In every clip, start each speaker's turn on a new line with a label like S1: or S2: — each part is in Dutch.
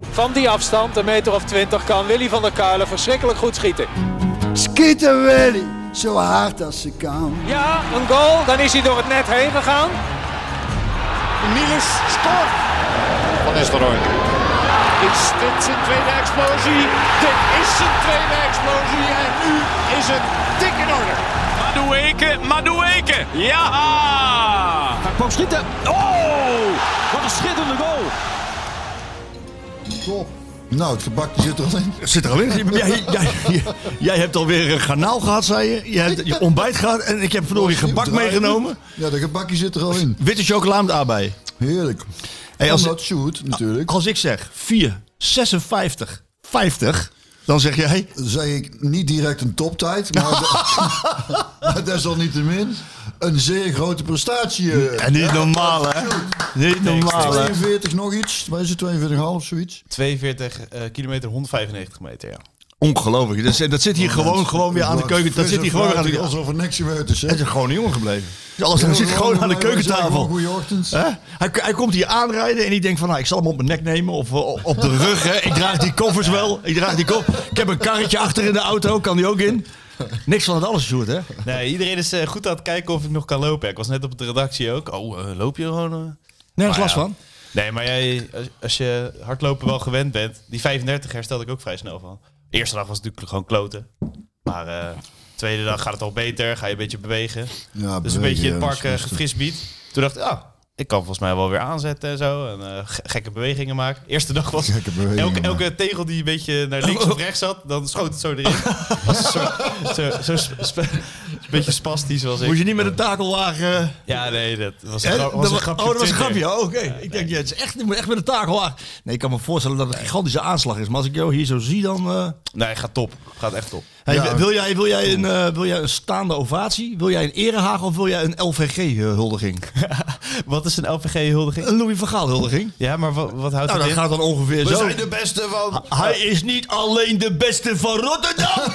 S1: Van die afstand, een meter of twintig, kan Willy van der Kuilen verschrikkelijk goed schieten.
S2: Schieten Willy, zo hard als ze kan.
S1: Ja, een goal. Dan is hij door het net heen gegaan.
S3: Niels scoort.
S4: Van Nistelrooy.
S3: Is dit zijn tweede explosie? Dit is zijn tweede explosie. En nu is het dik in orde.
S5: Madueke, Madueke. Ja!
S6: Hij kwam schieten. Oh! Wat een schitterende goal.
S7: Top. Nou, het gebak zit er al in.
S8: Zit er al in? Jij, jij, jij hebt alweer een garnaal gehad, zei je. Je hebt je ontbijt gehad en ik heb verdorie gebak meegenomen.
S7: Ja, de gebakje zit er al in.
S8: Witte chocola met aardbeien.
S7: Heerlijk.
S8: Hey, als- Ah,
S7: als dat shoot natuurlijk,
S8: Als ik zeg 4, 56, 50, dan zeg jij
S7: dan zeg ik niet direct een toptijd, maar, de- maar desalniettemin een zeer grote prestatie. eh.
S8: En niet normaal, hè? Niet normaal, hè?
S7: 42 nog iets, waar is het 42,5 zoiets?
S9: 42 eh, kilometer, 195 meter, ja.
S8: Ongelooflijk. Dat, zit- dat zit hier gewoon, gewoon weer aan de keuken. Dat zit hier gewoon weer aan de
S7: keuken.
S8: keuken.
S7: Alsof er niks gebeurd is, hè?
S8: Het is gewoon een jongen gebleven. Alles hij zit gewoon aan de keukentafel.
S7: Goeieochtend.
S8: Hè? Hij, hij komt hier aanrijden en ik denk van, nou, ik zal hem op mijn nek nemen of eh, op de rug. Hè. Ik draag die koffers wel. Ik draag die kop. Ik heb een karretje achter in de auto, kan die ook in. Niks van het alles, Sjoerd, hè?
S9: Nee, iedereen is eh, goed aan het kijken of ik nog kan lopen. Ik was net op de redactie ook. Oh, eh, loop je gewoon? eh?
S8: Nergens
S9: Maar
S8: last
S9: ja.
S8: van.
S9: Nee, maar jij, als, als je hardlopen wel gewend bent, die 35 herstelde ik ook vrij snel van. De eerste dag was het natuurlijk gewoon kloten. Maar eh tweede dag gaat het al beter, ga je een beetje bewegen.
S7: Ja,
S9: dus een
S7: breek,
S9: beetje het
S7: eh,
S9: park
S7: dat
S9: eh,
S7: is best-
S9: gefrist biedt. Toen dacht ik, ah, ik kan volgens mij wel weer aanzetten en zo. En eh, ge- gekke bewegingen maken. Eerste dag was
S7: Gekke bewegingen
S9: elke,
S7: maken.
S9: elke tegel die een beetje naar links of rechts zat, dan schoot het zo erin. Als een soort, zo, zo sp- sp- een beetje spastisch was ik.
S8: Moet je niet met een takelwagen... eh,
S9: Ja, nee, dat was een,
S8: Hè?
S9: grap- was een
S8: wa-
S9: grapje.
S8: oh,
S9: op
S8: dat was een
S9: Twitter.
S8: grapje. Oh, Oké, ik denk, ja, het is echt, je moet echt met een takel aan. Nee, ik kan me voorstellen dat het een gigantische aanslag is. Maar als ik jou hier zo zie, dan... eh,
S9: Nee, gaat top. Gaat echt top.
S8: hey,
S7: Ja.
S8: wil, jij, wil, jij een, eh, wil jij een staande ovatie? Wil jij een erehaag of wil jij een LVG-huldiging?
S9: Wat is een LVG-huldiging?
S8: eh, een Louis van Gaal-huldiging?
S9: Ja, maar wat, wat houdt
S8: Nou,
S9: het
S8: dat
S9: in? Ah,
S8: gaat dan ongeveer zo.
S4: de beste van...
S8: Hij is niet alleen de beste van Rotterdam.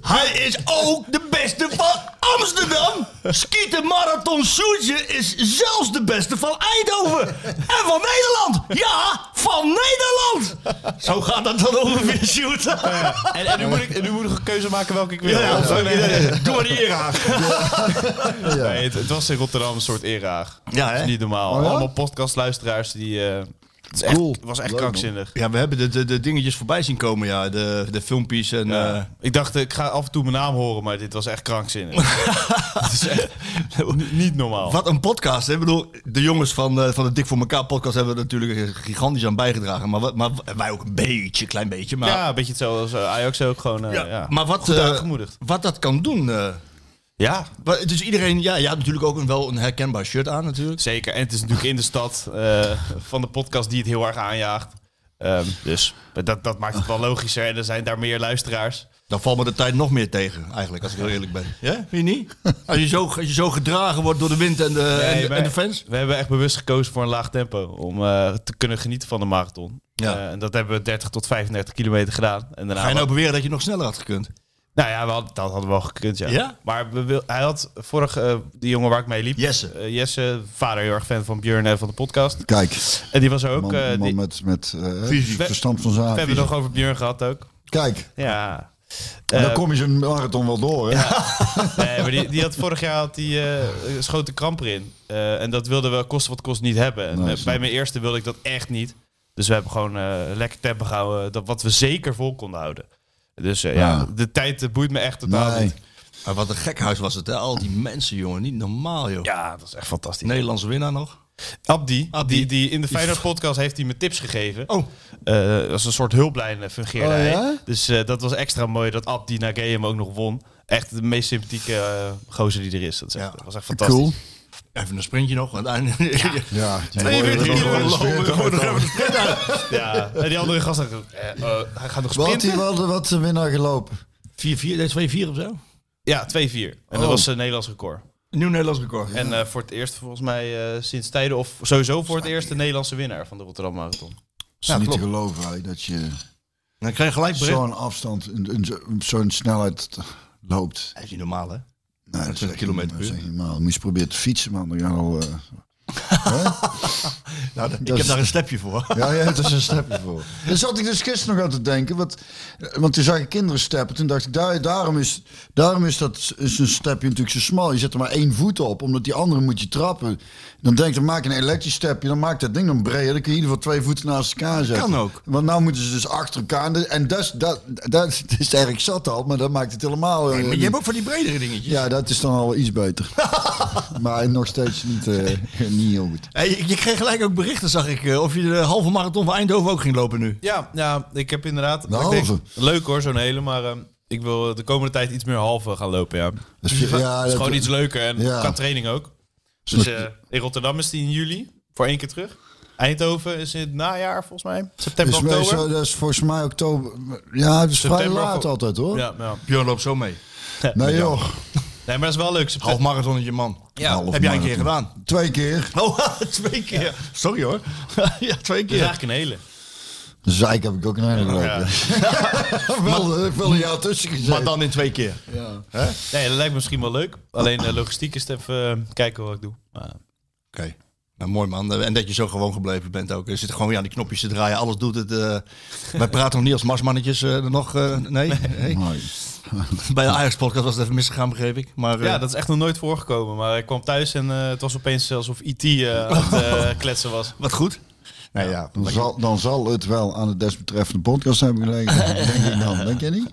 S8: Hij is ook de beste van Amsterdam. Skieten Marathon Soetje is zelfs de beste van Eindhoven. En van Nederland. Ja, van Nederland. Zo gaat dat dan ongeveer, Sjoerd. Ja,
S9: En, en nu moet ik, en nu moet ik een keuze maken welke ik wil.
S8: Ah. ja,
S9: Of-
S8: nee, nee, nee. Doe maar die erehaag.
S9: Nee, het, het was in Rotterdam een soort erehaag.
S8: Ja,
S9: Dat
S8: hè?
S9: is niet normaal.
S7: Oh, ja?
S9: Allemaal podcastluisteraars die... eh, het is echt,
S7: Cool.
S9: was echt
S7: Leuk,
S9: krankzinnig.
S8: Ja, we hebben de, de, de dingetjes voorbij zien komen, ja. De, de filmpjes en...
S9: Ja.
S8: eh,
S9: ik dacht, ik ga af en toe mijn naam horen, maar dit was echt krankzinnig. Het is echt n- niet normaal.
S8: Wat een podcast. Hè? Ik bedoel, de jongens van, eh, van de Dik voor elkaar podcast hebben er natuurlijk gigantisch aan bijgedragen. Maar, wat- maar wij ook een beetje, klein beetje. Maar,
S9: Ja, een beetje hetzelfde als eh, Ajax ook. Gewoon, eh,
S8: Ja,
S9: ja,
S8: maar wat,
S9: Goed
S8: eh,
S9: aangemoedigd.
S8: wat dat kan doen. eh.
S9: Ja,
S8: Wat- dus iedereen, ja, je had natuurlijk ook een, wel een herkenbaar shirt aan natuurlijk.
S9: zeker. En het is natuurlijk in de stad eh, van de podcast die het heel erg aanjaagt. Ehm, dus dat, dat maakt het wel logischer. En er zijn daar meer luisteraars.
S8: Dan valt me de tijd nog meer tegen, eigenlijk, als ik heel eerlijk ben. Ja, vind je niet? Als je zo, als je zo gedragen wordt door de wind en de, en de-
S9: Nee,
S8: en,
S9: wij-
S8: de fans.
S9: We hebben echt bewust gekozen voor een laag tempo. Om eh, te kunnen genieten van de marathon.
S8: Ja.
S9: Eh, en dat hebben we 30 tot 35 kilometer gedaan. En daarna
S8: Ga je nou beweren dat je nog sneller had gekund?
S9: Nou ja, we hadden- dat hadden we wel gekund, ja.
S8: Ja?
S9: Maar we wil, hij had vorig, eh die jongen waar ik mee liep.
S8: Jesse.
S9: eh, Jesse, vader heel erg fan van Björn en van de podcast.
S7: Kijk,
S9: En die was er ook.
S7: man,
S9: eh,
S7: man
S9: die, we
S7: met, met eh,
S8: Visie.
S7: verstand van
S9: hebben het
S7: zaken.
S9: nog over Björn gehad ook.
S7: Kijk,
S9: Ja.
S7: dan
S9: Eh,
S7: kom je zo'n marathon wel door, hè?
S9: Nee, maar die, die had vorig jaar had die, eh, schoot de kramp erin. Eh, en dat wilden we kosten wat kost niet hebben. En,
S7: Nee,
S9: eh,
S7: snap
S9: bij mijn eerste wilde ik dat echt niet. Dus we hebben gewoon eh, lekker tempo gehouden. eh, Dat, wat we zeker vol konden houden. Dus eh, ja.
S7: Ja.
S9: de tijd eh, boeit me echt totaal
S7: Ah. Nee.
S9: niet.
S8: Maar wat een gekhuis was het, hè? Al die mensen, jongen. Niet normaal, joh.
S9: Ja, dat is echt fantastisch.
S8: Nederlandse winnaar nog.
S9: Abdi,
S8: Abdi.
S9: Die, die in de Feyenoord podcast heeft hij me tips gegeven.
S8: Oh.
S9: Eh, als een soort hulplijn eh, fungeerde
S7: Oh,
S9: hij.
S7: ja?
S9: Dus eh, dat was extra mooi dat Abdi Nagayem ook nog won. Echt de meest sympathieke eh, gozer die er is. Dat, is echt-
S8: Ja.
S9: dat was echt fantastisch.
S8: Even een sprintje nog. aan het einde.
S7: Ja, die
S8: Nee,
S7: worden
S8: weet
S7: er
S8: ik
S7: wel
S8: niet.
S7: eens weer
S8: Lopen,
S7: uit,
S8: gewoon
S7: hoor.
S8: nog even-
S9: Ja, en die andere gast dacht, eh, eh, hij gaat nog
S7: Wat had
S9: sprinten.
S7: hij wel de- wat de winnaar gelopen?
S8: 4-4, nee, 2-4 of zo?
S9: Ja, 2-4. En
S7: Oh.
S9: dat was een Nederlands record.
S8: Nieuw Nederlands record.
S9: En eh, voor het eerst volgens mij eh, sinds tijden, of sowieso voor het eerst, de Nederlandse winnaar van de Rotterdam Marathon.
S7: Het
S8: Ja,
S7: is niet
S8: klopt.
S7: te geloven hè, dat je
S8: Dan krijg je gelijk bericht.
S7: zo'n afstand, in- in zo- op zo'n snelheid loopt.
S8: Dat is niet normaal, hè?
S7: Nee,
S8: is een
S7: echt
S8: kilometer
S7: niet-
S8: per
S7: dat is echt
S8: uur. Nou,
S7: niet normaal. Moet je eens proberen te fietsen, man. Dan gaan we al... eh, hè? Nou, dat-
S8: Ik
S7: dat
S8: heb
S7: is-
S8: daar een stepje voor.
S7: Ja, ja, dat is een stepje voor. Daar zat ik dus gisteren nog aan te denken. Want, want toen zag ik kinderen steppen. Toen dacht ik, daar, daarom, is, daarom is dat s- is een stepje natuurlijk zo smal. Je zet er maar één voet op, omdat die andere moet je trappen. Dan denk ik, dan maak je een elektrisch stepje. Dan maakt dat ding dan breder. Dan kun je in ieder geval twee voeten naast elkaar zetten.
S8: Kan ook.
S7: Want nou moeten ze dus achter elkaar. En dat- En dat, is- dat, dat, dat is erg zat al, maar dat maakt het helemaal... eh,
S8: Maar je hebt ook van die bredere dingetjes.
S7: Ja, dat is dan al iets beter. maar nog steeds niet, eh, niet heel goed.
S8: Hey, je, je kreeg gelijk ook berichten, zag ik. eh, Of je de halve marathon van Eindhoven ook ging lopen nu.
S9: Ja, ja, ik heb inderdaad...
S7: De
S9: ik denk,
S7: halve.
S9: leuk hoor, zo'n hele, maar ehm, ik wil de komende tijd iets meer halve gaan lopen, ja.
S7: Dat
S8: Dus
S7: is- ja,
S9: Het is
S7: dat-
S9: gewoon iets leuker en
S7: Ja.
S9: qua training ook. Dus eh, in Rotterdam is die in juli, voor één keer terug. Eindhoven is in het najaar volgens mij, september,
S7: Dus wij
S9: oktober.
S7: zo- dat is volgens mij oktober. Ja, het is vrij
S9: September,
S7: laat
S9: oktober.
S7: altijd hoor.
S9: Ja, ja.
S8: Björn loopt zo mee.
S7: Nee joh,
S9: Nee, maar dat is wel leuk.
S8: Half
S9: September.
S8: marathonnetje man.
S7: Half
S8: heb jij een keer
S7: marathon.
S8: gedaan?
S7: twee keer.
S8: Oh, twee keer. Sorry hoor. ja, twee
S9: Dat is
S8: keer.
S9: eigenlijk een hele.
S7: Zeik heb ik ook een hele gelopen. wel, ik heb wel een jaar tussen
S8: Maar
S7: gezeten.
S8: dan in twee keer.
S9: Nee, dat lijkt me misschien wel leuk. Alleen eh, logistiek is het even eh, kijken wat ik doe. Maar,
S8: Oké. Nou, mooi man. En dat je zo gewoon gebleven bent ook. Je zit gewoon weer aan die knopjes te draaien. Alles doet het. eh. wij praten nog niet als marsmannetjes eh, nog. eh, nee. nee.
S7: Mooi.
S8: Bij de Ajax-podcast was het even misgegaan, begreep ik. Maar, eh,
S9: ja, dat is echt nog nooit voorgekomen. Maar ik kwam thuis en eh, het was opeens alsof IT eh, aan het eh, kletsen was.
S8: Wat goed. Nou ja,
S7: Dan zal, dan zal het wel aan de desbetreffende podcast hebben gelegen. denk ik dan, denk jij niet?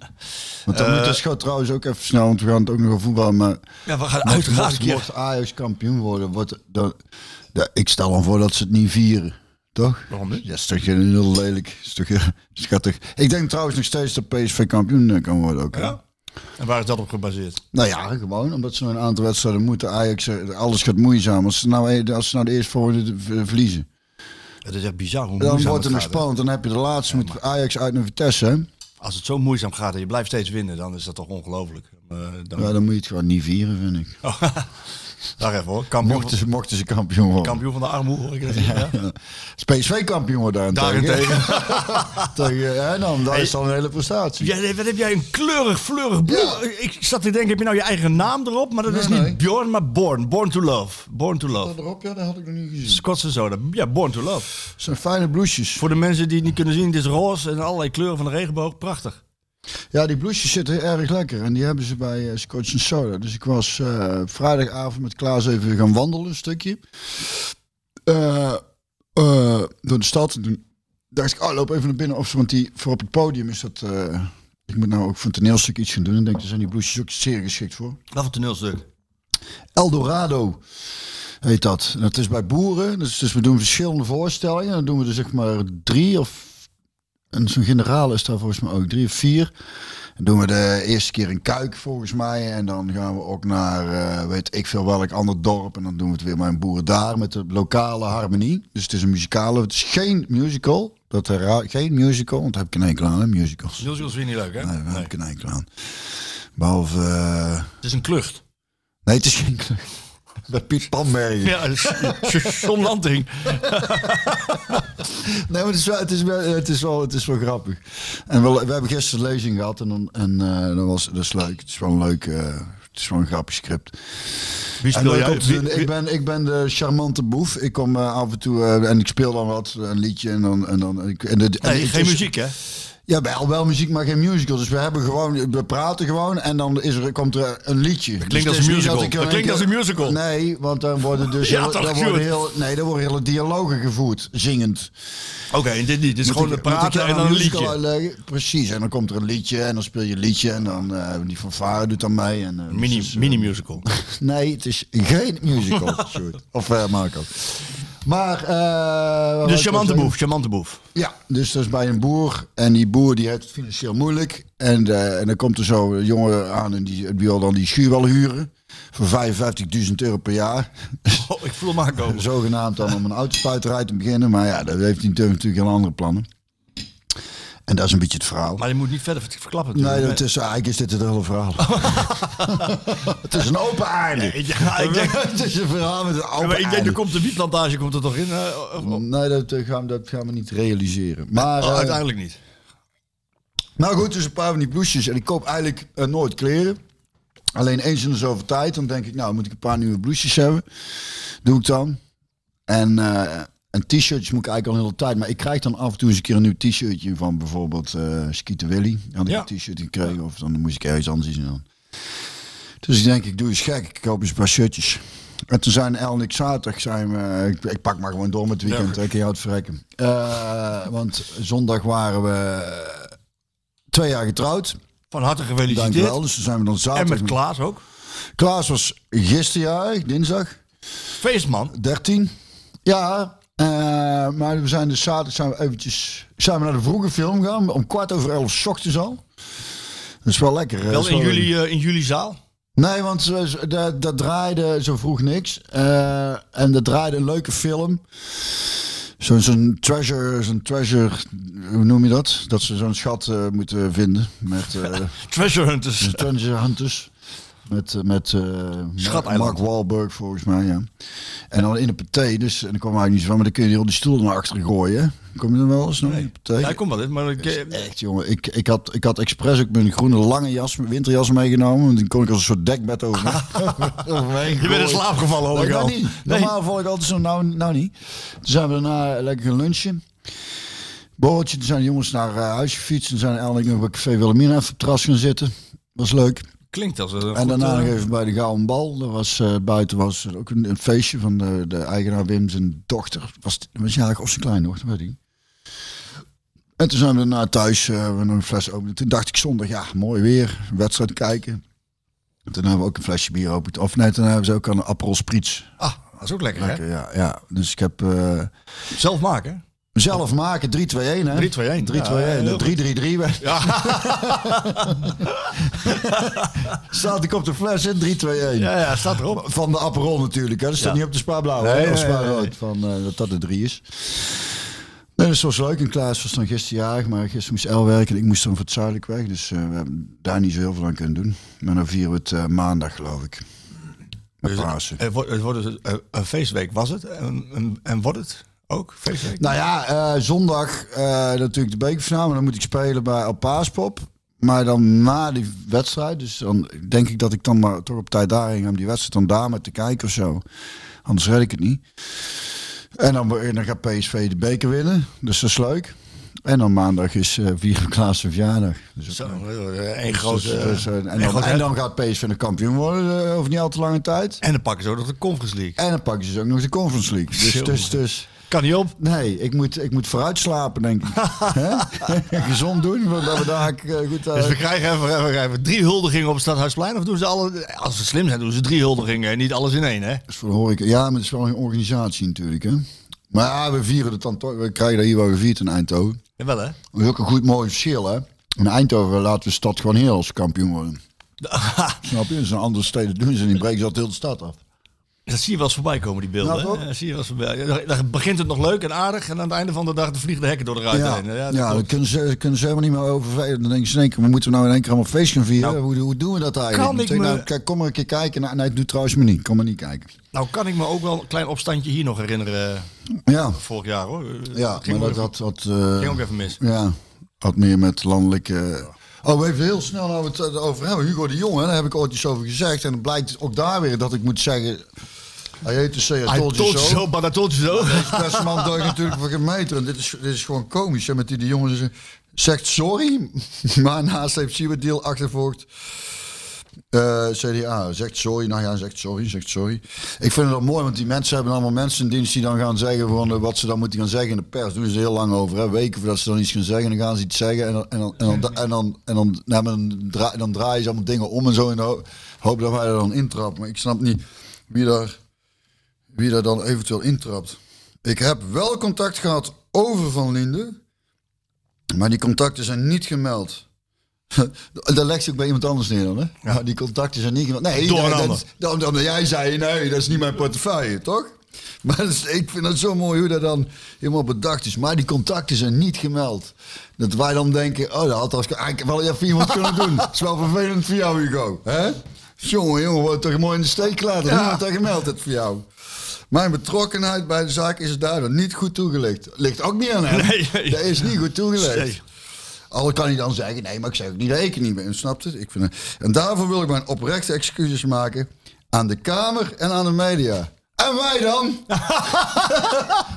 S7: Want
S8: Eh,
S7: dan moet de schot trouwens ook even snel, want we gaan het ook nog over voetbal. Maar
S8: ja we gaan uiteraard een
S7: mocht,
S8: keer.
S7: mocht Ajax kampioen worden, wordt, dan, ja, ik stel dan voor dat ze het niet vieren. Toch?
S8: Waarom niet?
S7: Ja, is toch heel lelijk. Is toch heel schattig. Ik denk trouwens nog steeds dat PSV kampioen eh, kan worden ook. hè?
S8: Ja. En waar is dat op gebaseerd?
S7: Nou ja, gewoon omdat ze nog een aantal wedstrijden moeten. Ajax, eh, alles gaat moeizaam. Als ze nou, als ze nou de eerstvolgende eh, verliezen.
S8: Het is echt bizar hoe
S7: Dan
S8: moeizaam
S7: wordt het nog
S8: gaat, hè.
S7: spannend. Dan heb je de laatste met Ajax uit naar Vitesse. hè?
S8: Als het zo moeizaam gaat en je blijft steeds winnen, dan is dat toch ongelooflijk. Eh, dan...
S7: Ja, dan moet je het gewoon niet vieren, vind ik.
S8: Daar even hoor. Kampioen,
S7: Mochten ze, mochten ze kampioen worden.
S8: kampioen van de armoede hoor ik net zeggen, ja.
S7: Als PSV kampioen worden daarentegen. Tegen, hè, dan, dat is dan een hele prestatie.
S8: Ja, nee, wat heb jij een kleurig, fleurig bloem? Ik zat te denken, heb je nou je eigen naam erop? Maar dat
S7: Nee,
S8: is niet
S7: nee.
S8: Bjorn, maar Born. Born to Love. Born to Love.
S7: Erop, ja, dat had ik nog niet gezien.
S8: Schotse soda. Ja, Born to Love.
S7: Het zijn fijne blouses.
S8: Voor de mensen die het niet kunnen zien, het is roze en allerlei kleuren van de regenboog. Prachtig.
S7: Ja, die blouses zitten erg lekker. En die hebben ze bij eh, Scotch and Soda. Dus ik was eh, vrijdagavond met Klaas even gaan wandelen, een stukje. Eh, eh, door de stad. En Toen dacht ik, oh, loop even naar binnen. Of, zo, want die, voor op het podium is dat... eh, ik moet nou ook voor een toneelstuk iets gaan doen. En denk, daar zijn die blouses ook zeer geschikt voor.
S8: Wat een toneelstuk.
S7: Eldorado heet dat. En dat is bij boeren. Dus, dus we doen verschillende voorstellingen. Dan doen we er zeg maar drie of... En zo'n generaal is daar volgens mij ook drie of vier. Dan doen we de eerste keer in Kuik volgens mij. En dan gaan we ook naar eh, weet ik veel welk ander dorp. En dan doen we het weer bij een boer daar met de lokale harmonie. Dus het is een muzikale. Het is geen musical. Dat herhaal, geen musical, want daar heb ik een enkel aan, hè, musicals. Nee,
S8: Jules Jules vind je niet leuk, hè?
S7: daar heb ik een enkel aan. Behalve... eh,
S8: Het is een klucht.
S7: Nee, het is geen klucht. Bij Piet Panbergen.
S8: Ja, het is John Lanting.
S7: Nee, maar het is wel, het is wel, het is wel, het is wel grappig. En wel, we hebben gisteren een lezing gehad en, dan, en eh, dat, was, dat is leuk. Het is wel een leuk, eh, het is wel een grappig script.
S8: Wie
S7: En
S8: speel
S7: leuk
S8: jij?
S7: om te doen.
S8: wie-
S7: ik, ben, ik ben de charmante boef. Ik kom eh, af en toe eh, en ik speel dan wat, een liedje en dan... En dan en ik, en de, en
S8: Nee,
S7: het
S8: geen
S7: is-
S8: muziek, hè?
S7: Ja, wel, wel muziek, maar geen musical. Dus we hebben gewoon, we praten gewoon en dan is er, komt er een liedje. Dus Dat
S8: als een musical. Dat klinkt als een musical.
S7: Nee, want dan worden dus
S8: Ja,
S7: heel-
S8: toch,
S7: dan worden
S8: Sjoerd?
S7: heel, nee, dan worden hele dialogen gevoerd, zingend.
S8: Oké, en dit niet. Dit is gewoon
S7: Moet
S8: een
S7: ik- moet ik
S8: praten
S7: jou
S8: en dan
S7: nou
S8: een
S7: musical
S8: liedje.
S7: uitleggen? Precies, en dan komt er een liedje en dan speel je een liedje en dan eh, die fanfare doet dan mee. En, eh, dus,
S8: Mini,
S7: eh,
S8: mini musical.
S7: Nee, het is geen musical, Sjoerd. Of eh, Marco. Maar... eh, waar wou ik
S8: De
S7: nou
S8: charmante
S7: zeggen?
S8: boef, charmante boef.
S7: Ja, dus dat is bij een boer. En die boer die heeft het financieel moeilijk. En, eh, en dan komt er zo een jongen aan en die, die wil dan die schuur wel huren. Voor 55.000 euro per jaar.
S8: Oh, ik voel hem aankomen.
S7: Zogenaamd dan om een autospuiterij te beginnen. Maar ja, daar heeft hij natuurlijk heel andere plannen. En dat is een beetje het verhaal.
S8: Maar je moet niet verder verklappen.
S7: Nee,
S8: natuurlijk.
S7: dat is, eigenlijk is dit het hele verhaal. het is een open aarde.
S8: Ik- ja, ik denk,
S7: het is een verhaal met een open
S8: maar ik denk,
S7: aarde.
S8: er komt de wietplantage komt er toch in? eh, of- of-
S7: Nee, dat eh, gaan, dat gaan we niet realiseren. Maar,
S8: oh,
S7: eh,
S8: uiteindelijk niet.
S7: Nou goed, dus een paar van die blouses. En ik koop eigenlijk eh, nooit kleren. Alleen eens in de zoveel tijd. Dan denk ik, nou moet ik een paar nieuwe blouses hebben. Doe ik dan. En, eh, En t-shirtjes moet ik eigenlijk al een hele tijd. Maar ik krijg dan af en toe eens een keer een nieuw t-shirtje van bijvoorbeeld eh Skeeter Willy. Dan had ik
S8: Ja.
S7: een t-shirt gekregen of dan moest ik ergens anders iets doen. Dus ik denk, ik doe eens gek. Ik koop eens een paar shirtjes. En toen zijn El en ik zaterdag zijn we, ik, ik pak maar gewoon door met het weekend. Ik jou het verrekken. Eh, want zondag waren we twee jaar getrouwd.
S8: Van harte
S7: Dank je wel.
S8: gefeliciteerd.
S7: Dus toen zijn we dan
S8: En
S7: zaterdag.
S8: met Klaas ook.
S7: Klaas was gisterjarig, dinsdag.
S8: Feestman.
S7: 13. Ja, eh, maar we zijn dus zaterdag zijn we eventjes zijn we naar de vroege film gaan. Om kwart over elf 's ochtends al. Dat is wel lekker. hè? Dat
S8: Wel
S7: is
S8: in
S7: wel
S8: jullie, eh, in jullie zaal.
S7: Nee, want eh, dat, dat draaide zo vroeg niks. Eh, en dat draaide een leuke film. Zo'n zo'n treasure, zo'n treasure, hoe noem je dat? Dat ze zo'n schat eh, moeten vinden. Met eh,
S8: Treasure Hunters.
S7: de treasure hunters. Met, eh, met eh, Mark-
S8: Schateiland.
S7: Mark Wahlberg volgens mij, ja. En dan in de paté, dus, en dan kwam hij niet zo van, maar dan kun je heel die stoel naar achteren gooien. hè. Kom je dan wel eens nog in de paté?
S8: Ja, ik kom wel in, maar ik, eh,
S7: Echt jongen, ik, ik, had, ik had expres ook mijn groene lange jas, mijn winterjas meegenomen. Want die kon ik als een soort dekbed over.
S8: je bent in slaap gevallen, hoor
S7: Nee,
S8: ik al.
S7: dat niet. Normaal volg ik altijd zo, nou, nou niet. Toen zijn we daarna lekker gaan lunchen. Borreltje, toen zijn de jongens naar eh, huis gefietst. Toen zijn eigenlijk nog bij Café Wilhelmina even op het terras gaan zitten. Was leuk.
S8: Klinkt als een
S7: En
S8: goed,
S7: daarna
S8: eh,
S7: nog even bij de Gouden Bal. Daar was, eh, buiten was er ook een, een feestje van de, de eigenaar Wim, zijn dochter. Was, was jarig of zijn kleindochter, weet ik niet. En toen zijn we daarna thuis, eh, hebben we nog een fles open. Toen dacht ik zondag, ja, mooi weer, een wedstrijd kijken. Toen hebben we ook een flesje bier opend. Of nee, toen hebben ze ook een Aperol Spritz.
S8: Ah, dat is ook lekker,
S7: Lekker, ja, ja. Dus ik heb eh,
S8: hè? Zelf maken.
S7: zelf maken, 3-2-1 hè.
S8: 3-2-1.
S7: 3-2-1, dat 3-3-3 werd. Staat ik op de fles in, 3-2-1.
S8: Ja, ja, staat erop.
S7: Van de Aperol natuurlijk. Hè. Dat staat
S8: Ja.
S7: niet op de spaarblauw.
S8: Nee,
S7: Nee, of
S8: nee, nee,
S7: spaarrood. Van, eh, dat dat de drie is. Nee, dat was leuk. En Klaas was dan gisteren jarig. Maar gisteren moest El werken. En ik moest dan voor het zuidelijk weg. Dus eh, we hebben daar niet zo heel veel aan kunnen doen. Maar dan vieren we het eh, maandag geloof ik. Met Pasen.
S8: Het Dus wordt, het wordt dus, eh, een feestweek was het en, en, en wordt het ook feestweek?
S7: Nou ja, eh, zondag eh, natuurlijk de bekerfinale. Dan moet ik spelen bij El Paaspop. Maar dan na die wedstrijd. Dus dan denk ik dat ik dan maar toch op tijd daarheen ga om die wedstrijd dan daar maar te kijken of zo. Anders red ik het niet. En dan, en dan gaat PSV de beker winnen. Dus dat is leuk. En dan maandag is eh Vier Klaas zijn verjaardag. Dus ook
S8: Zo,
S7: leuk.
S8: eh, één
S7: Dus-
S8: grote...
S7: dus- dus, eh, en,
S8: één
S7: dan,
S8: grote-
S7: en dan gaat PSV een kampioen worden eh, over niet al te lange tijd.
S8: en dan pakken ze ook nog de Conference League.
S7: En dan pakken ze dus ook nog de Conference League. Dus,
S8: Zo.
S7: dus, dus
S8: Kan niet op.
S7: Nee, ik moet, ik moet vooruit slapen, denk ik. Hè? Gezond doen, want dat we daar eh, goed eh,
S8: Dus we krijgen even, even, even drie huldigingen op het Stadhuisplein. Of doen ze alle... Als ze slim zijn, doen ze drie huldigingen en niet alles in één, hè?
S7: is voor de horeca. Ja, maar het is wel een organisatie natuurlijk, hè. Maar ja, we vieren het dan toch. We krijgen dat hier wel gevierd in Eindhoven.
S8: Jawel, hè?
S7: Dat is ook een goed mooi verschil, hè. In Eindhoven laten we de stad gewoon heel als kampioen worden. Snap je? Dat zijn andere steden doen ze niet. Breken ze altijd heel de stad af.
S8: Dat zie je wel eens voorbij komen, die beelden.
S7: Ja, Nou, toch?
S8: hè? Dat zie je wel eens voorbij. Ja, Dan begint het nog leuk en aardig. En aan het einde van de dag dan vliegen de hekken door de ruiten
S7: Ja,
S8: heen.
S7: ja,
S8: dat
S7: dan
S8: klopt.
S7: kunnen ze, kunnen ze helemaal niet meer overvelen. Dan denken ze in één keer, we moeten nou in één keer allemaal feest gaan vieren. hoe, hoe doen we dat eigenlijk?
S8: Nou. Kan ik
S7: Zeg, nou,
S8: me-
S7: kijk, kom maar een keer kijken. Nou, nee, doe trouwens maar niet. Kom maar niet kijken.
S8: Nou kan ik me ook wel een klein opstandje hier nog herinneren. eh,
S7: Ja.
S8: Vorig jaar, hoor.
S7: Ja,
S8: ging
S7: maar
S8: ook
S7: dat
S8: even-
S7: had, had, eh,
S8: ging ook even mis.
S7: ja, had meer met landelijke... Oh, even heel snel nou het eh, over hebben. Hugo de Jong, hè, daar heb ik ooit iets over gezegd. En het blijkt ook daar weer dat ik moet zeggen... Hij heet de C, I told you so.
S8: maar dat told je zo.
S7: Deze beste man duikt natuurlijk voor geen meter. En dit is, dit is gewoon komisch. Hè, met die de jongen ze- zegt sorry, maar naast heeft Siebert deel achtervolgt. eh, CDA zegt sorry, nou ja, zegt sorry, zegt sorry. Ik vind het wel mooi, want die mensen hebben allemaal mensen in dienst die dan gaan zeggen van, eh, wat ze dan moeten gaan zeggen in de pers. Daar doen ze heel lang over, hè? weken voordat ze dan iets gaan zeggen. En dan gaan ze iets zeggen en dan, en dan, en dan, en dan, en dan, nou, maar dan, dra- dan draaien ze allemaal dingen om en zo. En dan ho- hoop dat wij er dan intrappen. Maar ik snap niet wie daar wie daar dan eventueel intrapt. Ik heb wel contact gehad over Van Linde, maar die contacten zijn niet gemeld. dat legt zich bij iemand anders neer dan, hè? Maar die contacten zijn niet gemeld. Nee,
S8: Door een
S7: dat-
S8: ander.
S7: dat- dat- omdat jij zei, nee, dat is niet mijn portefeuille, toch? Maar dat is- ik vind het zo mooi hoe dat dan helemaal bedacht is. Maar die contacten zijn niet gemeld. Dat wij dan denken, oh, dat had als eigenlijk wel even iemand kunnen doen. Dat is wel vervelend voor jou, Hugo. Hè? Jongen, jongen, wordt toch mooi in de steek laten. Niemand dat gemeld het voor jou. Mijn betrokkenheid bij de zaak is daardoor niet goed toegelicht. Ligt ook niet aan hem.
S8: Nee.
S7: Dat is niet goed toegelicht.
S8: Nee.
S7: Al kan hij dan zeggen, nee, maar ik zeg ook niet dat ik er niet ben. Snapt het? Ik vind het- En daarvoor wil ik mijn oprechte excuses maken aan de Kamer en aan de media. En wij dan?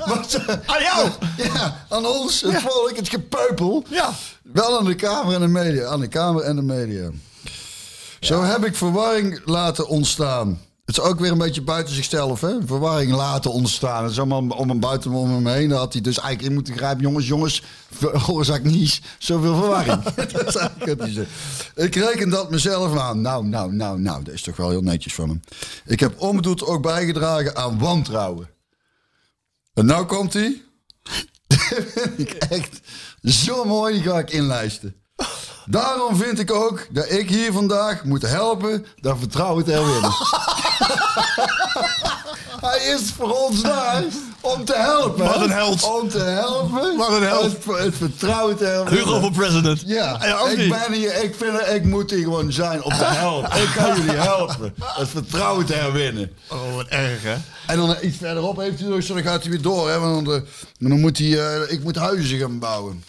S7: Want, eh,
S8: Aan jou!
S7: ja, aan ons, het volk, het gepeupel.
S8: Ja.
S7: Wel aan de Kamer en de media. Aan de Kamer en de media. Zo heb ik verwarring laten ontstaan. Het is ook weer een beetje buiten zichzelf, hè? Verwarring laten ontstaan. Het is allemaal om hem buiten om hem heen. Dan had hij dus eigenlijk in moeten grijpen. Jongens, jongens, veroorzaak niet zoveel verwarring. dat is eigenlijk wat hij zegt. Ik reken dat mezelf aan. Nou, nou, nou, nou. Dat is toch wel heel netjes van hem. Ik heb onbedoeld ook bijgedragen aan wantrouwen. En nou komt hij. ik echt zo mooi, die ga ik inlijsten. Daarom vind ik ook dat ik hier vandaag moet helpen dat vertrouwen te herwinnen. Hij is voor ons daar om te helpen.
S8: Wat een held.
S7: Om te helpen.
S8: Wat een held.
S7: Het, het vertrouwen te herwinnen.
S8: Hugo voor president.
S7: Ja,
S8: ook
S7: ik
S8: niet.
S7: ben hier, ik vind ik moet hier gewoon zijn om te helpen. Ik kan jullie helpen. Het vertrouwen te herwinnen.
S8: Oh, wat erg, hè?
S7: En dan eh, iets verderop heeft hij nog zo, dan gaat hij weer door. Hè, want dan, eh, maar dan moet hij, eh, ik moet huizen gaan bouwen.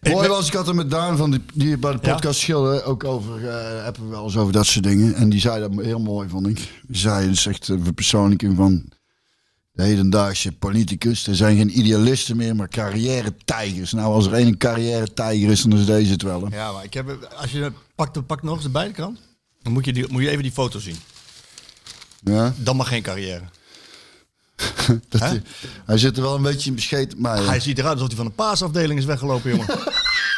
S7: Mooi was, ik had het met Daan van die, die bij de podcast schilderen ook over, eh, hebben we wel eens over dat soort dingen. En die zei dat heel mooi, vond ik. Die zei, dat is echt een verpersoonlijking van de hedendaagse politicus. Er zijn geen idealisten meer, maar carrière-tijgers. Nou, als er één carrière-tijger is, dan is deze het wel. hè.
S8: Ja, maar ik heb, als je pakt, pak nog eens de buitenkant, dan moet je, die, moet je even die foto zien.
S7: Ja?
S8: Dan mag geen carrière.
S7: Dat,
S8: Hè?
S7: hij- hij zit er wel een beetje in bescheten, maar...
S8: Hij ziet eruit alsof hij van de paasafdeling is weggelopen, jongen.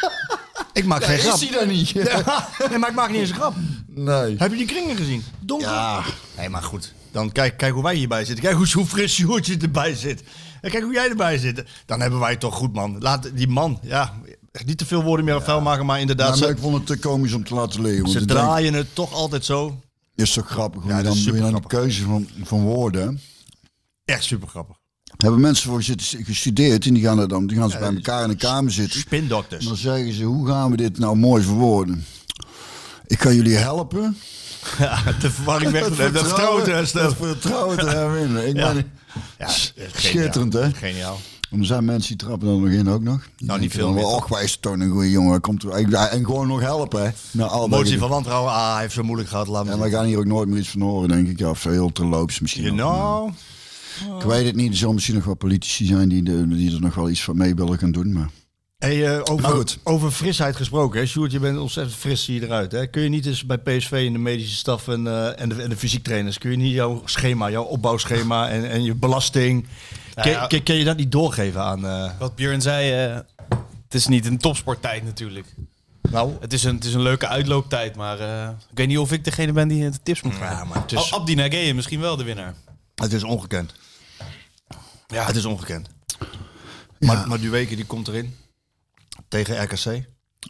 S8: ik maak geen grap.
S7: dan niet?
S8: Nee, maar ik maak niet eens een grap.
S7: Nee.
S8: Heb je die kringen gezien? Donker.
S7: Ja.
S8: Nee, maar goed. Dan kijk, kijk hoe wij hierbij zitten. Kijk hoe, hoe fris Sjoerdje erbij zit. En kijk hoe jij erbij zit. Dan hebben wij het toch goed, man. Laat die man, ja, niet te veel woorden meer aan vuil maken, maar inderdaad,
S7: Ja, maar
S8: ze,
S7: ik vond het te komisch om te laten liggen. Want
S8: ze
S7: ik denk,
S8: draaien het toch altijd zo.
S7: is toch grappig. Ja,
S8: dat
S7: dan
S8: is
S7: doe je dan de
S8: supergrappig.
S7: keuze van, van woorden. hè.
S8: Echt super grappig.
S7: Hebben mensen voor zitten gestudeerd en die gaan er dan die gaan ze bij elkaar in de kamer zitten. En
S8: Spindokters.
S7: dan zeggen ze, hoe gaan we dit nou mooi verwoorden? Ik kan jullie helpen.
S8: Ja, de verwarring weg te nemen. Dat vertrouwen te herstellen.
S7: het vertrouwen te herwinnen. Ik
S8: Ja.
S7: ben,
S8: Ja,
S7: Schitterend, hè?
S8: Geniaal.
S7: En er zijn mensen die trappen dan nog in ook nog. Die
S8: Nou, niet
S7: denken
S8: veel
S7: dan
S8: meer,
S7: wel, Och, wij is toch een goede jongen. Komt er, en, en gewoon nog helpen, hè? Nou, al dat
S8: Motie
S7: gedoe.
S8: van wantrouwen. Ah, hij heeft zo moeilijk gehad. Laat
S7: En
S8: me
S7: wij gaan hier ook nooit meer iets van horen, denk ik. Ja, of zo heel terloops misschien.
S8: You
S7: nog.
S8: know.
S7: Ik weet het niet. Er zullen misschien nog wel politici zijn die, de, die er nog wel iets van mee willen gaan doen. Maar
S8: Hey, eh, over,
S7: Maar goed.
S8: over frisheid gesproken, hè? Sjoerd, je bent ontzettend fris zie je eruit. Hè? Kun je niet eens bij PSV en de medische staf en, eh, en, de, en de fysiektrainers, kun je niet jouw schema, jouw opbouwschema en, en je belasting, kun,
S9: ja.
S8: kun- kun je dat niet doorgeven aan... eh,
S9: Wat Björn zei, eh, het is niet een topsporttijd natuurlijk.
S8: nou,
S9: Het is een, het is een leuke uitlooptijd, maar eh, ik weet niet of ik degene ben die eh, de tips moet geven.
S8: ja, maar het,
S9: Abdina
S8: is,
S9: Abdi Nageye, misschien wel de winnaar.
S8: het is ongekend. Ja, het is ongekend. Maar, maar Duweke die komt erin, tegen RKC.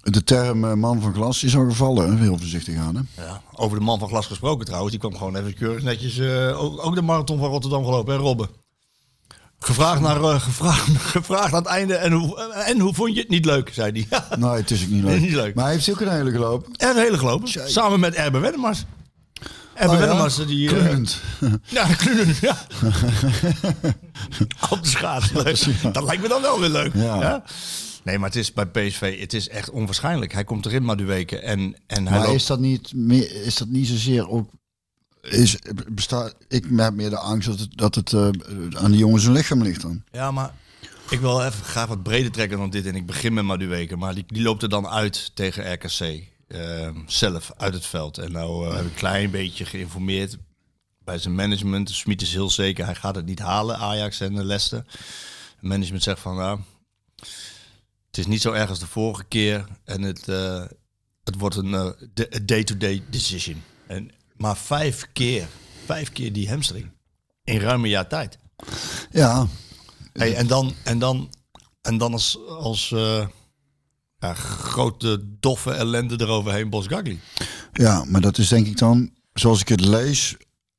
S7: de term eh, man van glas is al gevallen. hè. Heel voorzichtig aan. Hè?
S8: Ja, over de man van glas gesproken trouwens. Die kwam gewoon even keurig netjes. eh, ook, ook de marathon van Rotterdam gelopen, hè, Robben? Gevraagd naar, eh, gevraagd, gevraagd aan het einde. En hoe, eh, en hoe vond je het niet leuk, zei hij. Ja,
S7: Nee, Nou, het is ook niet leuk.
S8: Niet leuk.
S7: Maar hij heeft ook een hele gelopen.
S8: en een hele gelopen. Samen met Erbe Wennemars.
S7: Oh
S8: Erbe Wennemars, die... eh,
S7: Klunt.
S8: ja, Kluun, ja. Op de schaats, leuk. Dat lijkt me dan wel weer leuk.
S7: Ja.
S8: ja. Nee, maar het is bij PSV, het is echt onwaarschijnlijk. Hij komt erin maar de weken en, en hij
S7: Maar
S8: loopt-
S7: is dat niet, meer, is dat niet zozeer ook... Is, bestaat, ik heb meer de angst dat het, dat het eh, aan die jongen zijn lichaam ligt dan.
S8: Ja, maar ik wil even graag wat breder trekken dan dit. En ik begin met Maduweke. Maar die, die loopt er dan uit tegen RKC. ehm, zelf, uit het veld. En nou eh, heb ik een klein beetje geïnformeerd bij zijn management. Smit is heel zeker, hij gaat het niet halen, Ajax en eh, Leicester. Het management zegt van, nou, het is niet zo erg als de vorige keer. En het, eh, het wordt een eh, de- een day-to-day decision. En, maar vijf keer, vijf keer die hamstring. In ruim een jaar tijd.
S7: Ja,
S8: Hey, en dan, en dan, en dan als, als eh, ja, grote doffe ellende eroverheen Bos Gagli.
S7: ja, maar dat is denk ik dan, zoals ik het lees,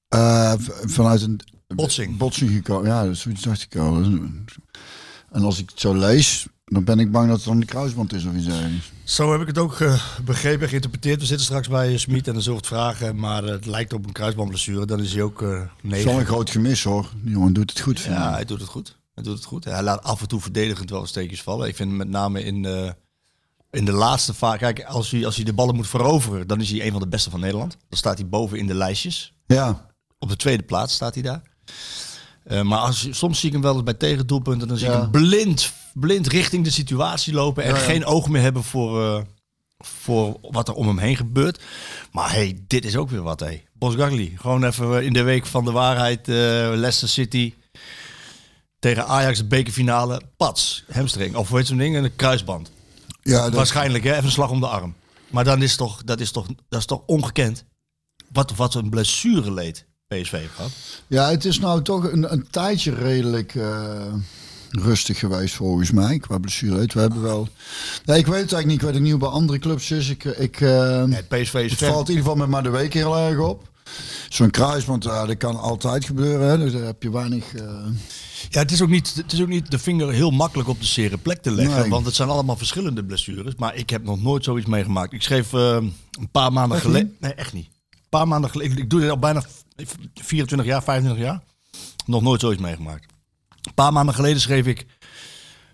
S7: eh, v- vanuit een
S8: Botsing.
S7: botsing gekomen. Ja, dat is zoiets dacht ik al. En als ik het zo lees, dan ben ik bang dat het dan de kruisband is of iets dergelijks.
S8: Zo heb ik het ook eh, begrepen en geïnterpreteerd. We zitten straks bij eh, Smit en dan zult vragen, maar eh, het lijkt op een kruisbandblessure. Dan is hij ook eh
S7: Het is wel
S8: negen.
S7: een groot gemis hoor. Die jongen doet het goed. vind
S8: Ja,
S7: ik.
S8: hij doet het goed. Hij doet het goed. Hij laat af en toe verdedigend wel steekjes vallen. Ik vind hem met name in, eh, in de laatste vaak. Kijk, als hij, als hij de ballen moet veroveren, dan is hij een van de beste van Nederland. Dan staat hij boven in de lijstjes.
S7: ja.
S8: Op de tweede plaats staat hij daar. Eh, maar als, soms zie ik hem wel eens bij tegendoelpunten. Dan zie
S7: Ja.
S8: ik hem blind, blind richting de situatie lopen. En
S7: Ja, ja.
S8: geen oog meer hebben voor, eh, voor wat er om hem heen gebeurt. Maar hey, dit is ook weer wat. Hey. Bos Gewoon even eh, in de week van de waarheid. eh, Leicester City tegen Ajax de bekerfinale. Pats, hamstring. Of hoe heet zo'n ding? Een kruisband.
S7: Ja, dat,
S8: Waarschijnlijk, hè? even een slag om de arm. Maar dan is toch, dat, is toch, dat is toch ongekend. Wat, wat een blessure leed PSV heeft gehad.
S7: ja, het is nou toch een, een tijdje redelijk eh, rustig geweest volgens mij. Qua blessure. We hebben wel... Nee, ik weet het eigenlijk niet. Ik weet het niet hoe bij andere clubs is. Ik, ik, eh,
S8: Nee, PSV is
S7: Het
S8: ver.
S7: valt in ieder geval met maar de week heel erg op. Zo'n kruisband, ja, dat kan altijd gebeuren. Hè? Dus daar heb je weinig... eh,
S8: Ja, het is, ook niet, het is ook niet de vinger heel makkelijk op de zere plek te leggen.
S7: Nee.
S8: Want het zijn allemaal verschillende blessures. Maar ik heb nog nooit zoiets meegemaakt. Ik schreef eh, een paar maanden
S7: Echt
S8: geleden.
S7: niet?
S8: Nee, echt niet. Een paar maanden geleden. Ik doe dit al bijna 24 jaar, 25 jaar. Nog nooit zoiets meegemaakt. Een paar maanden geleden schreef ik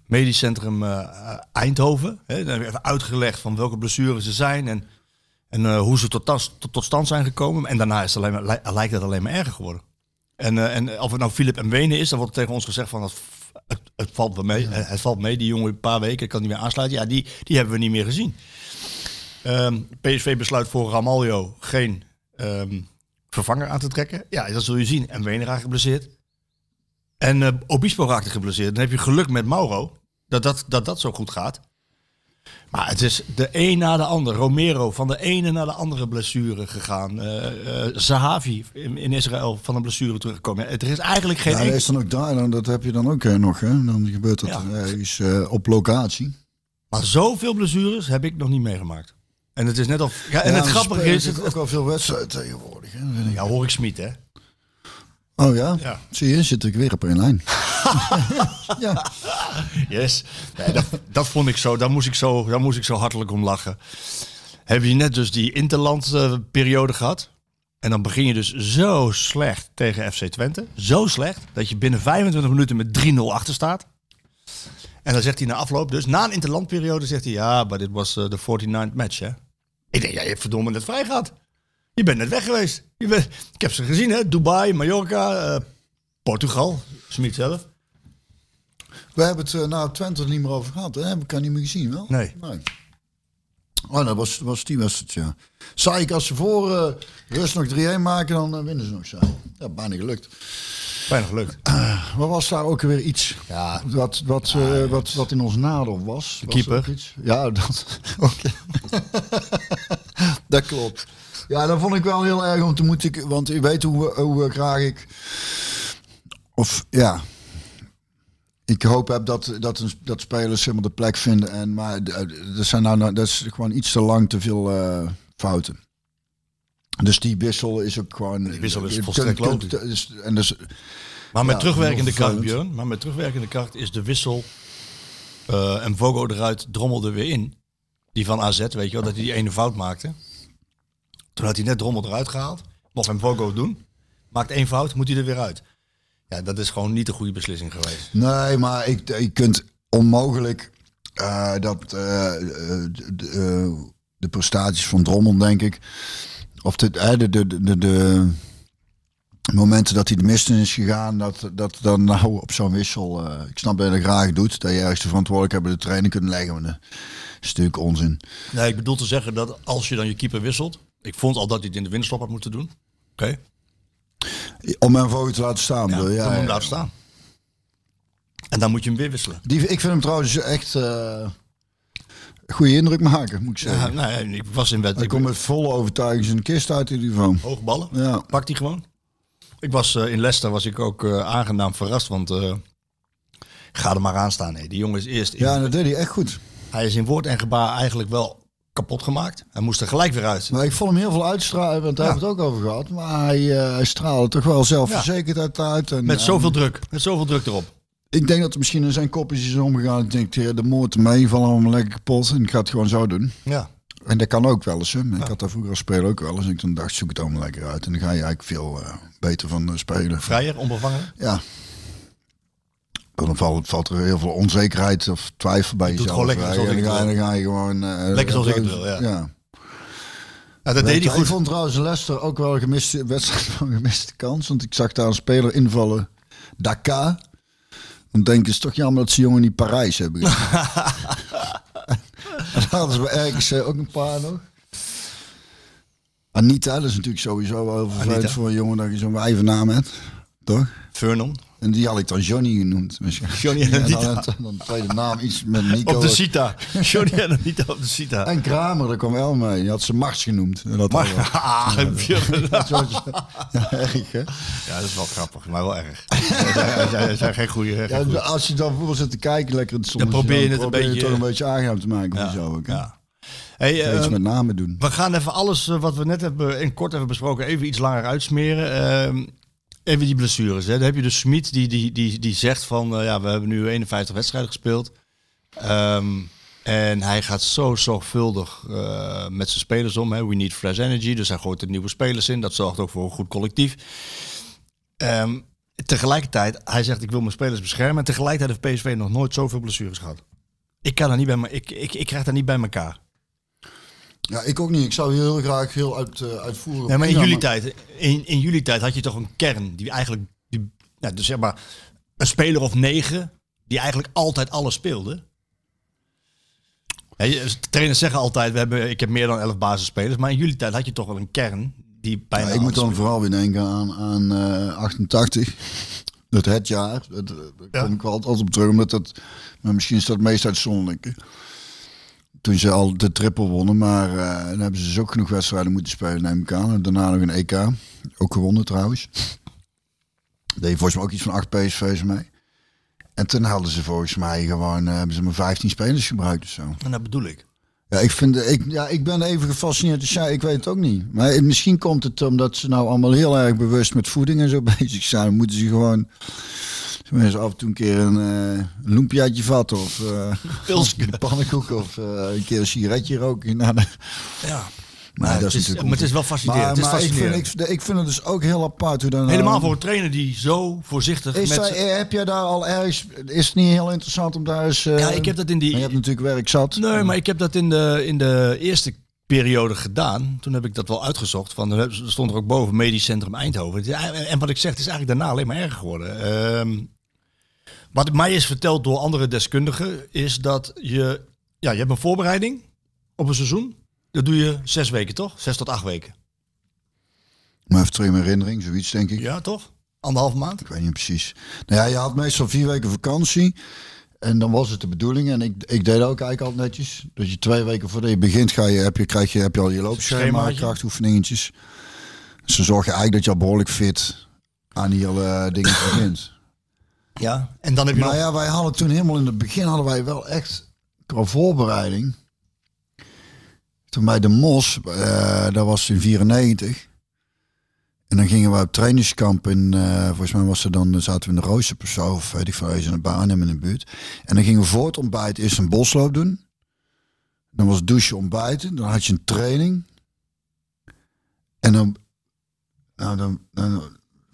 S8: Medisch Centrum eh, eh, Eindhoven. Hè, dan heb ik even uitgelegd van welke blessures er zijn en, en eh, hoe ze tot, tas- tot, tot stand zijn gekomen. En daarna is het alleen maar, lij- lijkt het alleen maar erger geworden. En, eh, en of het nou Philip en Wenen is, dan wordt er tegen ons gezegd van... dat f- Het, het valt wel mee, Eh, het valt mee, die jongen een paar weken kan niet meer aansluiten. Ja, die, die hebben we niet meer gezien. Ehm, PSV besluit voor Ramaljo geen ehm, vervanger aan te trekken. Ja, dat zul je zien. En Wenen raakt geblesseerd. En eh, Obispo raakte geblesseerd. Dan heb je geluk met Mauro dat dat, dat, dat zo goed gaat. Maar het is de een na de ander. Romero van de ene naar de andere blessure gegaan. Eh, eh, Zahavi in, in Israël van een blessure teruggekomen. Ja, Er is eigenlijk geen...
S7: Ja, dat
S8: enkel-
S7: is dan ook daar, dan, dat heb je dan ook eh, nog. Hè? Dan gebeurt dat
S8: Ja.
S7: ergens eh, op locatie.
S8: Maar zoveel blessures heb ik nog niet meegemaakt. En het is net of... Ja, en
S7: Ja,
S8: het
S7: ze
S8: grappige
S7: spelen
S8: is... Het,
S7: natuurlijk ook al veel wedstrijden tegenwoordig. Hè? vind ik.
S8: ja, hoor ik Smit, hè?
S7: Oh ja?
S8: Ja.
S7: Zie je, zit ik weer op één lijn. ja.
S8: Yes. Nee, dat, dat vond ik zo. Daar moest ik zo, daar moest ik zo hartelijk om lachen. Heb je net dus die interland eh, periode gehad? En dan begin je dus zo slecht tegen FC Twente. Zo slecht dat je binnen 25 minuten met 3-0 achter staat. En dan zegt hij na afloop, dus na een interlandperiode, zegt hij: Ja, maar dit was eh, de 49th match, hè? Ik denk, ja, je hebt verdomme net vrij gehad. Je bent net weg geweest. Je bent, ik heb ze gezien, hè? Dubai, Mallorca, eh, Portugal, Smit zelf.
S7: We hebben het eh, na Twente er niet meer over gehad. Hè? Heb ik haar niet meer gezien, wel?
S8: Nee.
S7: Oh, dat was, was die wedstrijd, ja. Zei ik, als ze voor eh, rust nog 3-1 maken, dan eh, winnen ze nog zo. Ja, bijna gelukt.
S8: Bijna gelukt.
S7: Maar was daar ook weer iets
S8: Ja.
S7: wat, wat, eh, wat, wat in ons nadeel was? was
S8: keeper.
S7: ook iets. Ja, dat, oké. dat klopt. Ja, dat vond ik wel heel erg om te moeten... Want je weet hoe, hoe graag ik... Of ja... Ik hoop heb dat, dat, een, dat spelers helemaal de plek vinden. En, maar eh, dat, zijn nou, dat is gewoon iets te lang te veel eh, fouten. Dus die wissel is ook gewoon... Die
S8: wissel is volstrekt logisch.
S7: En dus,
S8: Maar met
S7: Ja,
S8: terugwerkende
S7: heel
S8: kracht,
S7: vervelend.
S8: Björn, maar met terugwerkende kracht is de wissel eh, en Vogo eruit drommelde weer in. Die van AZ, weet je wel, dat hij die ene fout maakte. Toen had hij net drommel eruit gehaald. Mocht hem Vogo doen. Maakt één fout, moet hij er weer uit. Ja, dat is gewoon niet de goede beslissing geweest.
S7: Nee, maar ik, je kunt onmogelijk eh, dat eh, eh, de, eh, de prestaties van Drommel, denk ik, of de, eh, de, de, de, de momenten dat hij de mist in is gegaan, dat, dat dan nou op zo'n wissel, eh, ik snap dat je dat graag doet, dat je ergens de verantwoordelijkheid bij de trainer kunt leggen, maar dat is natuurlijk onzin.
S8: Nee, ik bedoel te zeggen dat als je dan je keeper wisselt. Ik vond al dat hij het in de winterstop had moeten doen. Oké.
S7: Om hem voor te laten staan,
S8: Ja,
S7: bedoel je?
S8: dan moet
S7: Ja,
S8: je hem
S7: ja.
S8: laten staan. En dan moet je hem weer wisselen.
S7: Die, ik vind hem trouwens echt eh goede indruk maken, moet ik zeggen.
S8: Ja, nou, ja, ik was in
S7: Hij
S8: wedstrijd.
S7: komt met volle overtuiging zijn kist uit in ieder geval.
S8: Hoge ballen.
S7: Ja.
S8: Pakt die gewoon. Ik was eh, in Leicester was ik ook eh, aangenaam verrast, want eh, ga er maar aan staan. Hé. Die jongen is eerst. in-
S7: Ja, dat deed hij echt goed.
S8: Hij is in woord en gebaar eigenlijk wel kapot gemaakt. Hij moest er gelijk weer uit.
S7: Maar ik vond hem heel veel uitstralen, want daar
S8: Ja.
S7: hebben we het ook over gehad. Maar hij, eh, hij straalde toch wel zelfverzekerdheid uit. En,
S8: Met
S7: en
S8: zoveel druk. Met zoveel druk erop.
S7: ik denk dat er misschien in zijn kopjes is omgegaan. Ik denk, de moord mee, vallen hem lekker kapot. En ik ga het gewoon zo doen.
S8: Ja.
S7: En dat kan ook wel eens. Hè. Ik had dat vroeger als speler ook wel eens. En ik dan dacht, zoek het allemaal lekker uit. En dan ga je eigenlijk veel eh, beter van eh, spelen.
S8: Vrijer, onbevangen.
S7: Ja. Dan valt, valt er heel veel onzekerheid of twijfel bij
S8: doe het
S7: jezelf.
S8: gewoon lekker
S7: hè.
S8: zoals
S7: en
S8: ik
S7: dan
S8: het
S7: ga,
S8: wil.
S7: dan ga je gewoon... eh,
S8: Lekker zoals ik het
S7: zo-
S8: wil, ja.
S7: ja.
S8: Ja, dat deed hij
S7: Ik
S8: goed.
S7: vond trouwens Leicester ook wel een gemiste wedstrijd, van een gemiste kans. Want ik zag daar een speler invallen, Dakar. Dan denk ik, het is toch jammer dat ze jongen niet Parijs hebben. gezien. en daar hadden ze bij RKC ook een paar nog. Anita, dat is natuurlijk sowieso wel heel vervelend
S8: Anita.
S7: voor een jongen dat je zo'n wijvennaam hebt. Toch?
S8: Vernon.
S7: En die had ik dan Johnny genoemd. waarschijnlijk.
S8: Johnny en
S7: dan,
S8: Anita.
S7: had- dan de tweede naam iets met Nico.
S8: Op de Sita. Johnny en Anita op de Sita.
S7: En Kramer, daar kwam wel mee. Die had ze Mars genoemd. En dat wel.
S8: Ah,
S7: Dat is wel- ja, erg, hè?
S8: Ja, dat is wel grappig, maar wel erg. Zij zijn, zijn geen goede. geen
S7: Ja,
S8: goede-
S7: als je dan voetbal zit te kijken, lekker het soms
S8: Dan probeer je het een beetje- eh,
S7: toch een beetje aangenaam te maken.
S8: Ja,
S7: Ja. Zo, ook, hè?
S8: ja. Hey,
S7: Ja,
S8: eh,
S7: Iets met namen doen.
S8: we gaan even alles eh, wat we net hebben in kort hebben besproken, even iets langer uitsmeren. Ehm, even die blessures. Hè. Dan heb je dus Smit die, die, die, die zegt van eh, ja, we hebben nu 51 wedstrijden gespeeld. Ehm, en hij gaat zo zorgvuldig eh, met zijn spelers om. Hè. We need fresh energy. Dus hij gooit er nieuwe spelers in. Dat zorgt ook voor een goed collectief. Ehm, tegelijkertijd, hij zegt ik wil mijn spelers beschermen. En tegelijkertijd heeft PSV nog nooit zoveel blessures gehad. Ik, kan er niet bij me- ik, ik, ik krijg dat niet bij elkaar.
S7: Ja, ik ook niet. Ik zou hier heel graag heel uit, eh, uitvoerig op
S8: Nee, maar in
S7: ingaan,
S8: jullie tijd, in, in jullie tijd had je toch een kern die eigenlijk, die, ja, dus zeg maar, een speler of negen die eigenlijk altijd alles speelde. Hè, je- dus de trainers zeggen altijd, we hebben, ik heb meer dan elf basisspelers, maar in jullie tijd had je toch wel een kern die bijna.
S7: Ja, ik moet
S8: alles
S7: dan
S8: speelde.
S7: vooral weer denken aan, aan eh, 88. Dat het jaar. Dat, eh, daar kom ik wel altijd op terug. Omdat dat, maar misschien is dat het meest uitzonderlijke. Toen ze al de triple wonnen. Maar eh, dan hebben ze dus ook genoeg wedstrijden moeten spelen, neem ik aan. En daarna nog een EK. Ook gewonnen trouwens. Deed volgens mij ook iets van 8 PSV's mee. En toen hadden ze volgens mij gewoon, eh, hebben ze maar 15 spelers gebruikt of zo.
S8: En dat bedoel ik.
S7: Ja, ik, vind, ik, ja, ik ben even gefascineerd. Dus ja, ik weet het ook niet. Maar eh, misschien komt het omdat ze nou allemaal heel erg bewust met voeding en zo bezig zijn. Dan moeten ze gewoon tenminste af en toe een keer een, eh een loempiaatje vatten of eh, een pannenkoek of eh, een keer een sigaretje roken. Nou, dat-
S8: Ja.
S7: maar dat is
S8: het is,
S7: natuurlijk
S8: maar het is wel
S7: maar,
S8: fascinerend. het is
S7: maar ik,
S8: fascinerend.
S7: vind, ik, ik vind het dus ook heel apart hoe dan
S8: Helemaal voor een trainer die zo voorzichtig
S7: Ehm, Is
S8: met...
S7: zij-
S8: zijn-
S7: heb jij daar al ergens... Is het niet heel interessant om daar eens... eh,
S8: Ja, ik heb dat in die-
S7: Je hebt natuurlijk werk zat.
S8: Nee, maar ik heb dat in de, in de eerste periode gedaan. Toen heb ik dat wel uitgezocht. Van, er stond er ook boven Medisch Centrum Eindhoven. Het is ei- En wat ik zeg, het is eigenlijk daarna alleen maar erger geworden. Ehm, wat mij is verteld door andere deskundigen, is dat je, ja, je hebt een voorbereiding op een seizoen. Dat doe je zes weken, toch? Zes tot acht weken.
S7: Maar even terug in mijn herinnering, zoiets denk ik.
S8: Ja, toch? Anderhalve maand.
S7: Ik weet niet precies. Nou ja, je had meestal vier weken vakantie. En dan was het de bedoeling. En ik, ik deed dat ook eigenlijk altijd netjes. Dat je twee weken voordat je begint, ga je, heb, je, krijg je, heb je al je loopschema,
S8: Schemaatje.
S7: krachtoefeningetjes. Dus dan zorg je eigenlijk dat je al behoorlijk fit aan die hele dingen begint.
S8: Ja. Nou En dan heb je
S7: Maar
S8: nog...
S7: Nou ja, wij hadden toen helemaal in het begin hadden wij wel echt qua voorbereiding. Toen bij de Mos, eh dat was in 94. En dan gingen we op trainingskamp in, eh, volgens mij was er dan, zaten we in de Roosterp of zo, of weet ik veel, eens in een baan in de buurt. En dan gingen we voor het ontbijt eerst een bosloop doen. Dan was douchen ontbijten, dan had je een training. En dan, nou dan, dan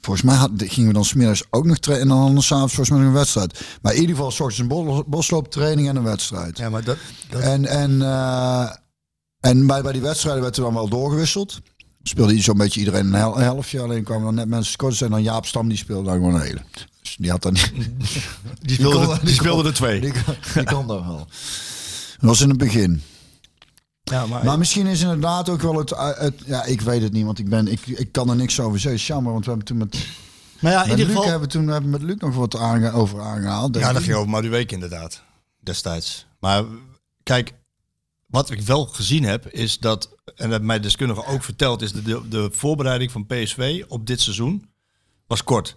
S7: volgens mij had, gingen we dan smiddags ook nog trainen en dan s'avonds volgens mij nog een wedstrijd. Maar in ieder geval, s ochtends een bos- boslooptraining en een wedstrijd.
S8: Ja, maar dat... dat
S7: En, en, eh, en bij, bij die wedstrijden werd er dan wel doorgewisseld. Speelde zo'n beetje iedereen een hel- helftje. Alleen kwamen dan net mensen kort zijn. En dan Jaap Stam, die speelde dan gewoon een hele. Dus die had dan niet...
S8: die speelden
S7: kon-
S8: er-
S7: die
S8: die speelden er twee.
S7: Die, kon- die kon dan wel. Dat was in het begin.
S8: Ja, maar...
S7: Maar misschien is inderdaad ook wel het... eh, het- ja, ik weet het niet, want ik, ben, ik, ik kan er niks over zeggen. Het is jammer, want we hebben toen met,
S8: maar ja, in
S7: met
S8: ieder
S7: Luc,
S8: geval...
S7: hebben, we toen, hebben we met Luc nog wat aange, over aangehaald. denk
S8: Ja, dat
S7: ik.
S8: ging over Maduweke inderdaad, destijds. Maar kijk, wat ik wel gezien heb, is dat, en dat hebben mijn deskundige ook verteld, is dat de, de voorbereiding van PSV op dit seizoen was kort.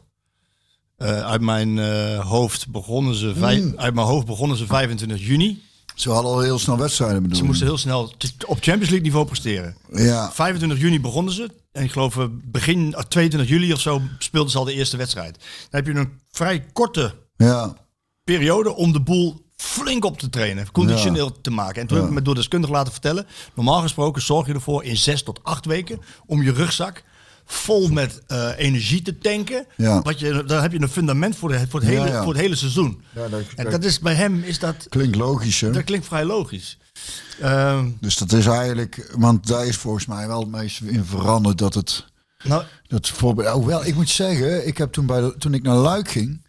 S8: Eh, uit, mijn, eh, hoofd begonnen ze vijf, uit mijn hoofd begonnen ze 25 juni.
S7: Ze hadden al heel snel wedstrijden bedoeld.
S8: Ze moesten heel snel t- op Champions League niveau presteren.
S7: Ja,
S8: 25 juni begonnen ze. En ik geloof eh, begin eh, 22 juli of zo speelden ze al de eerste wedstrijd. Dan heb je een vrij korte
S7: ja.
S8: periode om de boel flink op te trainen, conditioneel te maken. En toen heb ik me door deskundigen laten vertellen, normaal gesproken zorg je ervoor in zes tot acht weken om je rugzak vol met eh, energie te tanken.
S7: Ja.
S8: Wat je, daar heb je een fundament voor, het- voor, het, hele,
S7: Ja, ja.
S8: voor het hele seizoen.
S7: Ja, dat-
S8: en dat is bij hem is dat,
S7: Klinkt logisch, hè?
S8: dat klinkt vrij logisch. Ehm,
S7: Dus dat is eigenlijk, want daar is volgens mij wel het meest in veranderd dat het
S8: nou,
S7: Dat voorbeeld. Hoewel, ik moet zeggen, ik heb toen, bij de- toen ik naar Luik ging,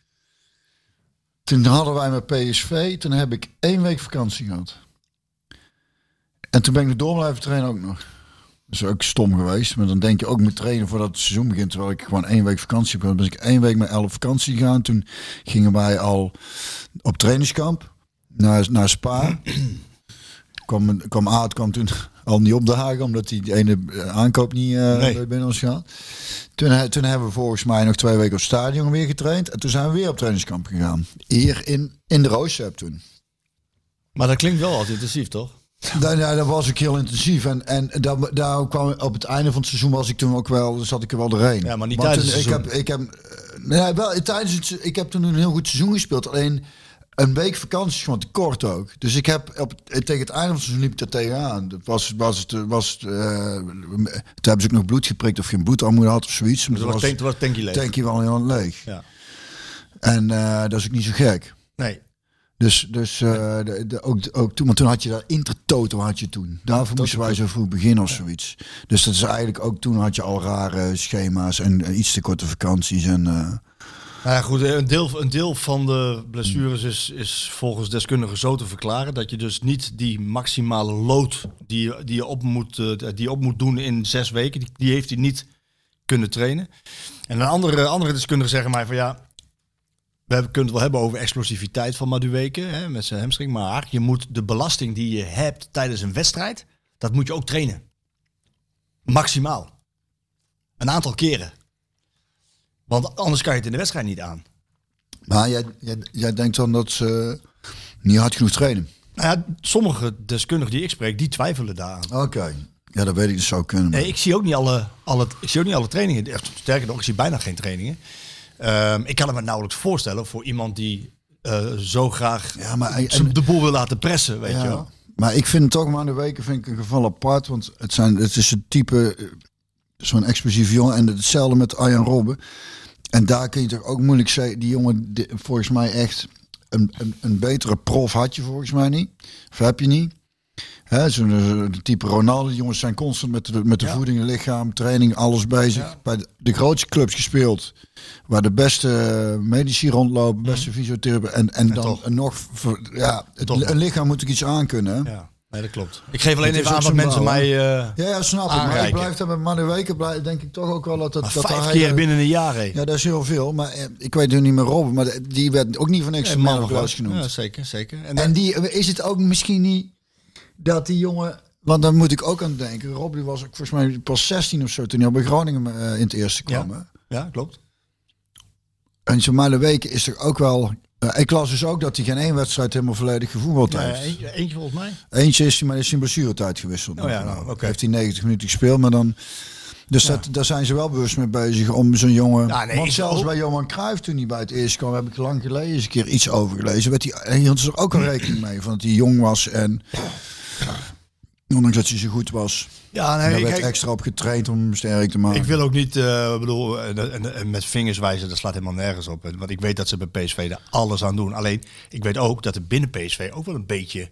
S7: toen hadden wij met PSV, toen heb ik één week vakantie gehad. En toen ben ik nog door blijven trainen ook nog. Dat is ook stom geweest, maar dan denk je ook moet trainen voordat het seizoen begint, terwijl ik gewoon één week vakantie heb gehad. Dus ik één week met elf vakantie gegaan. Toen gingen wij al op trainingskamp naar, naar Spa. kwam, kwam Aad kwam toen al niet op de hagen, omdat die ene aankoop niet eh, binnen ons gaat. Toen, he- toen hebben we volgens mij nog twee weken op het stadion weer getraind. En toen zijn we weer op trainingskamp gegaan. Hier in, in de Rooshep toen.
S8: maar dat klinkt wel als intensief, toch?
S7: Nou, ja, dat was ik heel intensief. En, en daar, daar kwam, op het einde van het seizoen was ik toen ook wel, zat ik er wel doorheen.
S8: Ja, maar niet
S7: Want
S8: tijdens
S7: toen-
S8: het
S7: Ik heb, ik heb, eh, nee, wel, tijdens het, se- ik heb toen een heel goed seizoen gespeeld. Alleen een week vakantie is gewoon te kort ook. Dus ik heb op, eh, tegen het einde van het seizoen liep ik er tegenaan. Dat was, was, het, eh, was, het, eh, toen hebben ze ook nog bloed geprikt of geen bloedarmoede had of zoiets. Maar
S8: Dus
S7: toen
S8: dat was, tank- dat was tanky leeg.
S7: tank je wel heel leeg.
S8: Ja.
S7: En eh, dat is ook niet zo gek.
S8: Nee.
S7: Dus, dus eh, de, de- ook, ook toen, want toen had je daar Intertoto had je toen. Daarvoor moesten wij zo vroeg beginnen of zoiets. Dus dat is eigenlijk ook toen had je al rare schema's en eh, iets te korte vakanties. En, eh,
S8: Nou ja, goed, een deel, een deel van de blessures is, is volgens deskundigen zo te verklaren dat je dus niet die maximale lood die, je- die je op moet, eh, die je op moet doen in zes weken, die, die heeft hij niet kunnen trainen. En een andere, andere deskundige zeggen mij van ja, we hebben, kunnen het wel hebben over explosiviteit van Madueke hè, met zijn hamstring, maar je moet de belasting die je hebt tijdens een wedstrijd, dat moet je ook trainen. Maximaal. Een aantal keren. Want anders kan je het in de wedstrijd niet aan.
S7: maar jij, jij, jij denkt dan dat ze niet hard genoeg trainen.
S8: Nou ja, sommige deskundigen die ik spreek, die twijfelen daaraan.
S7: Oké. Ja, dat weet ik, dat zou kunnen. maar-
S8: Nee, ik zie ook niet alle, alle, ik zie ook niet alle trainingen. Echt, sterker nog, ik zie bijna geen trainingen. Ehm, ik kan het me nauwelijks voorstellen voor iemand die eh, zo graag
S7: Ja, maar hij-
S8: z'n- de boel wil laten pressen, weet je
S7: Ja,
S8: wel.
S7: Maar ik vind het toch maar aan de weken vind ik een geval apart. Want het, zijn, het is een type, eh, zo'n explosief jongen. En hetzelfde met Arjan Robben. En daar kun je toch ook moeilijk zeggen. Die jongen, di- volgens mij echt een, een, een betere prof had je volgens mij niet. Of heb je niet. Hè, Zo'n eh, type Ronaldo. Die jongens zijn constant met de, met de voeding, lichaam, training, alles bezig. Bij de, de grootste clubs gespeeld. Waar de beste eh, medici rondlopen, beste fysiotherapeuten. En, en, dan
S8: Mhm. toch.
S7: nog... ver- ja, het,
S8: Toch nog.
S7: een lichaam moet ik iets aankunnen. hè?
S8: Ja, nee, dat klopt. Ik geef alleen
S7: Het is
S8: even aan
S7: ook
S8: wat
S7: zo'n
S8: mensen
S7: bouw, hè?
S8: mij... eh,
S7: Ja, ja, snap ik. Maar ik
S8: Aanreiken.
S7: blijf daar met Manu Weken, blij- denk ik toch ook wel dat... dat, dat
S8: vijf
S7: hij,
S8: keer
S7: eh,
S8: binnen een jaar heen.
S7: Ja, dat is heel veel. Maar eh, ik weet nu niet meer Robben, maar de- die werd ook niet voor niks de man of the match genoemd.
S8: Ja, zeker, zeker. En,
S7: En die, eh, is het ook misschien niet dat die jongen... Want dan moet ik ook aan denken. Rob die was ook volgens mij pas 16 of zo toen hij al bij Groningen eh, in het eerste kwam. hè?
S8: ja, klopt.
S7: En zo'n Manu Weken is toch ook wel... eh, ik las dus ook dat hij geen één wedstrijd helemaal volledig gevoetbald
S8: Ja,
S7: heeft.
S8: eentje, eentje volgens mij.
S7: Eentje is, maar is in blessuretijd gewisseld.
S8: Oh ja,
S7: Nou,
S8: nou, oké.
S7: Heeft hij 90 minuten gespeeld, maar dan... Dus dat, daar zijn ze wel bewust mee bezig om zo'n jongen...
S8: Ja, nee,
S7: want
S8: ik
S7: zelfs
S8: ook.
S7: bij Johan Cruijff toen hij bij het eerst kwam... heb ik lang geleden eens een keer iets over gelezen. Werd hij, hij hield er ook al rekening mee, van dat hij jong was en... Ondanks dat hij zo goed was.
S8: Ja,
S7: En daar
S8: nee,
S7: werd
S8: kijk,
S7: Nou, extra op getraind om hem sterk te maken.
S8: Ik wil ook niet, eh, ik bedoel, en, en, en met vingers wijzen, dat slaat helemaal nergens op. Want ik weet dat ze bij PSV er alles aan doen. Alleen, ik weet ook dat er binnen PSV ook wel een beetje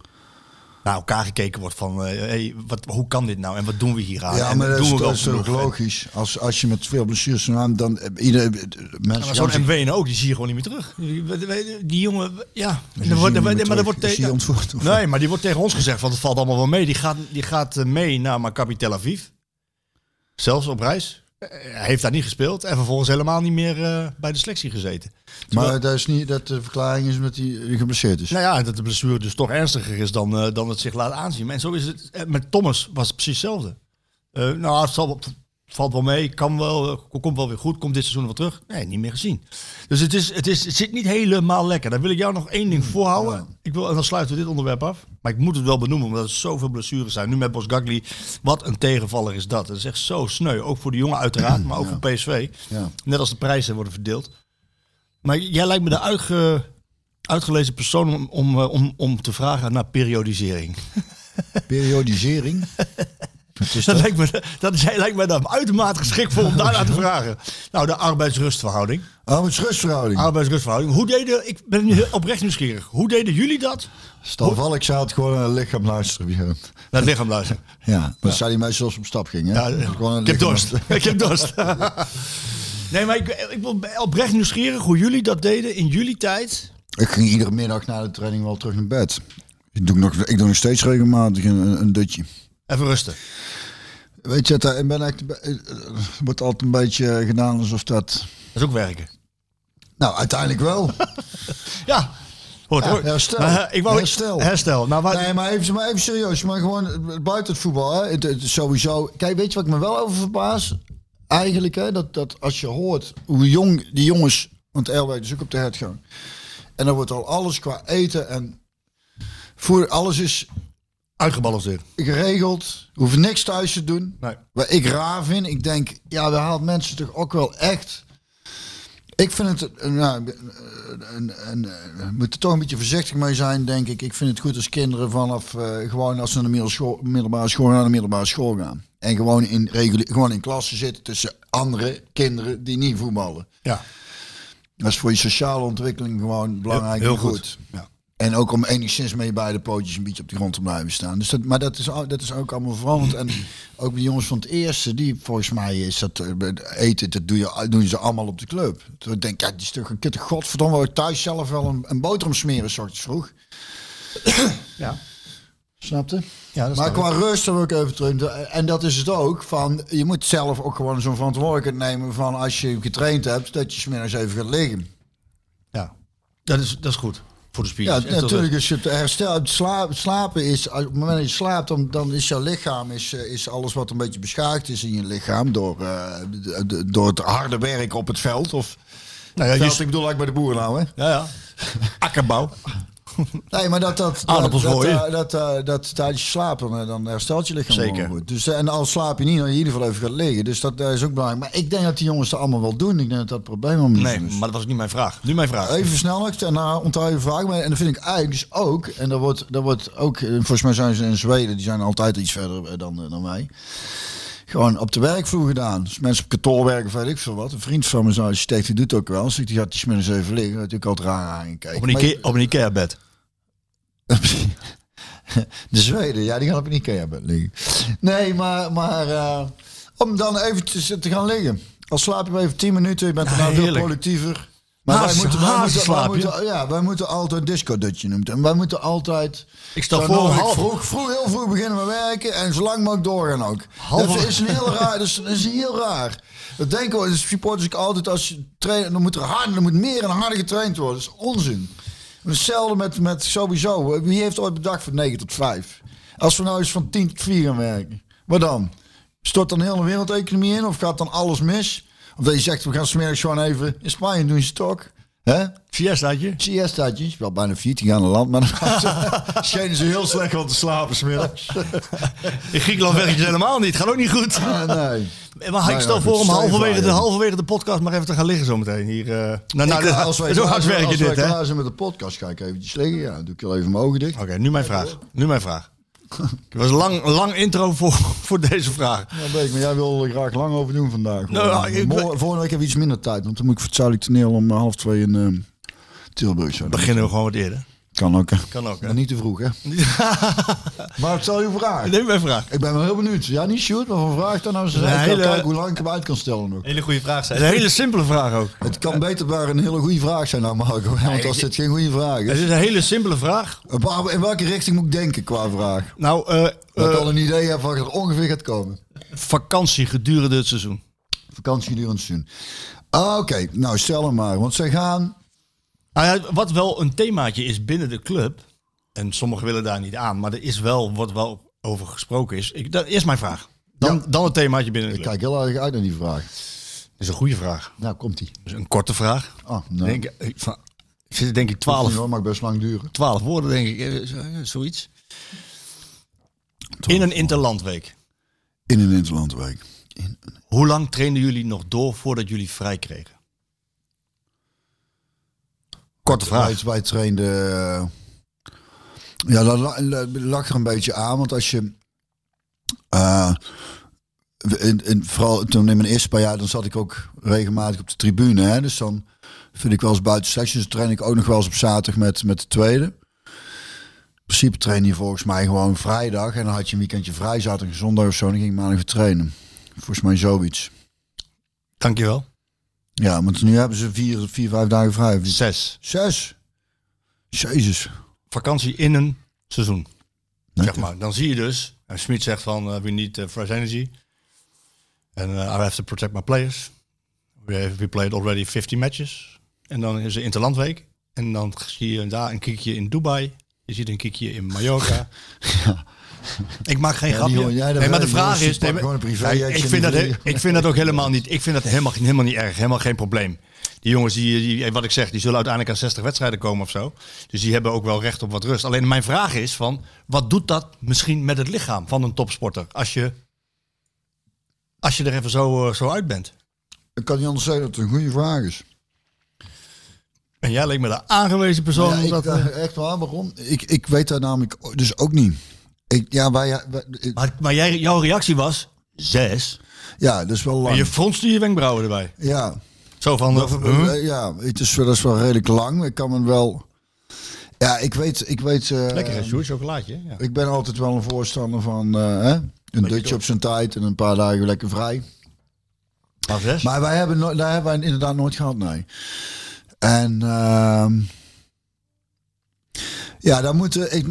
S8: naar elkaar gekeken wordt van, eh, hey, wat, hoe kan dit nou en wat doen we hier aan?
S7: ja,
S8: en
S7: maar dat
S8: doen
S7: is,
S8: we wel
S7: dat is
S8: genoeg?
S7: toch logisch. Als, als je met veel blessures aan dan... eh, Ieder, eh,
S8: En-
S7: mensen
S8: maar
S7: gaan
S8: zo'n
S7: zich-
S8: MWN ook, die zie je gewoon niet meer terug. Die, die- die jongen, ja.
S7: zie je
S8: Dan wordt-
S7: niet
S8: maar
S7: meer
S8: dat
S7: terug.
S8: wordt
S7: Is die
S8: tegen.
S7: ontvoerd of-
S8: Nee, maar die wordt tegen ons gezegd, want het valt allemaal wel mee. Die gaat, die gaat eh, mee naar Maccabi Tel Aviv. Zelfs op reis. Eh, Hij heeft daar niet gespeeld en vervolgens helemaal niet meer eh, bij de selectie gezeten.
S7: Maar dat is niet dat de verklaring is dat hij geblesseerd is.
S8: Nou ja, dat de blessure dus toch ernstiger is dan, eh, dan het zich laat aanzien. En zo is het eh, met Thomas was het precies hetzelfde. Eh, nou, het zal, valt wel mee, kan wel, eh, komt wel weer goed, komt dit seizoen wel terug. Nee, niet meer gezien. Dus het, is, het, is, het zit niet helemaal lekker. Daar wil ik jou nog één ding voorhouden. Ik wil, en dan sluiten we dit onderwerp af. Maar ik moet het wel benoemen, omdat er zoveel blessures zijn. Nu met Bos Gagli, wat een tegenvaller is dat. Dat is echt zo sneu. Ook voor de jongen uiteraard, maar ook voor PSV.
S7: Ja.
S8: Net als de prijzen worden verdeeld. Maar jij lijkt me de uitge, uitgelezen persoon om, om, eh, om, om te vragen naar periodisering.
S7: Periodisering.
S8: Dus Dat lijkt, me, dat is, lijkt mij dan uitermate geschikt voor om daarna te vragen. Nou, de arbeidsrustverhouding.
S7: Arbeidsrustverhouding.
S8: Arbeidsrustverhouding. Hoe deden, ik ben nu oprecht nieuwsgierig. Hoe deden jullie dat?
S7: Stel Valk zou het gewoon aan het lichaam luisteren. Ja,
S8: Naar het lichaam luisteren.
S7: ja. maar dat zei die meisje als ze op stap ging. Hè?
S8: Ja,
S7: Gewoon aan
S8: ik
S7: het
S8: heb
S7: lichaam
S8: dorst. ik heb dorst. nee, maar ik, ik ben oprecht nieuwsgierig hoe jullie dat deden in jullie tijd.
S7: Ik ging iedere middag na de training wel terug naar bed. Ik doe nog, ik doe nog steeds regelmatig een, een, een dutje.
S8: Even rusten.
S7: Weet je, dat, ik ben echt, het wordt altijd een beetje gedaan alsof dat...
S8: Dat is ook werken.
S7: Nou, uiteindelijk wel.
S8: Ja. Hoort,
S7: Ja,
S8: hoor.
S7: herstel.
S8: Maar, eh, ik wou,
S7: Herstel.
S8: Herstel. Nou, waar,
S7: Nee, maar even, maar even serieus. Maar gewoon eh, buiten het voetbal. Hè. Het, het is sowieso. Kijk, weet je wat ik me wel over verbaas? Eigenlijk, hè, dat, dat als je hoort hoe jong die jongens. Want Elwijk is ook op de hertgang. En dan wordt al alles qua eten en voer, alles is
S8: Uitgebalanceerd.
S7: geregeld. Je hoeft niks thuis te doen.
S8: Nee.
S7: Waar ik raar vind, ik denk, ja, daar haalt mensen toch ook wel echt. Ik vind het, eh, nou, eh, een- een- eh, we moeten toch een beetje voorzichtig mee zijn, denk ik. Ik vind het goed als kinderen vanaf eh, gewoon als ze naar de middel- school- middelbare school naar de middelbare school gaan. En gewoon in, reguli- gewoon in klassen zitten tussen andere kinderen die niet voetballen.
S8: Ja.
S7: Dat is voor je sociale ontwikkeling gewoon belangrijk
S8: Heel-
S7: en
S8: heel
S7: goed.
S8: goed. Ja.
S7: En ook om enigszins mee bij de pootjes een beetje op de grond te blijven staan. Dus dat, maar dat is, al- dat is ook allemaal veranderd. En ook de jongens van het eerste, die volgens mij is dat eh, bij het eten, dat doe je, doen ze allemaal op de club. Toen ik denk ik, ja, die stuk een kutte godverdomme, wou ik thuis zelf wel een, een boterham smeren, s ochtends vroeg.
S8: Ja.
S7: Snapte?
S8: Ja, dat
S7: Maar
S8: maar
S7: qua rust wil ik even terug. En dat is het ook. Van, je moet zelf ook gewoon zo'n verantwoordelijkheid nemen van als je getraind hebt, dat je smiddags even gaat liggen.
S8: ja. Dat, is, dat is goed. Voor de spieren.
S7: Ja,
S8: Echt wel
S7: natuurlijk is het herstel. Het sla- slapen is, als- op het moment dat je slaapt, dan, dan is jouw lichaam, is, eh, is alles wat een beetje beschadigd is in je lichaam door, eh, de- de- door het harde werk op het veld. Of,
S8: goed. Nou, ja,
S7: veld,
S8: je,
S7: ik bedoel, eigenlijk bij de boer nou, hè?
S8: ja, ja. Akkerbouw.
S7: Nee, maar dat dat dat,
S8: Aardappels
S7: dat,
S8: gooien.
S7: eh, dat, eh, dat tijdens je slaap dan, eh, dan herstelt je lichaam
S8: Zeker.
S7: gewoon goed. Dus eh, en al slaap je niet, dan je in ieder geval even gaat liggen. Dus dat eh, is ook belangrijk. Maar ik denk dat die jongens dat allemaal wel doen. Ik denk dat dat het probleem om
S8: Nee, maar dat was niet mijn vraag. Nu mijn vraag.
S7: Even snel nog, daarna onthoud je vraag. Maar, en dat vind ik eigenlijk dus ook, en dat wordt, dat wordt ook, eh, volgens mij zijn ze in Zweden, die zijn altijd iets verder eh, dan, eh, dan wij. Gewoon op de werkvloer gedaan. Dus mensen op kantoor werken, of weet ik veel wat. Een vriend van me, zo'n architect, die doet ook wel. Dus die gaat die smiddags even liggen. Natuurlijk altijd raar
S8: Op
S7: aangekeken.
S8: een, Ikea, op een Ikea bed.
S7: De Zweden, ja, die gaan op een Ikea-bed liggen. Nee, maar, maar eh, om dan even te, te gaan liggen. Al slaap je even 10 minuten, je bent daarna veel
S8: heerlijk.
S7: productiever. Maar
S8: Haas- hazenslaap,
S7: wij moeten, ja, wij moeten altijd disco-dutje noemt. En wij moeten altijd...
S8: Ik stel
S7: zo
S8: voor
S7: mogelijk
S8: half-
S7: vroeg, vroeg, heel vroeg beginnen met werken en zo lang mogelijk doorgaan ook.
S8: Half-
S7: Dat is een heel raar. Dat is, dat is heel raar. Dat denken we, de supporters ik altijd als je trainen, dan moet er harder, dan moet meer en harder getraind worden. Dat is onzin. Hetzelfde met, met sowieso. Wie heeft ooit bedacht van 9 tot 5? Als we nou eens van 10 tot 4 gaan werken. Wat dan? Stort dan heel de wereldeconomie in of gaat dan alles mis? Of dat je zegt, we gaan smiddags gewoon even... In Spanje doen ze het ook. Hè?
S8: Siestaatje.
S7: Siestaatje, is wel bijna 14 jaar aan het land, maar schenen ze heel slecht wel te slapen smiddags.
S8: In Griekenland werkt het helemaal niet. Gaat ook niet goed.
S7: Ah, nee.
S8: Eh, Maar ik
S7: Nou
S8: stel
S7: ja,
S8: voor
S7: goed,
S8: om
S7: stel je
S8: halverwege
S7: voor,
S8: de,
S7: ja.
S8: halverwege de podcast maar even te gaan liggen zometeen. Hier, eh, nou, nou,
S7: Ik,
S8: dit-
S7: eh, als wij
S8: zo
S7: klaar
S8: hard
S7: zijn-
S8: werk
S7: als
S8: je
S7: wij
S8: dit, hè?
S7: klaar zijn met de podcast, ga ik eventjes liggen. Ja, dan doe ik al even mijn ogen dicht.
S8: Oké, nu mijn vraag. Nu mijn vraag. Het was een lang, lang intro voor, voor deze vraag.
S7: Ja, Beek, maar jij wil er graag lang over doen vandaag.
S8: Nou,
S7: Gewoon.
S8: ja, ik-
S7: Morgen- volgende week heb ik iets minder tijd, want dan moet ik voor het Zuidelijk Toneel om half twee in ehm, Tilburg zijn.
S8: Beginnen we gewoon wat eerder.
S7: Kan ook, hè.
S8: Kan ook, hè?
S7: Maar niet te vroeg, hè. maar stel je vraag.
S8: Neem mijn vraag.
S7: Ik ben wel heel benieuwd. Ja, niet shoot, maar van vraag dan nou. Ze
S8: Een
S7: zei, ik
S8: hele-
S7: kan kijken hoe lang ik hem uit kan stellen nog.
S9: Hele goede vraag zijn.
S8: Een hele simpele vraag ook.
S7: Het kan beter maar een hele goede vraag zijn, nou Marco. hè, Want als dit geen goede vraag
S8: Het
S7: is.
S8: is een hele simpele vraag.
S7: Op waar- In welke richting moet ik denken qua vraag?
S8: Nou, eh,
S7: Dat ik
S8: eh,
S7: al een idee heb wat er ongeveer gaat komen.
S8: vakantie gedurende het seizoen.
S7: Vakantie durend seizoen. Ah, Oké, nou stel hem maar. Want ze gaan.
S8: Nou ja, wat wel een themaatje is binnen de club, en sommigen willen daar niet aan, maar er is wel wat wel over gesproken is. Ik, dat is mijn vraag. Dan, dan het themaatje binnen de
S7: Ik
S8: club.
S7: kijk heel erg uit naar die vraag.
S8: Dat is een goede vraag.
S7: Nou, komt die.
S8: Dus een korte vraag.
S7: Ah, nou.
S8: Denk, ik van- ik zit er denk ik
S7: Hoeft niet
S8: 12,
S7: hoor, mag best lang duren.
S8: 12 woorden, denk ik. eh, zo- eh, Zoiets. In een interlandweek.
S7: In een interlandwijk. In een...
S8: Hoe lang trainen jullie nog door voordat jullie vrij kregen? Korte vraag.
S7: Wij, wij trainden. eh, Ja, dat la- la- lag er een beetje aan. Want als je. eh, we- in, in, vooral toen in mijn eerste paar jaar, dan zat ik ook regelmatig op de tribune. Hè? Dus dan vind ik wel eens buiten selecties. Dan train ik ook nog wel eens op zaterdag met, met de tweede. In principe train je volgens mij gewoon vrijdag. En dan had je een weekendje vrij, zaterdag en zondag of zo. En dan ging ik maandag weer trainen. Volgens mij zoiets.
S8: Dankjewel.
S7: Ja, want nu hebben ze vier, vier vijf dagen vrij.
S8: Zes.
S7: Zes. Jezus.
S8: Vakantie in een seizoen. Zeg
S7: Lekker.
S8: maar. Dan zie je dus, en Smit zegt van, eh we need eh, fresh energy. En eh, I have to protect my players. We, have, we played already 50 matches. En dan is er Interlandweek. En dan zie je daar een kiekje in Dubai. Je ziet een kiekje in Mallorca. Ik maak geen
S7: Ja, die
S8: grapje.
S7: hoor jij dan
S8: nee, maar
S7: wel.
S8: de
S7: Die
S8: vraag
S7: jongens,
S8: is...
S7: die
S8: nee,
S7: pakken
S8: maar-
S7: gewoon een
S8: Nee,
S7: privéjetje
S8: ik,
S7: en
S8: vind dat,
S7: die
S8: he-
S7: vliegen.
S8: ik vind dat ook helemaal niet. Ik vind dat helemaal, helemaal niet erg. Helemaal geen probleem. Die jongens, die, die, eh, wat ik zeg, die zullen uiteindelijk aan 60 wedstrijden komen of zo. Dus die hebben ook wel recht op wat rust. Alleen mijn vraag is van... Wat doet dat misschien met het lichaam van een topsporter? Als je, als je er even zo, eh, zo uit bent.
S7: Ik kan niet anders zeggen dat het een goede vraag is.
S8: En jij leek me de aangewezen persoon.
S7: Ja,
S8: om
S7: ik,
S8: dat, eh,
S7: eh, echt waar, waarom? Ik, ik weet daar namelijk o- dus ook niet. Ik, ja, wij, eh, wij- ik-
S8: maar maar jij, jouw reactie was... Zes.
S7: ja, dat is wel
S8: En
S7: lang.
S8: je fronste je wenkbrauwen erbij.
S7: Ja,
S8: Zo van...
S7: dat,
S8: eh, huh?
S7: ja het is, wel- dat is wel redelijk lang. Ik kan me wel... Ja, ik weet... Ik weet eh,
S8: Lekker hè, Sjoerd? Chocolaatje. hè? Ja.
S7: Ik ben altijd wel een voorstander van eh, hè? een dutje op zijn tijd en een paar dagen lekker vrij.
S8: Maar zes?
S7: Maar wij hebben, no- daar hebben wij inderdaad nooit gehad, nee. En ehm, ja, daar moeten... Ik,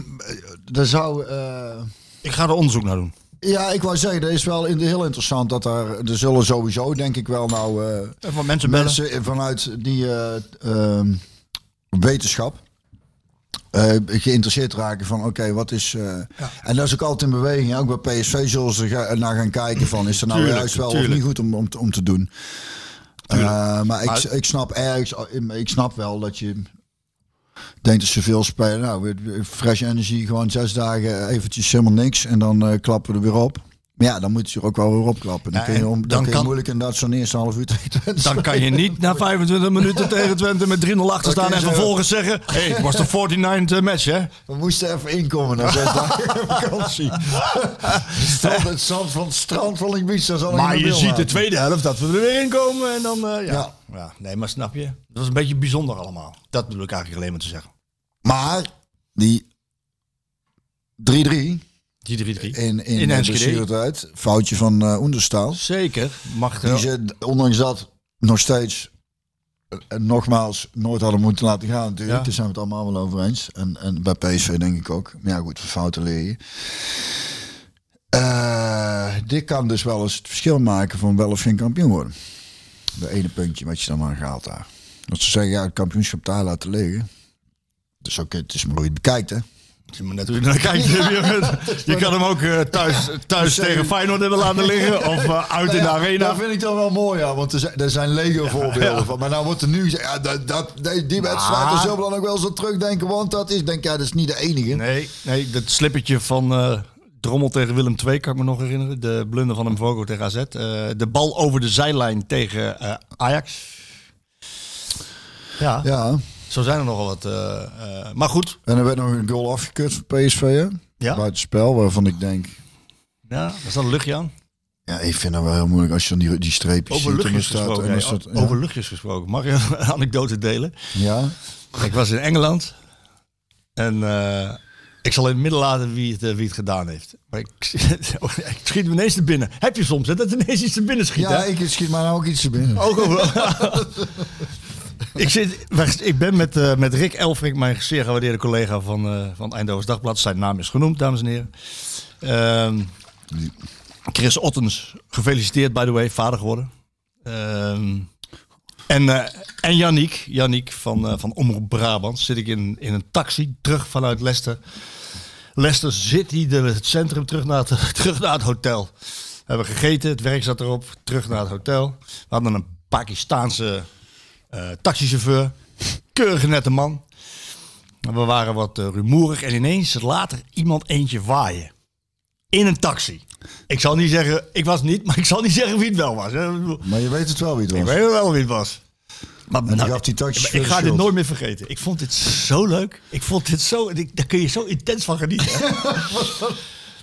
S7: daar zou... eh,
S8: ik ga er onderzoek naar doen.
S7: Ja, ik wou zeggen, dat is wel in heel interessant dat er, er zullen sowieso denk ik wel nou eh,
S8: Even mensen bellen.
S7: mensen vanuit die eh, ehm, wetenschap eh, geïnteresseerd raken van oké, wat is... eh, En dat is ook altijd in beweging. hè. Ook bij PSV zullen ze ga- naar gaan kijken van is er nou
S8: Tuurlijk,
S7: juist wel
S8: tuurlijk.
S7: of niet goed om, om, te- om te doen. Eh, maar ik,
S8: Maar-
S7: ik snap ergens, ik snap wel dat je denkt dat ze veel spelen. Nou, we- we- fresh energy, gewoon zes dagen eventjes helemaal niks en dan eh, klappen we er weer op. Maar ja, dan moet je er ook wel weer opklappen. Dan
S8: Ja,
S7: kun je,
S8: en
S7: om,
S8: dan
S7: dan kun je
S8: kan-
S7: moeilijk inderdaad zo'n eerste half uur tegen Twente
S8: Dan kan je niet na 25 minuten tegen Twente met 3-0 achter staan en
S7: zeggen-
S8: vervolgens zeggen... Hé, hey, het was de 49e match, hè?
S7: We moesten even inkomen na zes dagen vakantie. Strand, het zand van het strand van Linkbies, daar zal ik
S8: Maar
S7: een
S8: je
S7: beeld
S8: ziet de
S7: maken.
S8: tweede helft dat we er weer in komen en dan... eh, ja. Ja.
S7: Ja.
S8: nee, maar snap je? Dat was een beetje bijzonder allemaal. Dat bedoel ik eigenlijk alleen maar te zeggen.
S7: Maar die 3-3
S8: Die 3-3.
S7: in, in,
S8: In
S7: de
S8: Enschede.
S7: blessuretijd, foutje van eh Oenderstaal.
S8: Zeker. Mag
S7: Die
S8: wel.
S7: ze, ondanks dat, nog steeds, eh, en nogmaals, nooit hadden moeten laten gaan natuurlijk.
S8: Ja.
S7: Daar zijn we het allemaal wel over eens. En, en bij PSV denk ik ook. Maar ja goed, van fouten leer je. Eh, dit kan dus wel eens het verschil maken van wel of geen kampioen worden. Dat ene puntje wat je dan aan gaat daar. Dat ze zeggen, ja, het kampioenschap daar laten liggen. Dus oké, het is maar hoe je het bekijkt, hè.
S8: Het is maar net hoe je naar kijkt. je kan hem ook eh, thuis, thuis tegen Feyenoord hebben laten liggen of eh, uit in de
S7: Nou Dus, ja,
S8: arena.
S7: Dat vind ik dan wel mooi, ja, want er zijn, er zijn lege voorbeelden van. Maar nou wordt er nu gezegd, ja, dat, dat, die, die wedstrijd, daar zullen we dan ook wel zo terugdenken, want dat is, denk ik, ja, dat is niet de enige.
S8: Nee, nee, dat slippertje van eh, Drommel tegen Willem II kan ik me nog herinneren. De blunder van hem Vogo tegen AZ. Eh, de bal over de zijlijn tegen eh, Ajax. Ja,
S7: Ja,
S8: zo zijn er nogal wat. eh, eh, maar goed.
S7: en er werd nog een goal afgekeurd van PSV, hè?
S8: Ja.
S7: Buitenspel, waarvan ik denk,
S8: Ja, daar staat een luchtje aan.
S7: ja, ik vind dat wel heel moeilijk als je dan die, die streepjes
S8: Over
S7: ziet. en dan
S8: luchtjes
S7: staat-
S8: gesproken.
S7: en dan
S8: hè.
S7: staat- ja.
S8: Over luchtjes gesproken. Mag je een anekdote delen?
S7: ja.
S8: Ik was in Engeland. En eh, ik zal in het midden laten wie het, eh, wie het gedaan heeft. Maar ik, ik schiet me ineens te binnen. Heb je soms hè, dat ineens iets te binnen schiet?
S7: Ja,
S8: hè?
S7: ik schiet mij nou ook iets te binnen.
S8: Ook over- ik, zit, wacht, ik ben met, eh, met Rick Elfrink, mijn zeer gewaardeerde collega van, eh van Eindhoven's Dagblad. Zijn naam is genoemd, dames en heren. Ehm, Chris Ottens, gefeliciteerd by the way, vader geworden. Ehm, en, eh, en Yannick, Yannick van, eh, van Omroep Brabant, zit ik in, in een taxi terug vanuit Leicester. Leicester zit hij de- het centrum terug naar het, terug naar het hotel. We hebben gegeten, het werk zat erop, terug naar het hotel. We hadden een Pakistaanse eh, taxichauffeur, keurige nette man. We waren wat eh, rumoerig en ineens later iemand eentje waaien. In een taxi. Ik zal niet zeggen, ik was het niet, maar ik zal niet zeggen wie het wel was. hè. Ik bedoel,
S7: Maar je weet het wel wie het
S8: Ik
S7: was.
S8: weet wel wie het was. Maar
S7: En die
S8: nou,
S7: gaf die taxi
S8: ik ga dit nooit meer vergeten. Ik vond dit zo leuk. Ik vond dit zo. ik- Daar kun je zo intens van genieten. hè.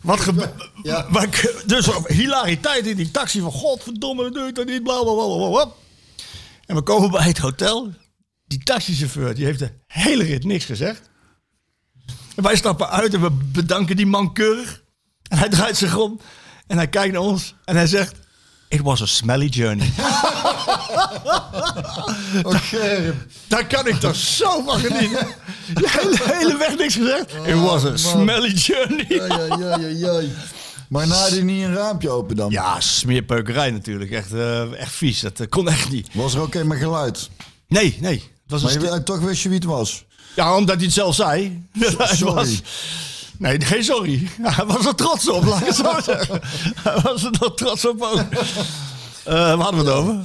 S8: Wat gebe-
S7: Ja.
S8: waar ik- dus hilariteit in die taxi van godverdomme, dat doet dat niet, bla bla bla bla bla. En we komen bij het hotel. Die taxichauffeur die heeft de hele rit niks gezegd. En wij stappen uit en we bedanken die man keurig. En hij draait zich om en hij kijkt naar ons en hij zegt... It was a smelly journey.
S7: Oh, Gerrit.
S8: Daar kan ik toch zo van genieten. Oh, De hele, hele weg niks gezegd. It was a smelly journey.
S7: Ai, ai, ai, ai, ai. Maar naaide hij niet een raampje open dan?
S8: Ja, smeerpeukerij natuurlijk. Echt, eh, echt vies. Dat eh, kon echt niet.
S7: Was er ook helemaal geluid?
S8: Nee, nee. Het was een
S7: Maar
S8: sti-
S7: je, toch wist je wie het was?
S8: Ja, omdat hij het zelf zei. Hij
S7: sorry.
S8: was- Nee, geen sorry. Hij was er trots op, laat ik het zo zeggen. Hij was er nog trots op ook. Eh waar hadden we het over?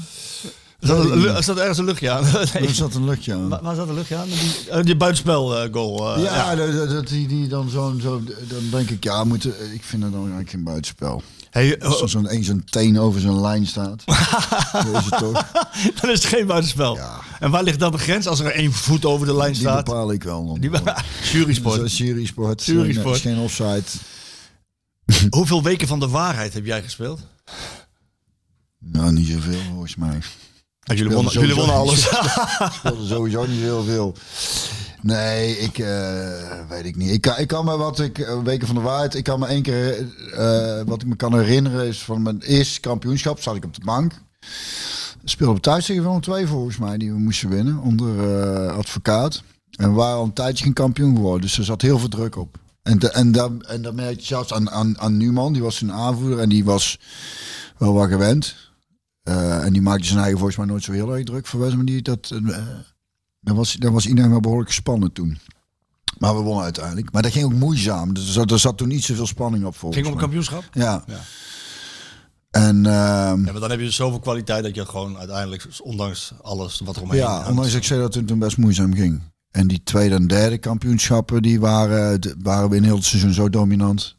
S8: Zat er, lu- zat er ergens een luchtje aan? Nee.
S7: Er zat een luchtje aan.
S8: Waar- Waar zat een luchtje aan? Die, eh, die buitenspelgoal. eh,
S7: ja, dat- dat, dat die, die dan zo'n... Zo, dan denk ik, ja, moeten, ik vind dat dan eigenlijk geen buitenspel.
S8: Hey, eh,
S7: Als er zo'n één zo'n teen over zo'n lijn staat. dat is het toch?
S8: dan is het geen buitenspel.
S7: Ja.
S8: En waar ligt dan de grens als er één voet over de lijn
S7: Die
S8: staat?
S7: bepaal ik wel. Dan.
S8: Die Jury sport.
S7: Zo'n Jury sport.
S8: Jury
S7: eh,
S8: sport.
S7: is Geen offside.
S8: Hoeveel weken van de waarheid heb jij gespeeld?
S7: Nou, niet zoveel volgens mij.
S8: jullie,
S7: wonnen-
S8: wonnen,
S7: jullie wonnen alles.
S8: alles.
S7: speelde sowieso niet heel veel. Nee, ik eh, weet ik niet. Ik kan, ik kan me wat ik eh, weken van de waarheid. Ik kan me één keer eh, wat ik me kan herinneren is van mijn eerste kampioenschap zat ik op de bank. Speelde we thuis tegen Willem II volgens mij die we moesten winnen onder eh, advocaat. En we waren al een tijdje geen kampioen geworden, dus er zat heel veel druk op. En, da- en, dan en dat merk je zelfs aan, aan, aan Numan, die was een aanvoerder en die was wel wat gewend. Eh, en die maakte zijn eigen volgens mij nooit zo heel erg druk voor West, maar die dat eh, dan was, dan was iedereen wel behoorlijk gespannen toen. Maar we wonnen uiteindelijk. Maar dat ging ook moeizaam. Dus er zat, er zat toen niet zoveel spanning op volgens
S8: Ging om een
S7: mij.
S8: kampioenschap?
S7: Ja. En ehm,
S8: Ja, maar dan heb je dus zoveel kwaliteit dat je gewoon uiteindelijk, ondanks alles wat eromheen
S7: ja,
S8: hangt-
S7: ondanks dat ik zei dat het toen best moeizaam ging. En die tweede en derde kampioenschappen, die waren, d- waren we in heel het seizoen zo dominant.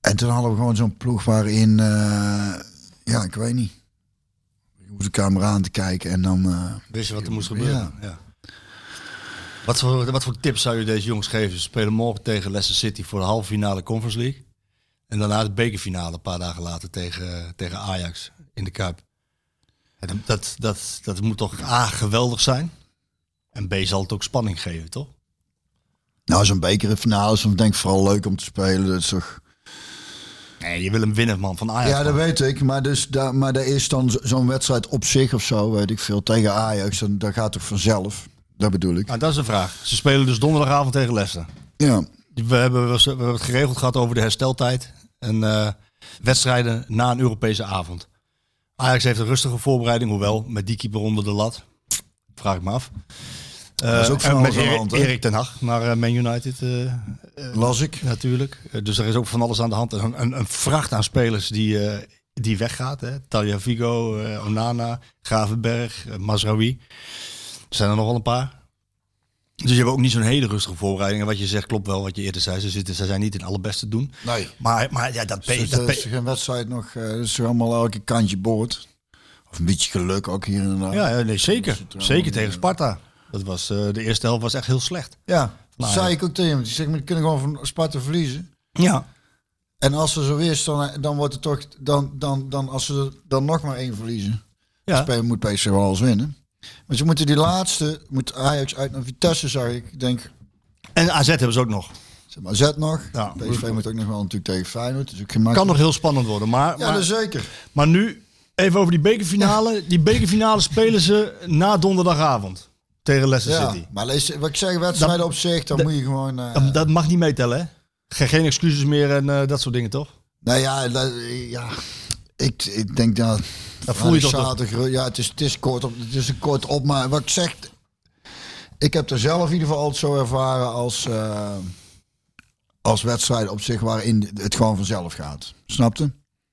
S7: En toen hadden we gewoon zo'n ploeg waarin, eh, ja, ik weet niet. Je hoeft de camera aan te kijken en dan... eh,
S8: Wist je wat er moest gebeuren?
S7: Ja.
S8: Ja. Wat, voor, wat voor tips zou je deze jongens geven? Ze spelen morgen tegen Leicester City voor de halve finale Conference League. En daarna de bekerfinale een paar dagen later tegen, tegen Ajax in de Kuip. En dat- dat, dat, dat moet toch A, geweldig zijn. En B, zal het ook spanning geven, toch?
S7: Nou, zo'n bekerfinale is dan denk ik vooral leuk om te spelen. Dat is toch...
S8: Nee, je wil hem winnen, man, van Ajax.
S7: Ja, dat
S8: man.
S7: weet ik. Maar, dus, daar, maar daar is dan zo- zo'n wedstrijd op zich of zo, weet ik veel, tegen Ajax. Dan, dat gaat toch vanzelf? Dat bedoel ik.
S8: Ah, dat is de vraag. Ze spelen dus donderdagavond tegen Leicester.
S7: Ja.
S8: We hebben, we hebben het geregeld gehad over de hersteltijd. En eh, wedstrijden na een Europese avond. Ajax heeft een rustige voorbereiding, hoewel met die keeper onder de lat. Vraag ik me af.
S7: Dat is ook
S8: Eh,
S7: van
S8: en
S7: alles aan de
S8: met Erik,
S7: hand, hè?
S8: Erik ten Hag naar eh, Man United eh,
S7: Las ik.
S8: natuurlijk. Eh, dus er is ook van alles aan de hand. Een, een, een vracht aan spelers die, eh, die weggaat. Hè? Talia Vigo, eh, Onana, Gravenberg, eh, Mazraoui. Er zijn er nog wel een paar. Dus je hebt ook niet zo'n hele rustige voorbereiding. En wat je zegt klopt wel, wat je eerder zei. Ze, zitten, ze zijn niet in alle beste te doen.
S7: Nee.
S8: Maar, maar ja, dat,
S7: Dus
S8: pe-
S7: dat
S8: dat
S7: is
S8: pe-
S7: geen wedstrijd nog. eh dat is allemaal elke kantje boord. Of een beetje geluk ook hier en daar.
S8: ja, ja, nee, zeker.
S7: het er allemaal
S8: Zeker tegen Sparta. Dat was, eh, de eerste helft was echt heel slecht.
S7: ja. Dat
S8: Maar-
S7: zei ik ook tegen hem. Die zegt, maar die kunnen gewoon van Sparta verliezen.
S8: Ja.
S7: En als ze zo weer is, dan, eh, dan wordt het toch... Dan, dan, dan, als ze er dan nog maar één verliezen.
S8: ja.
S7: Spelen moet PSV wel alles winnen. Maar ze moeten die laatste, moet Ajax uit naar Vitesse, zag ik. Ik denk,
S8: En AZ hebben ze ook nog.
S7: zeg maar, zet nog.
S8: Ja.
S7: PSV moet ook nog wel natuurlijk tegen Feyenoord. Dus ook gemaakt.
S8: Kan nog heel spannend worden. Maar,
S7: Ja,
S8: maar,
S7: dat is zeker.
S8: maar nu even over die bekerfinale. Die bekerfinale spelen ze na donderdagavond tegen Leicester
S7: Ja.
S8: City.
S7: Maar lees, wat ik zeg, wedstrijden op zich, dan
S8: dat-
S7: moet je gewoon... eh,
S8: Dat, dat mag niet meetellen, hè? Ge- Geen excuses meer en eh, dat soort dingen, toch?
S7: nou ja, dat- ja ik, ik denk dat...
S8: Dat voel je toch nog.
S7: zaterdag, Ja, het is, het, is kort op, het is een kort op, maar wat ik zeg... Ik heb er zelf in ieder geval altijd zo ervaren als... eh, als wedstrijd op zich waarin het gewoon vanzelf gaat. Snapte?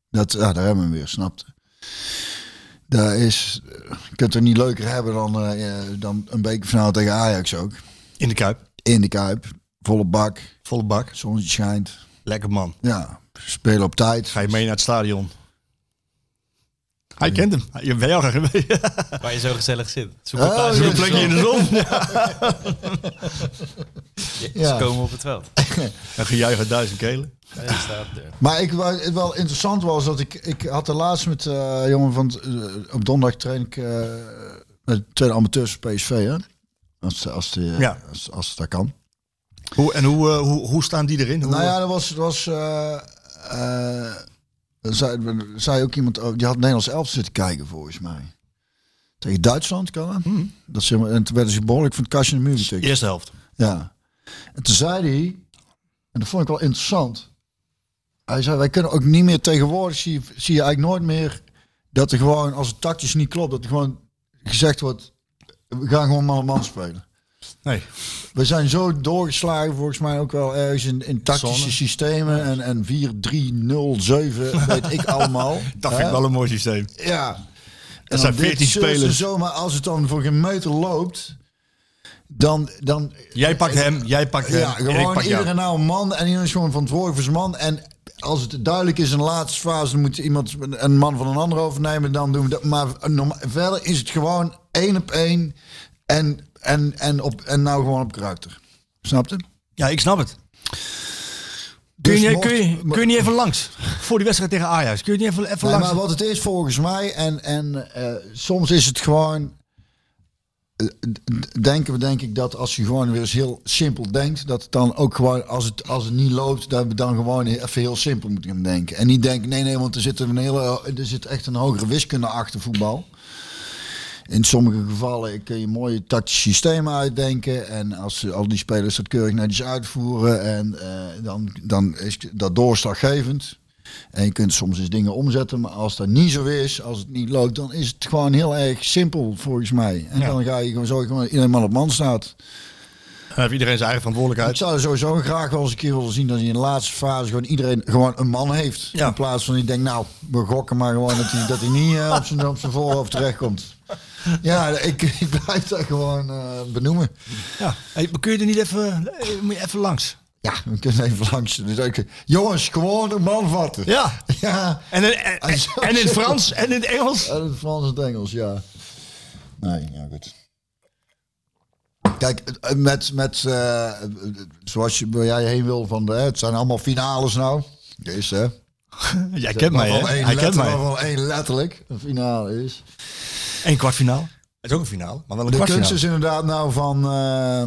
S7: Dat, ja, daar hebben we hem weer, snapte? Daar is, eh, je kunt er niet leuker hebben dan, eh, eh, dan een bekerfinale tegen Ajax ook.
S8: In de Kuip.
S7: In de Kuip, volle bak,
S8: Volle bak.
S7: zonnetje schijnt.
S8: Lekker man.
S7: Ja, spelen op tijd.
S8: Ga je mee naar het stadion? Hij kent hem. Je bent jou graag geweest.
S9: Waar je zo gezellig zit. Zoek
S7: Oh,
S9: een plaats
S7: ja.
S9: in
S8: Een plekje in de zon.
S7: Ja.
S9: Ze komen op het veld.
S8: Een gejuich uit duizend kelen.
S9: En die staat er.
S7: Maar ik, wa- het wel interessant was dat ik, ik had de laatst met eh jongen van het, eh, op donderdag train ik eh, met twee amateurs van PSV hè? Als, als, die, eh,
S8: Ja.
S7: als, als dat kan.
S8: Hoe, en hoe, eh, hoe, hoe staan die erin? Hoe,
S7: Nou ja, dat was, dat was eh eh, zei, zei ook iemand, ook- die had Nederlands elf zitten kijken volgens mij. Tegen Duitsland kan dat. dat zeg maar, en toen werden ze behoorlijk van het kastje in de muur getikt.
S8: Eerste helft.
S7: Ja. En toen zei hij, en dat vond ik wel interessant. Hij zei, wij kunnen ook niet meer tegenwoordig, zie, je- zie je eigenlijk nooit meer dat er gewoon, als het tactisch niet klopt, dat er gewoon gezegd wordt, we gaan gewoon man op man spelen.
S8: Nee.
S7: We zijn zo doorgeslagen volgens mij ook wel ergens in, in tactische
S8: Zonne.
S7: systemen en, en 4, 3, 0, 7, weet ik allemaal.
S8: Dat vind ik
S7: Hè?
S8: wel een mooi systeem.
S7: Ja. En
S8: zijn
S7: dan dit
S8: 14
S7: zullen ze
S8: spelers.
S7: Zo, maar als het dan voor geen meter loopt, dan, dan
S8: Jij pakt hem, jij pakt hem.
S7: ja,
S8: en ik
S7: gewoon
S8: pak jou.
S7: iedereen nou een man en iedereen is gewoon verantwoordelijk voor zijn man. En als het duidelijk is in de laatste fase, dan moet iemand een man van een ander overnemen. Dan doen we dat. Maar norma- verder is het gewoon één op één en, en, en, op, en nou gewoon op karakter. Snap je?
S8: Ja, ik snap het.
S7: Dus
S8: kun, je,
S7: mocht-
S8: kun, je, kun je niet even langs? Voor die wedstrijd tegen Ajax. Kun je niet even, even
S7: Nee,
S8: langs?
S7: maar wat het is volgens mij, en, en eh, soms is het gewoon. eh, d- Denken we denk ik dat als je gewoon weer eens heel simpel denkt, dat het dan ook gewoon als het, als het niet loopt, dat we dan gewoon even heel simpel moeten gaan denken. En niet denken, nee, nee, want er zit, een hele, er zit echt een hogere wiskunde achter voetbal. In sommige gevallen kun je mooie tactische systemen uitdenken. En als al die spelers dat keurig netjes uitvoeren, en, eh, dan, dan is dat doorslaggevend. En je kunt soms eens dingen omzetten, maar als dat niet zo is, als het niet loopt, dan is het gewoon heel erg simpel volgens mij. En dan ga je gewoon zo gewoon iedereen man op man staat.
S8: Dan heeft iedereen zijn eigen
S7: Ik
S8: verantwoordelijkheid.
S7: zou sowieso graag wel eens een keer willen zien dat je in de laatste fase gewoon iedereen gewoon een man heeft.
S8: Ja.
S7: In plaats van die denkt, nou, we gokken maar gewoon dat hij, dat hij niet eh, op, zijn, op zijn voorhoofd terechtkomt. Ja, ik, ik blijf dat gewoon eh, benoemen.
S8: Ja. Hey, maar kun je er niet even, eh, moet je even langs?
S7: Ja, we kunnen even langs. Dus ik, jongens, gewoon een man vatten.
S8: Ja.
S7: Ja.
S8: En, in- en, en, en in het Frans en in het Engels.
S7: En het Frans en het Engels, ja. Nee, ja, goed. Kijk, eh, met, met eh, zoals je, waar jij heen wil, van, de- het zijn allemaal finales nou. Deze, hè?
S8: Jij kent mij,
S7: Waarvan
S8: hè?
S7: één
S8: Hij kent
S7: letter-
S8: mij.
S7: waarvan één letterlijk een finale is.
S8: Een kwartfinaal. Het is ook een finale, maar wel een
S7: De kunst
S8: kwartfinale.
S7: is inderdaad nou van... eh,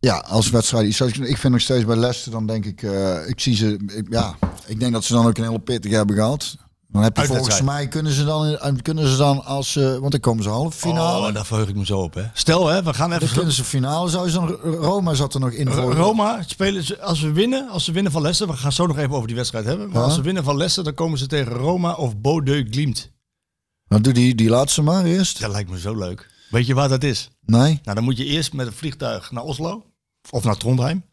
S7: ja, als wedstrijd. iets- Ik vind nog steeds bij Leicester, dan denk ik... eh, ik zie ze... ik- ja, ik denk dat ze dan ook een hele pittig hebben gehad. Dan heb je volgens
S8: Uitwedstrijd.
S7: mij... Kunnen ze dan, kunnen ze dan als... ze- want dan komen ze halve finale.
S8: Oh, daar verheug ik me zo op, hè. Stel, hè, we gaan
S7: Dan
S8: even...
S7: kunnen ze finale. Zou ze dan... Roma zat er nog in voor.
S8: Roma spelen ze, als we winnen, als ze winnen van Leicester, we gaan het zo nog even over die wedstrijd hebben. Maar
S7: Ja.
S8: als ze winnen van Leicester, dan komen ze tegen Roma of Bodeu Glimt.
S7: Nou, doe die, die laatste maar eerst.
S8: Dat lijkt me zo leuk. Weet je waar dat is?
S7: Nee.
S8: Nou, dan moet je eerst met een vliegtuig naar Oslo of naar Trondheim.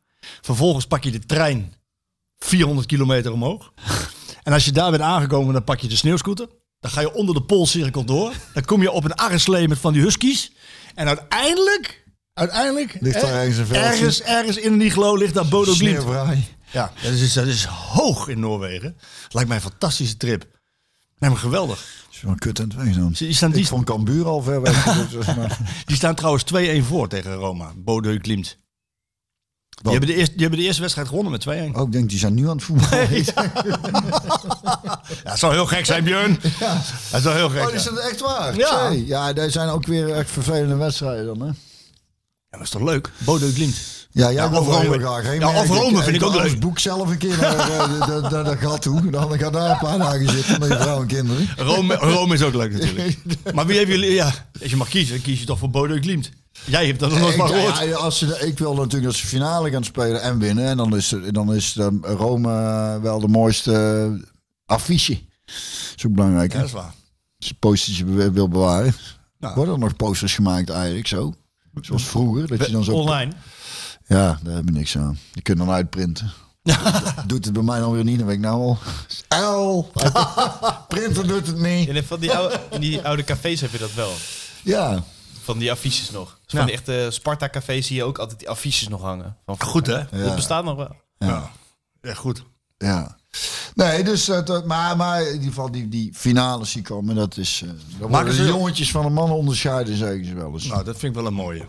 S8: Vervolgens pak je de trein 400 kilometer omhoog. En als je daar bent aangekomen, dan pak je de sneeuwscooter. Dan ga je onder de Poolcirkel door. Dan kom je op een arreslee met van die huskies. En uiteindelijk, uiteindelijk...
S7: Ligt daar
S8: hè,
S7: ergens een veldje.
S8: Ergens, ergens in Niglo ligt daar Bodo Glimt.
S7: Sneeuwvrij.
S8: Ja, dat is, dat is hoog in Noorwegen. Lijkt mij een fantastische trip. Nee, maar geweldig.
S7: Dat is wel een kut en twee dan.
S8: Die staan,
S7: Ik
S8: die,
S7: vond Cambuur al ver weg. Dus, maar-
S8: die staan trouwens 2-1 voor tegen Roma. Bodeu Klimt. Die hebben, de eerste, die hebben de eerste wedstrijd gewonnen met 2-1.
S7: Oh, ik denk, die zijn nu aan het voetballen.
S8: Ja, het zou heel gek zijn, Björn.
S7: Ja.
S8: Het zou heel gek
S7: Oh, is
S8: zijn.
S7: dat echt waar?
S8: Ja.
S7: Twee. Ja, daar zijn ook weer echt vervelende wedstrijden dan, hè?
S8: Ja, dat is toch leuk? Bodeu Klimt.
S7: Ja, jij
S8: Ja,
S7: wil
S8: of
S7: wel heel
S8: Rome.
S7: graag heen.
S8: Ja,
S7: maar
S8: of Rome vind ik ook
S7: doe
S8: leuk.
S7: ons boek zelf een keer naar, eh, naar, naar dat gat toe. Dan ga daar een paar dagen zitten met je vrouw en kinderen.
S8: Rome, Rome is ook leuk natuurlijk. Maar wie hebben jullie... Ja, als je mag kiezen, dan kies je toch voor Bodeu Klimt. Jij hebt dat nog nooit
S7: Ik,
S8: van gehoord.
S7: ja, ja, als ze, ik wil natuurlijk dat ze finale gaan spelen en winnen. En dan is, dan is eh, Rome eh, wel de mooiste eh, affiche. Dat is ook belangrijk, hè?
S8: Ja, dat is waar.
S7: Als je posters be- wil bewaren.
S8: Ja.
S7: Worden er nog posters gemaakt eigenlijk zo? Zoals vroeger, dat je dan zo...
S8: Online.
S7: Ja, daar heb ik niks aan. Je kunt dan uitprinten. Dat doet het bij mij dan weer niet, dan weet ik nou al. L! Printen doet het niet.
S9: In, van die oude, in die oude cafés heb je dat wel.
S7: Ja.
S9: Van die affiches nog. Dus
S8: Ja.
S9: Van die echte Sparta-cafés zie je ook altijd die affiches nog hangen. Van,
S8: Goed, hè?
S9: Dat bestaat nog wel.
S8: Ja. Ja, goed.
S7: Ja. Nee, dus dat, dat- maar, maar in ieder geval die, die finales die komen, dat is... eh daar worden
S8: ze-
S7: de jongetjes van de mannen onderscheiden, zeggen ze wel eens.
S8: Nou, dat vind ik wel een mooie.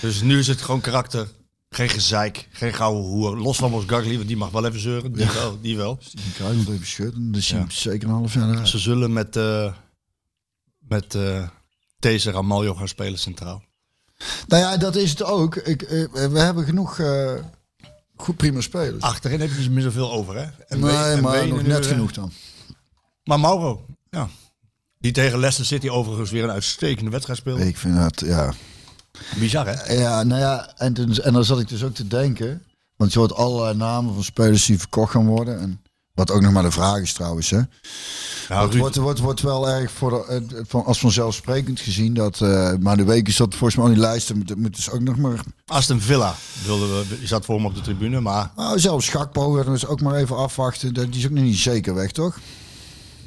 S8: Dus nu is het gewoon karakter. Geen gezeik, geen gouden hoer. Los van Mos Gagli, want die mag wel even zeuren. Die wel, die wel.
S7: Die krijgen nog even shirt en dan zie je hem zeker een half jaar eruit.
S8: Ze zullen met, eh met eh deze Ramaljo gaan spelen centraal.
S7: Nou ja, dat is het ook. Ik, eh, we hebben genoeg eh, goed prima spelers.
S8: Achterin heb je dus niet meer zoveel over, hè? Ah, En
S7: nee,
S8: Ween- en
S7: maar
S8: Wenen
S7: nog
S8: nu
S7: net
S8: weer, hè?
S7: genoeg dan.
S8: Maar Mauro, ja. Die tegen Leicester City overigens weer een uitstekende wedstrijd speelde.
S7: Ik vind dat, ja.
S8: Bizar, hè?
S7: Ja, nou ja, en, toen, en dan zat ik dus ook te denken. Want je hoort allerlei namen van spelers die verkocht gaan worden. En wat ook nog maar de vraag is trouwens. Hè.
S8: Nou,
S7: Het
S8: Ruud,
S7: wordt, wordt, wordt wel erg voor de- eh, van, als vanzelfsprekend gezien dat. eh, maar de week is dat volgens mij al die lijsten. Moet, moet dus ook nog maar.
S8: Aston Villa wilden we, die zat voor hem op de tribune, maar
S7: Nou, zelfs Gakpo, dat is ook maar even afwachten. Dat- Die is ook nog niet zeker weg, toch?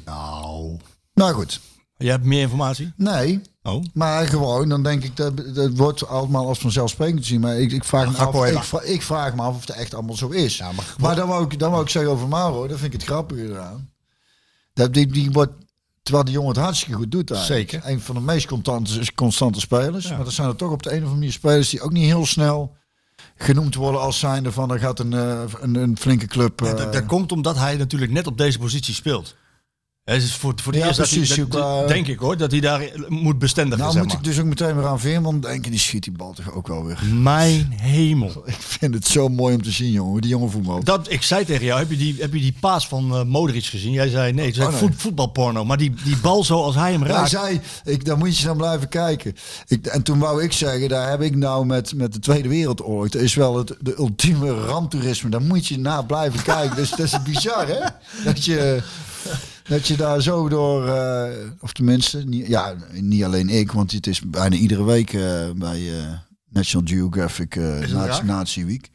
S8: nou...
S7: Nou goed.
S8: Je hebt meer informatie?
S7: Nee,
S8: Oh.
S7: maar gewoon, dan denk ik dat dat wordt allemaal als vanzelfsprekend zien. Maar ik, ik, vraag me
S8: Gakpo
S7: af,
S8: heeft-
S7: ik, vra- ik vraag me af of het echt allemaal zo is.
S8: maar-
S7: maar dan wou, ik, dan wou ik zeggen over Mauro, dat vind ik het grappige eraan. Dat die, die wordt, terwijl die jongen het hartstikke goed doet eigenlijk.
S8: Zeker.
S7: Een van de meest constante, constante spelers. Maar er zijn er toch op de een of andere manier spelers die ook niet heel snel genoemd worden als zijnde van er gaat een, eh, een, een flinke club. eh,
S8: dat, dat komt omdat hij natuurlijk net op deze positie speelt. Hè, Het is voor, voor de
S7: Ja,
S8: eerste
S7: precies,
S8: dat, hij- dat-
S7: Joep, eh.
S8: denk ik hoor, dat hij daar moet bestendigen,
S7: nou
S8: zeg
S7: moet
S8: maar.
S7: ik dus ook meteen weer aan Veerman denken, die schiet die bal toch ook wel weer.
S8: Mijn hemel.
S7: Ik vind het zo mooi om te zien, jongen. hoe Die jongen voetbal.
S8: Dat, ik zei tegen jou, heb je die, heb je die paas van eh, Modric gezien? Jij zei nee, het is
S7: Oh, nee.
S8: voet- voetbalporno. Maar die, die bal zoals hij hem
S7: Hij
S8: raakt.
S7: zei, ik, daar moet je dan blijven kijken. Ik, en toen wou ik zeggen, daar heb ik nou met, met de Tweede Wereldoorlog. Dat is wel het de ultieme ramptoerisme. Daar moet je naar blijven kijken. Dus dat is bizar, hè? Dat je, dat je daar zo door... eh, of tenminste, niet, ja, niet alleen ik. Want het is bijna iedere week eh, bij eh, National Geographic eh Nazi,
S8: raar?
S7: Nazi Week.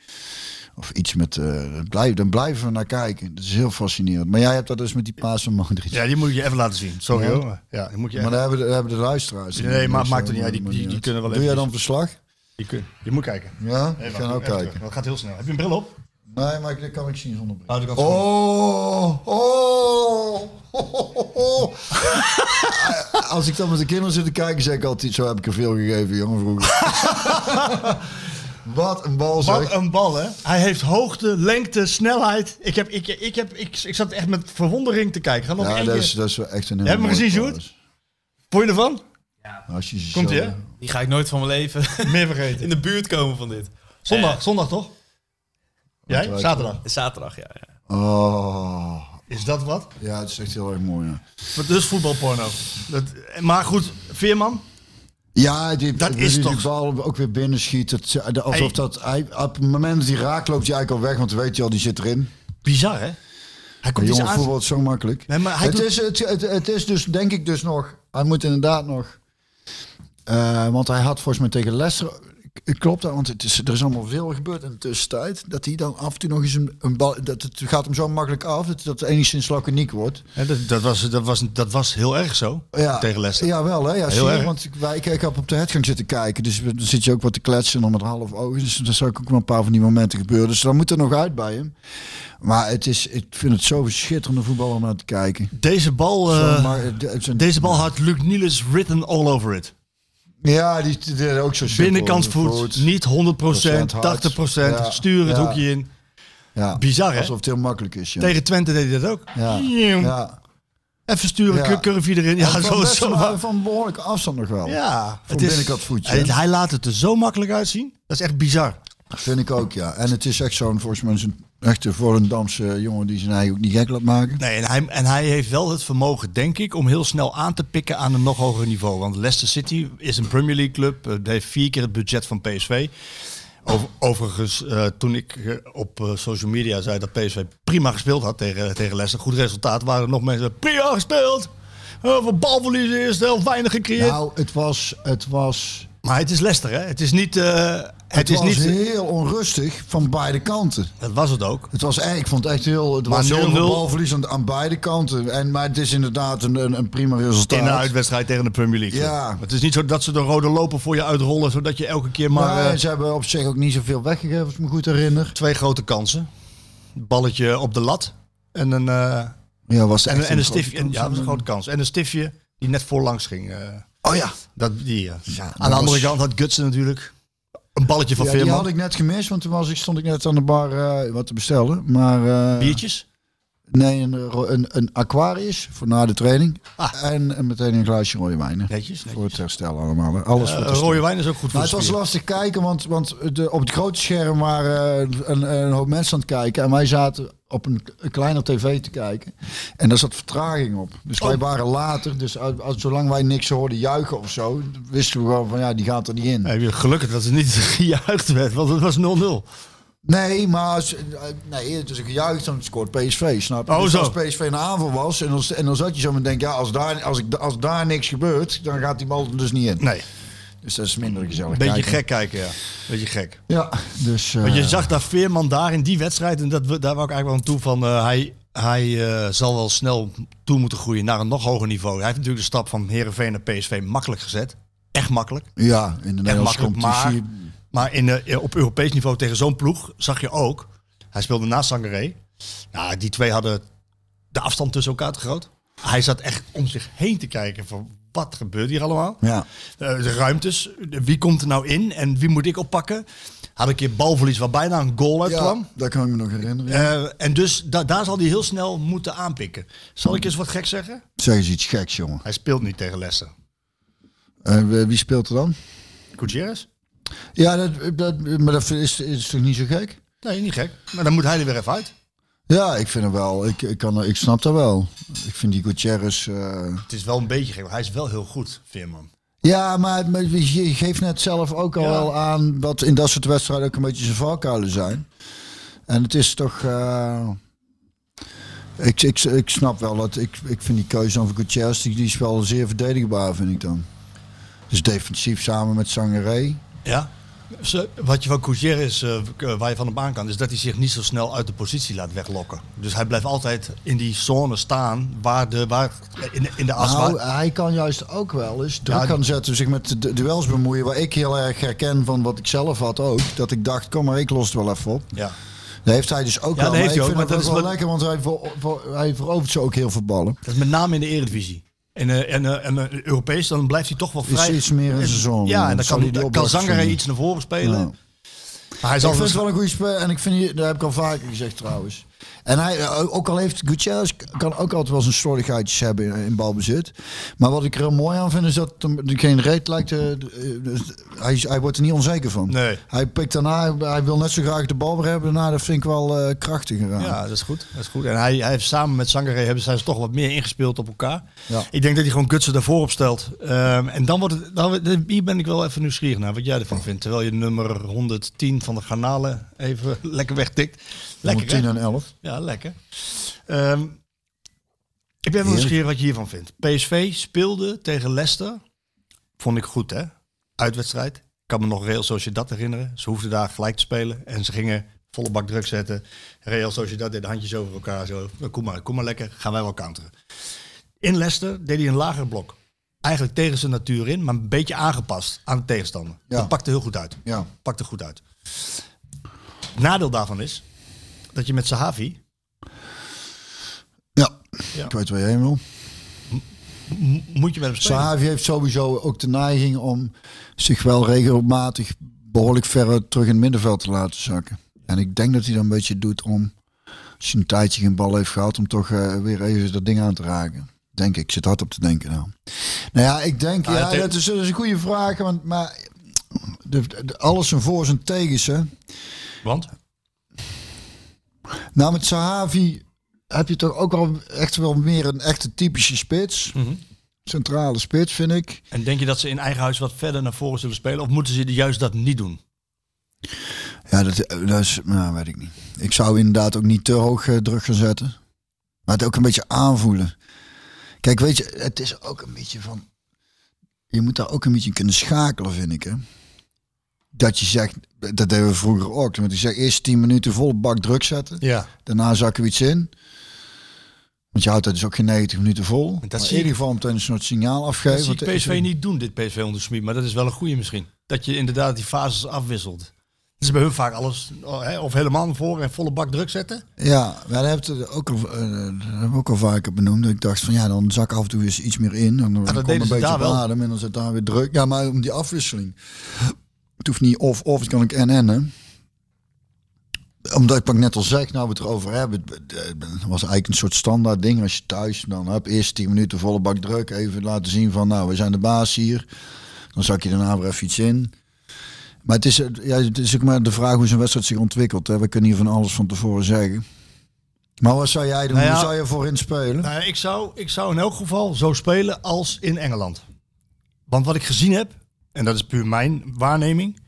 S7: Of iets met... eh blijf, dan blijven we naar kijken. Dat is heel fascinerend. Maar jij hebt dat dus met die paas van Modric.
S8: Ja, die moet ik je even laten zien. Sorry
S7: Ja.
S8: hoor. Ja, die moet je,
S7: Maar
S8: even-
S7: daar hebben de, daar hebben de luisteraars.
S8: Nee, maar
S7: Dus,
S8: maakt
S7: eh,
S8: het niet uit. Die-
S7: maakt
S8: die-
S7: niet
S8: die
S7: uit.
S8: kunnen wel
S7: Doe jij
S8: even-
S7: dan verslag?
S8: je, kun- je moet kijken.
S7: Ja,
S8: Even
S7: ik ga ook
S8: wacht, even
S7: kijken.
S8: Dat gaat heel snel. Heb je een bril op?
S7: Nee, maar ik- dat kan ik zien zonder bril.
S8: Oh, dat kan
S7: Oh, oh, oh, oh. Als ik dan met de kinderen zit te kijken, zeg ik altijd, zo heb ik er veel gegeven, jongen, vroeger. Wat een bal, zeg.
S8: Wat een bal, hè? Hij heeft hoogte, lengte, snelheid. Ik, heb, ik, ik, heb, ik, ik zat echt met verwondering te kijken. Ga nog
S7: Ja,
S8: één
S7: dat
S8: keer.
S7: is, dat is wel echt een
S8: Heb je hem
S7: mooie
S8: gezien,
S7: bal.
S8: Sjoerd? Vond je ervan?
S7: dus. Als je ze
S8: Komt
S7: zo-
S8: ie, hè?
S9: Die ga ik nooit van mijn leven
S8: Meer vergeten.
S9: in de buurt komen van dit.
S8: Zondag, zondag toch? Jij?
S7: wij-
S8: Zaterdag.
S9: Zaterdag, ja. ja.
S7: Oh,
S8: Is dat wat?
S7: ja, het is echt heel erg mooi, ja.
S8: Dus voetbalporno. Dat, maar goed, Veerman.
S7: Ja, die,
S8: Dat
S7: dat
S8: is
S7: is die
S8: toch-
S7: bal ook weer binnen schiet. Het, de- alsof
S8: Hey.
S7: dat, hij, op het moment dat hij raakt, loopt hij eigenlijk al weg, want dan weet je al, die zit erin.
S8: Bizar, hè? Hij
S7: Maar
S8: komt iets
S7: jongen,
S8: aan.
S7: voetbal is zo makkelijk.
S8: Nee, maar hij
S7: het,
S8: doet-
S7: is, het, het, het is dus, denk ik dus nog, hij moet inderdaad nog, eh, want hij had volgens mij tegen Leicester, k- klopt dat, want het is, er is allemaal veel gebeurd in de tussentijd, dat hij dan af en toe nog eens een, een bal, dat het gaat hem zo makkelijk af, dat, dat het enigszins laconiek wordt.
S8: Ja, dat, dat, was, dat, was, dat was heel erg zo. Tegen Leicester.
S7: Ja, wel hè. Ja,
S8: Heel
S7: zie je,
S8: erg.
S7: want ik, wij, ik, ik heb op de headgang zitten kijken. Dus we- dan zit je ook wat te kletsen om het half ogen. Dus daar zou ik ook wel een paar van die momenten gebeuren. Dus dan moet er nog uit bij hem. Maar het is, ik vind het zo schitterende voetbal om naar te kijken.
S8: Deze bal,
S7: Zo,
S8: eh,
S7: maar, eh, de- het zijn-
S8: deze bal had Luc Niels written all over it.
S7: Ja, die, die deden ook zo simpel.
S8: Binnenkant voet, niet 100%, 80%,
S7: hard. Ja.
S8: sturen het
S7: Ja.
S8: hoekje in.
S7: Ja,
S8: Bizar, hè?
S7: Alsof het heel makkelijk is. Ja.
S8: Tegen Twente deed hij dat ook.
S7: Ja. ja.
S8: Even sturen,
S7: Ja.
S8: ja. erin. Ja,
S7: Van
S8: zo,
S7: best-
S8: Oh, zo.
S7: maar Van behoorlijke afstand nog wel.
S8: Ja,
S7: Voor binnenkant voetje,
S8: Hij,
S7: hè?
S8: hij laat het er zo makkelijk uitzien. Dat is echt bizar.
S7: Vind ik ook, ja. En het is echt zo'n, volgens mij, zo'n echte Volendamse jongen die zijn eigen ook niet gek laat maken.
S8: Nee, en hij, en hij heeft wel het vermogen, denk ik, om heel snel aan te pikken aan een nog hoger niveau. Want Leicester City is een Premier League club. eh, heeft vier keer het budget van PSV. Over- overigens, eh, toen ik eh, op eh, social media zei dat PSV prima gespeeld had tegen, tegen Leicester, goed resultaat, waren er nog mensen prima gespeeld. Eh, Voor balverlies is heel weinig gecreëerd.
S7: Nou, het was, het was,
S8: maar het is Leicester, hè? Het is niet. eh, het,
S7: het
S8: is
S7: was
S8: niet.
S7: heel onrustig van beide kanten.
S8: Dat was het ook.
S7: Het was echt, ik vond het echt heel, het
S8: Maar
S7: was heel
S8: 0-0.
S7: veel balverlies aan, aan beide kanten. En, maar het is inderdaad een, een, een prima resultaat.
S8: In de uitwedstrijd tegen de Premier League.
S7: Ja.
S8: Maar Het is niet zo dat ze de rode lopen voor je uitrollen, zodat je elke keer maar.
S7: Maar
S8: eh,
S7: ze hebben op zich ook niet zoveel weggegeven, als ik me goed herinner.
S8: Twee grote kansen. Balletje op de lat. en een, eh,
S7: Ja, was
S8: en,
S7: echt
S8: een- en een
S7: grote
S8: stiftje.
S7: kans.
S8: Ja, dat was een grote kans. En een stiftje die net voorlangs ging. eh,
S7: Oh ja,
S8: dat, die, eh, ja. Aan
S7: dat
S8: de andere
S7: was-
S8: kant had Gutsen natuurlijk een balletje van
S7: ja die
S8: Veerman.
S7: had ik net gemist, want toen was ik, stond ik net aan de bar eh, wat te bestellen. Maar, eh,
S8: Biertjes?
S7: Nee, een, ro- een, een Aquarius voor na de training.
S8: Ah.
S7: En, en meteen een glaasje rode wijn. hè.
S8: Netjes, netjes.
S7: Voor het herstel allemaal. hè. Alles
S8: Eh,
S7: voor het herstel.
S8: rode wijn is ook goed voor
S7: Maar het
S8: de
S7: was
S8: spier.
S7: lastig kijken, want, want de, op het grote scherm waren eh, een, een hoop mensen aan het kijken. En wij zaten op een, een kleiner tv te kijken. En daar zat vertraging op. Dus
S8: Oh.
S7: wij waren later. Dus uit- als, zolang wij niks hoorden juichen of zo, wisten we gewoon van ja, die gaat er niet in.
S8: Nee, ik ben gelukkig dat ze niet gejuicht werd, want het was 0-0.
S7: Nee, maar als- eh, nee, het is een gejuich, dan scoort PSV, snap je?
S8: Oh,
S7: dus
S8: zo.
S7: als PSV een aanval was en, als, en dan zat je zo met denken, ja, als daar, als, ik, als daar niks gebeurt, dan gaat die bal er dus niet in.
S8: Nee,
S7: Dus dat is minder gezellig.
S8: beetje
S7: kijken.
S8: gek kijken, ja. Beetje gek.
S7: Ja, dus... eh,
S8: Want je zag daar Veerman daar in die wedstrijd, en dat, we- daar wou ik eigenlijk wel aan toe van, eh, hij, hij eh, zal wel snel toe moeten groeien naar een nog hoger niveau. Hij heeft natuurlijk de stap van Herenveen naar PSV makkelijk gezet. Echt makkelijk.
S7: Ja, in de Nederlandse
S8: makkelijk, maar-
S7: competitie.
S8: Maar in, eh, op Europees niveau tegen zo'n ploeg zag je ook, hij speelde naast Sangaré. Nou, die twee hadden de afstand tussen elkaar te groot. Hij zat echt om zich heen te kijken van wat gebeurt hier allemaal.
S7: Ja.
S8: Eh, de ruimtes, de- wie komt er nou in en wie moet ik oppakken? Had een keer balverlies waar bijna een goal uit
S7: ja,
S8: kwam.
S7: dat kan ik me nog herinneren.
S8: Eh, en dus da- daar zal hij heel snel moeten aanpikken. Zal ik eens wat gek zeggen?
S7: Zeg eens iets geks, jongen.
S8: Hij speelt niet tegen Leicester.
S7: En wie- wie speelt er dan?
S8: Gutierrez?
S7: Ja, dat, dat, maar dat is, is toch niet zo gek?
S8: Nee, niet gek. Maar dan moet hij er weer even uit.
S7: Ja, ik vind hem wel. Ik, ik, kan, ik snap dat wel. Ik vind die Gutierrez... eh,
S8: Het is wel een beetje gek, maar hij is wel heel goed, Veerman.
S7: Ja, maar maar je geeft net zelf ook al wel aan dat in dat soort wedstrijden ook een beetje zijn valkuilen zijn. En het is toch. eh, ik, ik, ik snap wel dat. Ik, ik vind die keuze over Gutierrez, die, die is wel zeer verdedigbaar, vind ik dan. Dus defensief samen met Sangaré.
S8: Ja. Ze- Wat je van Gutierrez, eh, k- eh, waar je van hem aan kan, is dat hij zich niet zo snel uit de positie laat weglokken. Dus hij blijft altijd in die zone staan, waar de, waar, in, in de as.
S7: Nou,
S8: waar-
S7: hij kan juist ook wel eens druk
S8: Ja,
S7: kan zetten, zich met de duels bemoeien. Waar ik heel erg herken van wat ik zelf had ook. Dat ik dacht, kom maar, ik los het wel even op.
S8: ja.
S7: Dat heeft hij dus ook wel.
S8: dat heeft
S7: maar ik
S8: hij ook,
S7: vind
S8: maar
S7: dat
S8: dat
S7: ook wel
S8: is
S7: lekker, want hij, ver- ver- hij verovert ze ook heel veel ballen.
S8: Dat is met name in de Eredivisie. En, eh, en, eh, en eh, Europees, dan blijft hij toch wel
S7: Is
S8: vrij.
S7: iets meer in zijn zone.
S8: Ja, en
S7: Dan
S8: dan
S7: zal
S8: kan,
S7: hij die
S8: dan kan
S7: opdracht
S8: Zangaré
S7: vinden.
S8: iets naar voren spelen.
S7: Ja.
S8: Maar hij
S7: Nou. Ik
S8: zal
S7: vind het
S8: waarsch-
S7: wel een goede speler en ik vind, die- dat heb ik al vaker gezegd trouwens. En hij, eh, ook al heeft Gutierrez, kan ook altijd wel zijn slordigheidjes hebben in, in balbezit. Maar wat ik er heel mooi aan vind is dat hem geen reet lijkt, te- eh, dus hij, hij wordt er niet onzeker van.
S8: Nee.
S7: Hij pikt daarna, hij wil net zo graag de bal weer hebben daarna, dat vind ik wel eh, krachtiger aan.
S8: Ja, dat is goed. Dat is goed. En hij, hij heeft samen met Sangaré hebben zij ze toch wat meer ingespeeld op elkaar.
S7: Ja.
S8: Ik denk dat hij gewoon Gutsen daarvoor opstelt. Ehm, en dan wordt het, dan, hier ben ik wel even nieuwsgierig naar wat jij ervan vindt. Terwijl je nummer 110 van de garnalen even lekker wegtikt. Lekker, hè?
S7: 10 en 11.
S8: Ja, lekker. Ehm, ik ben wel nieuwsgierig wat je hiervan vindt. PSV speelde tegen Leicester. Vond ik goed, hè? Uitwedstrijd. Ik kan me nog Real Sociedad herinneren. Ze hoefden daar gelijk te spelen. En ze gingen volle bak druk zetten. Real Sociedad deed de handjes over elkaar. Zo, "Nou, kom maar, kom maar lekker. Gaan wij wel counteren. In Leicester deed hij een lager blok. Eigenlijk tegen zijn natuur in, maar een beetje aangepast aan de tegenstander.
S7: Ja.
S8: Dat pakte heel goed uit.
S7: Ja.
S8: Pakte goed uit. Nadeel daarvan is dat je met Sahavi
S7: Ja.
S8: Ja.
S7: ik weet waar je heen wil.
S8: moet je met hem spelen.
S7: Sahavi heeft sowieso ook de neiging om zich wel regelmatig behoorlijk ver terug in het middenveld te laten zakken. En ik denk dat hij dat een beetje doet om, als je een tijdje geen bal heeft gehad, om toch eh, weer even dat ding aan te raken. Denk ik, Ik zit hard op te denken nou. Nou ja, ik denk, ja,
S8: het-
S7: dat, is, dat is een goede vraag, want, maar de, de- alles zijn voor's en tegens. Hè.
S8: Want?
S7: Nou, met Sahavi heb je toch ook wel echt wel meer een echte typische spits. Centrale spits, vind ik.
S8: En denk je dat ze in eigen huis wat verder naar voren zullen spelen? Of moeten ze juist dat niet doen?
S7: Ja, dat, dat is, nou, weet ik niet. Ik zou inderdaad ook niet te hoog eh, druk gaan zetten. Maar het ook een beetje aanvoelen. Kijk, weet je, het is ook een beetje van... Je moet daar ook een beetje in kunnen schakelen, vind ik, hè. Dat je zegt, dat deden we vroeger ook. Want je zegt eerst 10 minuten volle bak druk zetten.
S8: Ja.
S7: Daarna zakken we iets in. Want je houdt dat dus ook geen 90 minuten vol.
S8: dat
S7: maar
S8: zie
S7: in
S8: ik-
S7: ieder geval meteen een soort signaal afgeven.
S8: Dat zie
S7: want
S8: ik
S7: er is
S8: PSV
S7: een-
S8: niet doen, dit PSV onder Smit. Maar dat is wel een goede misschien. Dat je inderdaad die fases afwisselt. is bij hun vaak alles oh, hè, of helemaal naar voren en volle bak druk zetten.
S7: Ja, maar daar hebben we het ook, al- eh, dat hebben we ook al vaker benoemd. Ik dacht van ja, dan zak af en toe eens iets meer in. En dan
S8: dat
S7: komt
S8: deden
S7: een
S8: ze
S7: beetje
S8: daar
S7: op
S8: wel.
S7: adem en dan zit daar weer druk. Ja, maar om die afwisseling. Het hoeft niet of-of, het kan ook en-en hè. Omdat ik wat ik net al zei, nou we het erover hebben. het- Het was eigenlijk een soort standaard ding. Als je thuis dan heb eerst 10 minuten volle bak druk. Even laten zien van nou, we zijn de baas hier. Dan zak je daarna weer even iets in. Maar het is, eh, ja, het is ook maar de vraag hoe zo'n wedstrijd zich ontwikkelt. Hè. We kunnen hier van alles van tevoren zeggen. Maar wat zou jij doen?
S8: Nou ja.
S7: Hoe zou je voorin spelen?
S8: Nou, ja, ik, zou, ik zou in elk geval zo spelen als in Engeland. Want wat ik gezien heb, en dat is puur mijn waarneming.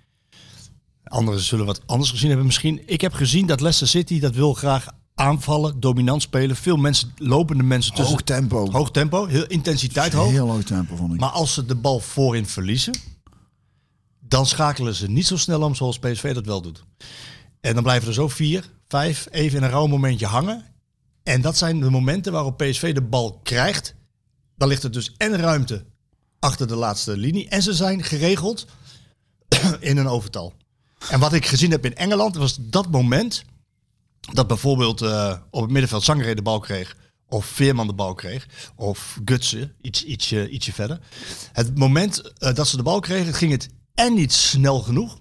S8: Anderen zullen wat anders gezien hebben misschien. Ik heb gezien dat Leicester City dat wil graag aanvallen, dominant spelen. Veel mensen, lopende mensen tussen.
S7: Hoog tempo.
S8: Hoog tempo, heel intensiteit hoog.
S7: Heel hoog tempo vond ik.
S8: Maar als ze de bal voorin verliezen, dan schakelen ze niet zo snel om zoals PSV dat wel doet. En dan blijven er zo vier, vijf even in een rauw momentje hangen. En dat zijn de momenten waarop PSV de bal krijgt. Dan ligt er dus en ruimte achter de laatste linie. En ze zijn geregeld in een overtal. En wat ik gezien heb in Engeland was dat moment dat bijvoorbeeld eh, op het middenveld Sangaré de bal kreeg. Of Veerman de bal kreeg. Of Gutsen, iets, ietsje, ietsje verder. Het moment eh, dat ze de bal kregen, ging het en niet snel genoeg.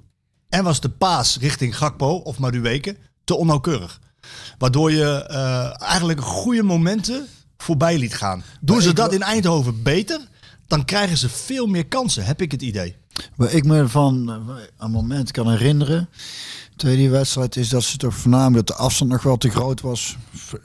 S8: En was de paas richting Gakpo of Madueke te onnauwkeurig. Waardoor je eh, eigenlijk goede momenten voorbij liet gaan. Doen ze dat in Eindhoven beter, dan krijgen ze veel meer kansen, heb ik het idee.
S7: Waar ik me van eh, een moment kan herinneren. Tegen die wedstrijd is dat ze toch voornamelijk dat de afstand nog wel te groot was.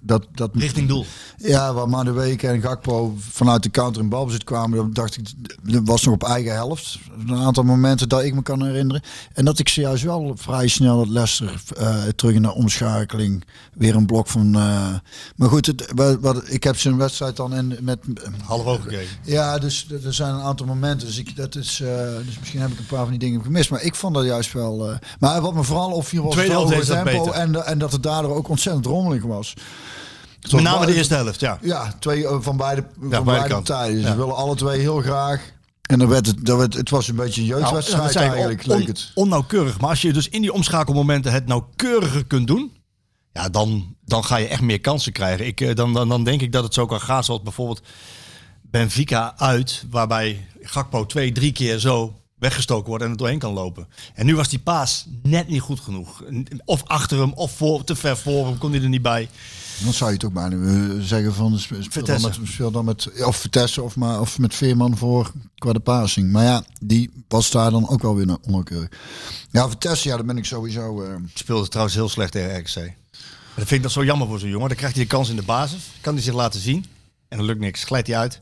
S7: Dat, dat,
S8: Richting doel.
S7: Ja, waar Madueke en Gakpo vanuit de counter in balbezit kwamen, dan dacht ik, dat was nog op eigen helft. Een aantal momenten dat ik me kan herinneren. En dat ik ze juist wel vrij snel dat Leicester eh, terug in de omschakeling weer een blok van... eh, maar goed, het, wat, wat- ik heb zijn wedstrijd dan in, met...
S8: Half oog gekregen.
S7: Ja, dus d- er zijn een aantal momenten. Dus, ik, dat is, eh, dus misschien heb ik een paar van die dingen gemist. Maar ik vond dat juist wel... eh, maar wat me vooral opviel was
S8: Tweede
S7: het
S8: helft
S7: hoge
S8: deed ze dat
S7: tempo
S8: beter.
S7: en, de- en dat het daardoor ook ontzettend rommelig was.
S8: Met name de
S7: Terwijl-
S8: eerste helft, ja.
S7: ja, twee eh, van beide, van
S8: beide
S7: beide
S8: kanten.
S7: partijen. Dus
S8: Ja.
S7: Ze willen alle twee heel graag. En dan werd het, dan werd, het was een beetje een
S8: Nou,
S7: jeugdwedstrijd
S8: dat zei ik,
S7: eigenlijk,
S8: on-
S7: leek het.
S8: Onnauwkeurig. Maar als je dus in die omschakelmomenten het nauwkeuriger kunt doen. Ja, dan, dan ga je echt meer kansen krijgen. Ik, eh, dan, dan, dan denk ik dat het zo kan gaan zoals bijvoorbeeld Benfica uit. Waarbij Gakpo twee, drie keer zo weggestoken wordt en er doorheen kan lopen. En nu was die paas net niet goed genoeg. Of achter hem, of voor, te ver voor hem, kon hij er niet bij.
S7: Dan zou je toch bijna eh, zeggen van, spe- speel dan, met,
S8: Vitesse.
S7: speel dan met, of Vitesse of, maar, of met Veerman voor qua de passing. Maar ja, die was daar dan ook wel weer een onnauwkeurig. Ja, Vitesse, ja, daar ben ik sowieso... eh,
S8: Speelde trouwens heel slecht tegen RKC. Maar dat vind ik dat zo jammer voor zo'n jongen. Dan krijgt hij de kans in de basis. Kan hij zich laten zien. En dan lukt niks. Glijdt hij uit.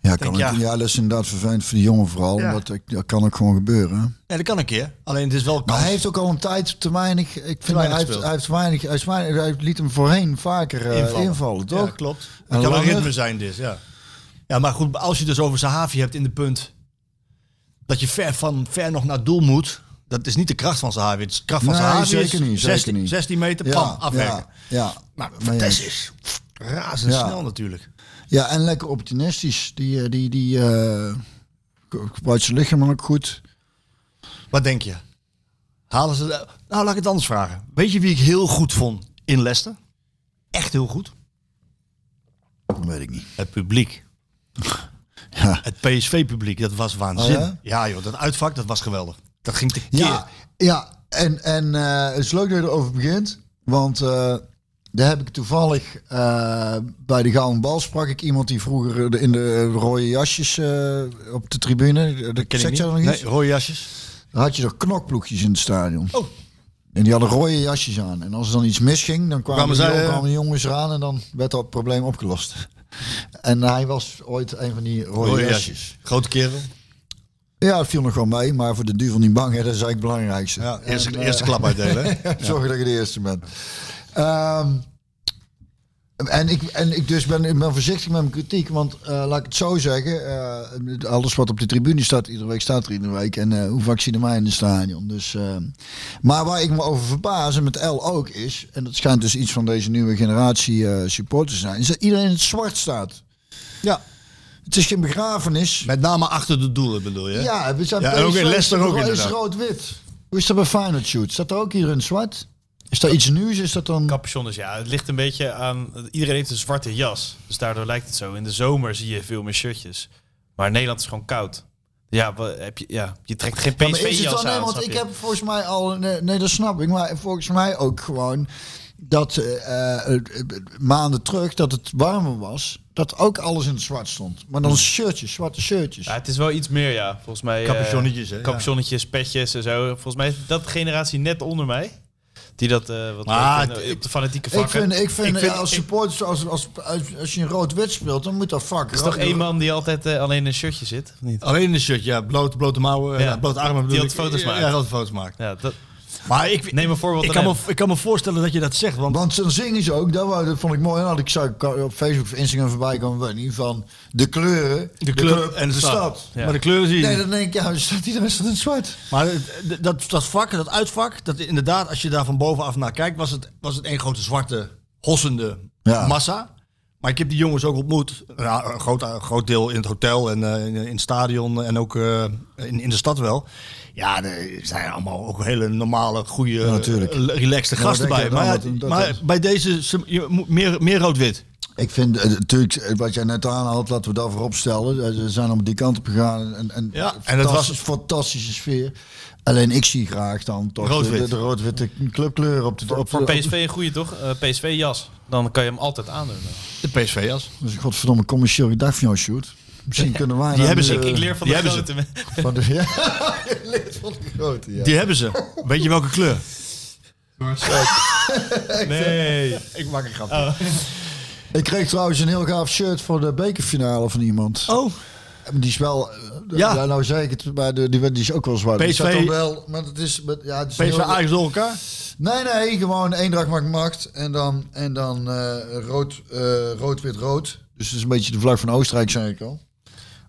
S7: ja, kan
S8: ja.
S7: ook, ja, dat is inderdaad vervelend voor die jongen vooral.
S8: Ja.
S7: Omdat ik, dat kan ook gewoon gebeuren. hè.
S8: Ja, dat kan een keer. Alleen het is wel
S7: Maar
S8: kans.
S7: hij heeft ook al een tijd te weinig. Ik vind
S8: weinig
S7: hij, heeft,
S8: gespeeld.
S7: hij heeft weinig. Hij, is weinig- hij liet hem voorheen vaker eh, invallen. toch?
S8: Ja, klopt.
S7: En
S8: Het kan een
S7: langer.
S8: ritme zijn dus, ja. Ja, maar goed, als je dus over Sahavi hebt in de punt... dat je ver, van, ver nog naar doel moet... dat is niet de kracht van Sahavi. Het is de kracht van
S7: Nee,
S8: Sahavi
S7: zeker
S8: is
S7: niet, zeker
S8: 16,
S7: niet.
S8: 16 meter, pam, afwerken.
S7: Ja, ja.
S8: Maar
S7: ja.
S8: Vitesse is razendsnel natuurlijk.
S7: Ja, en lekker opportunistisch. Die, eh, die, die eh, ge- gebruikt zijn lichaam dan ook goed.
S8: Wat denk je? Halen ze... de- Nou, laat ik het anders vragen. Weet je wie ik heel goed vond in Leicester? Echt heel goed.
S7: Dat weet ik niet.
S8: Het publiek.
S7: Ja.
S8: Het PSV-publiek, dat was waanzinnig.
S7: Oh
S8: ja? joh, dat uitvak, dat was geweldig. Dat ging te keer.
S7: Ja, ja en, en eh, het is leuk dat je erover begint. Want eh, daar heb ik toevallig eh, bij de Gouden Bal sprak ik iemand die vroeger de- in de rode jasjes eh, op de tribune. eh, Dat ken
S8: Ken ik niet.
S7: nog iets?
S8: Nee, rode jasjes.
S7: Dan had je er knokploegjes in het stadion.
S8: Oh.
S7: En die hadden rode jasjes aan. En als er dan iets misging, dan kwamen,
S8: Kwamen
S7: die
S8: zij,
S7: jong-
S8: eh,
S7: kwamen die jongens eraan en dan werd dat probleem opgelost. En hij was ooit een van die rode,
S8: Rode
S7: jasjes.
S8: jasjes. Grote kerel.
S7: Ja, dat viel nog wel mee, maar voor de duivel niet bang, hè, dat is eigenlijk het belangrijkste.
S8: Ja, eerste,
S7: En, eh,
S8: eerste klap uitdelen. hè?
S7: Zorg dat je de eerste bent. Ehm, en ik, en ik dus ben, ik ben voorzichtig met mijn kritiek, want eh, laat ik het zo zeggen, eh, alles wat op de tribune staat iedere week staat er iedere week. En eh, hoe vaak zie je mij in het stadion? Dus, ehm, maar waar ik me over verbaas, en met L ook is, en dat schijnt dus iets van deze nieuwe generatie eh, supporters te zijn, is dat iedereen in het zwart staat.
S8: Ja.
S7: Het is geen begrafenis.
S8: Met name achter de doelen bedoel je?
S7: Ja, we zijn
S8: Ja, en ook in
S7: PSV
S8: Leicester ook
S7: is
S8: inderdaad.
S7: rood-wit. Hoe is dat bij Final Shoot? Staat er ook iedereen zwart? Is dat iets nieuws? Is dat dan...
S9: Capuchon is ja, het ligt een beetje aan. Iedereen heeft een zwarte jas. Dus daardoor lijkt het zo. In de zomer zie je veel meer shirtjes. Maar in Nederland is gewoon koud. Ja, wa- heb je, ja je trekt geen
S7: Maar is het
S9: PSV-jas
S7: dan, nee,
S9: aan.
S7: want
S9: snap
S7: ik
S9: je?
S7: heb volgens mij al, nee, nee, dat snap ik, maar volgens mij ook gewoon dat eh, eh, maanden terug dat het warmer was, dat ook alles in het zwart stond. Maar
S8: Hmm.
S7: dan shirtjes, zwarte shirtjes.
S9: Ja, het is wel iets meer, ja. Volgens mij. eh,
S8: Capuchonnetjes, hè?
S9: Capuchonnetjes, petjes en zo. Volgens mij is dat generatie net onder mij. Die dat eh wat
S8: Maar
S9: leuk vinden,
S8: ik-
S9: op de fanatieke
S7: ik
S9: vakken.
S7: vind, ik vind,
S9: Ik vind-
S7: als
S9: ik-
S7: supporters, als, als, als, als je een rood-wit speelt, dan moet dat vak.
S9: Er is toch één man die altijd eh, alleen in een shirtje zit? Of niet?
S8: Alleen in een shirt, ja. Bloot, blote mouwen,
S9: Ja.
S8: ja. blote armen bedoel
S9: had
S8: ik.
S9: foto's
S8: ja,
S9: maakt.
S8: Ja, grote foto's maakt.
S9: Ja, dat,
S8: Maar ik,
S9: neem een voorbeeld
S10: Ik
S9: aan
S10: kan, me,
S9: hem.
S10: ik kan me voorstellen dat je dat zegt, want
S7: Want dan zingen ze ook, dat, wou- dat vond ik mooi. En had ik zag op Facebook of Instagram voorbij komen, weet niet, van de kleuren, de,
S8: kleur
S7: club
S8: en de stad.
S9: Ja.
S10: maar de kleuren zie je.
S7: Nee,
S10: niet.
S7: dan denk ik, ja, staat iedereen staat in het zwart.
S10: Maar d- dat, dat vak, dat uitvak, dat inderdaad, als je daar van bovenaf naar kijkt, was het, was het één grote zwarte, hossende
S7: Ja.
S10: massa. Maar ik heb die jongens ook ontmoet. Ja, een, groot, een groot deel in het hotel en eh, in, in het stadion en ook eh, in, in de stad wel. Ja, er zijn allemaal ook hele normale, goede,
S7: natuurlijk.
S10: eh, relaxte gasten
S7: denk
S10: bij.
S7: je
S10: Maar,
S7: dan
S10: ja,
S7: dat het- dat
S10: maar
S7: is?
S10: bij deze ze- je moet meer, meer rood-wit.
S7: Ik vind eh, natuurlijk, eh, wat jij net aanhaalt, laten we daarvoor opstellen. Eh, Ze zijn om die kant op gegaan en, en,
S10: Ja, en
S7: en
S10: het
S7: dat
S10: was-
S7: was een fantastische sfeer. Alleen ik zie graag dan toch de-
S10: Rood-wit.
S7: de, de rood-witte clubkleur op de... op,
S9: Voor
S7: de- op-
S9: PSV een goede toch? Eh, PSV-jas. Dan kan je hem altijd aandoen.
S8: de PSV-jas.
S7: Dat is een godverdomme commercieel gedacht van jou, Sjoerd. Misschien kunnen wij...
S10: Die hebben ze.
S9: Ik, ik leer van de
S10: Die hebben
S9: grote mensen.
S7: Van de, ja, je leert van de grote, ja.
S10: Die hebben ze. Weet je welke kleur?
S9: Nee.
S10: Ik maak een grap.
S7: Ik kreeg trouwens een heel gaaf shirt voor de bekerfinale van iemand.
S10: Oh,
S7: Die is wel... eh,
S10: Ja.
S7: ja. Nou zeg ik het, maar de, die, die is ook wel zwart. Die
S10: PSV
S7: staat dan wel, maar het is... maar Ja, het is een
S10: PSV
S7: heel-
S10: Ajax door elkaar.
S7: Nee, nee, gewoon Eendracht maakt macht. En dan, en dan eh, rood, eh, rood-wit-rood. Dus het is een beetje de vlag van Oostenrijk, zei ik al.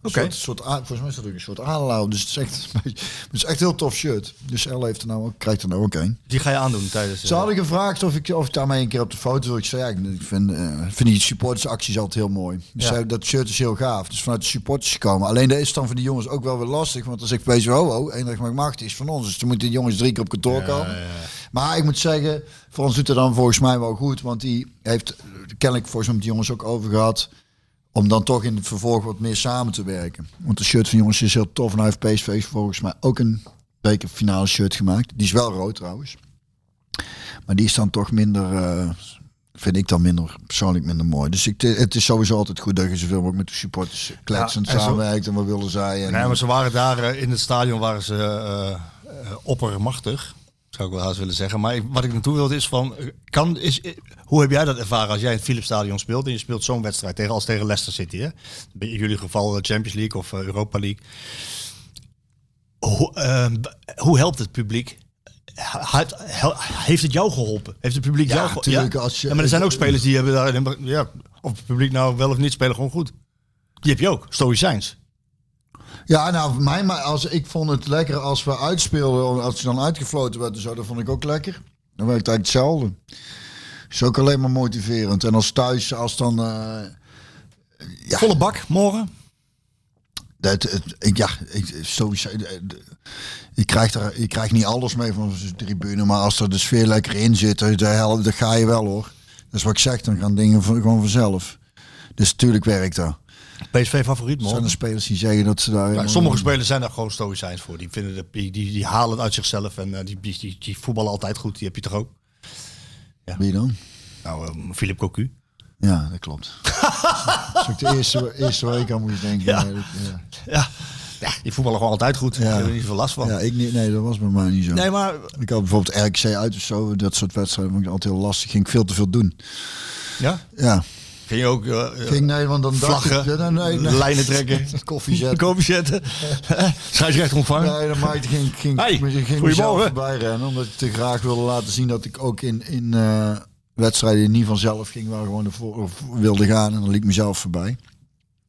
S7: Oké. Soort, soort, a- volgens mij is dat ook een soort adelauw. Dus het is, echt, een beetje- het is echt een heel tof shirt. Dus Elle heeft er nou ook, krijgt er nou ook een.
S10: Die ga je aandoen tijdens...
S8: Dus,
S10: eh,
S8: eh,
S7: Ze hadden gevraagd of ik, of ik daarmee een keer op de foto wil. Ik zei, ja, ik vind, eh, vind die supportersacties altijd heel mooi. Dus zei, dat shirt is heel gaaf. Dus vanuit de supporters gekomen. Alleen dat is dan voor die jongens ook wel weer lastig. Want als ik weet, oh, ho, ho, Eendracht maakt macht is van ons. Dus dan moeten die jongens drie keer op kantoor komen. Maar ik moet zeggen, voor ons doet het dan volgens mij wel goed. Want die heeft eh, kennelijk volgens mij met die jongens ook over gehad. Om dan toch in het vervolg wat meer samen te werken. Want de shirt van jongens is heel tof. En hij heeft PSV volgens mij ook een bekerfinale shirt gemaakt. Die is wel rood trouwens. Maar die is dan toch minder, eh, vind ik dan minder, persoonlijk minder mooi. Dus ik, het is sowieso altijd goed dat je zoveel mogelijk met de supporters kletsend
S10: Ja, en zo-
S7: samenwerkt. En wat willen zij? En,
S8: Nee, maar ze waren daar eh, in het stadion waren ze eh, eh, oppermachtig. Zou ik wel haast willen zeggen. Maar ik- wat ik naartoe wilde is van, eh, kan, is, eh, hoe heb jij dat ervaren als jij in het Philips Stadion speelt en je speelt zo'n wedstrijd tegen als tegen Leicester City? Hè? In jullie geval eh, Champions League of eh, Europa League. Hoe, eh, b- hoe helpt het publiek? Ha- het- hel- Heeft het jou geholpen? Heeft het publiek
S7: Ja,
S8: jou geholpen?
S7: tuurlijk, als je-
S8: ja, maar er zijn ook spelers die hebben daar... Ja, of het publiek nou wel of niet spelen gewoon goed. Die heb je ook. Stoïcijns.
S7: Ja, nou, voor mij, maar als, ik vond het lekker als we uitspeelden, als je dan uitgefloten werd en zo, dat vond ik ook lekker. Dan werkt het eigenlijk hetzelfde. Is ook alleen maar motiverend. En als thuis, als dan. eh,
S8: Volle bak morgen.
S7: dat, het, ik, ja, ik, sowieso. eh, de- Je krijgt, er, je krijgt niet alles mee van zo'n tribune, maar als er de sfeer lekker in zit, eh, de helft, dan ga je wel hoor. Dat is wat ik zeg, dan gaan dingen van- gewoon vanzelf. Dus tuurlijk werkt dat.
S8: PSV favoriet
S7: Er zijn er
S8: morgen.
S7: spelers die zeggen dat ze daar.
S8: Ja,
S7: helemaal-
S8: sommige spelers zijn daar gewoon stoïcijns voor. Die, vinden de, die, die, die halen het uit zichzelf en eh, die, die, die, die voetballen altijd goed. Die heb je toch ook?
S7: Wie dan?
S8: Nou,
S7: ehm,
S8: eh, Philip Cocu.
S7: Ja, dat klopt. dat is ook de eerste, eerste waar ik aan moest denken.
S8: Ja.
S7: Nee, dat- ja.
S8: Ja. ja, die voetballen gewoon altijd goed. Daar hebben we niet veel last van.
S7: Ja, ik niet, nee, dat was bij mij niet zo.
S8: Nee, maar
S7: Ik had bijvoorbeeld RKC uit of zo, dat soort wedstrijden vond ik altijd heel lastig. Ging ik veel te veel doen.
S8: ja?
S7: Ja,
S8: ging je ook eh,
S7: ging nee, want dan dacht ik-
S8: vlaggen,
S7: nee, nee, nee.
S8: lijnen trekken,
S7: koffie zetten.
S8: kopen zetten, scheidsrecht ontvangen.
S7: Nee, dan maakte ging, ging,
S8: Hey,
S7: ging, ging mezelf
S8: goedemorgen.
S7: voorbij rennen, omdat ik te graag wilde laten zien dat ik ook in, in eh, wedstrijden die niet vanzelf ging, waar gewoon ervoor of wilde gaan en dan liep ik mezelf voorbij.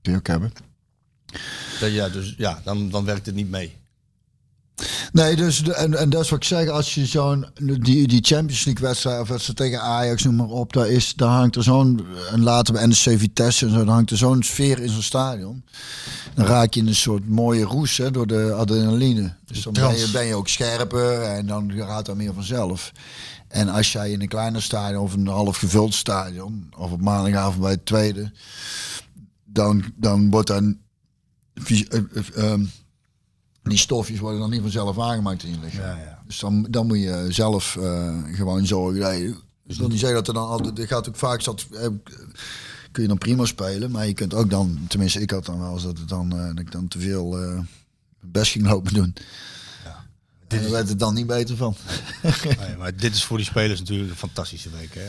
S7: Kun je ook hebben.
S8: Ja, dus ja, dan, dan werkt het niet mee.
S7: Nee, dus de, en, en dat is wat ik zeg, als je zo'n die, die Champions League wedstrijd of wedstrijd tegen Ajax noem maar op, daar, is, daar hangt er zo'n en later bij NEC Vitesse en zo, daar hangt er zo'n sfeer in zo'n stadion. Dan raak je in een soort mooie roes hè, door de adrenaline. Dus dan ben je, ben je ook scherper en dan gaat dat meer vanzelf. En als jij in een kleiner stadion of een half gevuld stadion of op maandagavond bij het tweede, dan, dan wordt dan fys- eh, eh, ehm, die stofjes worden dan niet vanzelf aangemaakt in je lichaam. Dus dan, dan moet je zelf eh, gewoon zorgen. dat je- Ik
S8: Dus
S7: wil niet zeggen dat er dan altijd. Er gaat ook vaak zat. eh, kun je dan prima spelen, maar je kunt ook dan. Tenminste, ik had dan wel eens dat, het dan, eh, dat ik dan te veel eh, mijn best ging lopen doen. En daar werd het dan niet beter van.
S8: Nee, maar dit is voor die spelers natuurlijk een fantastische week. Hè?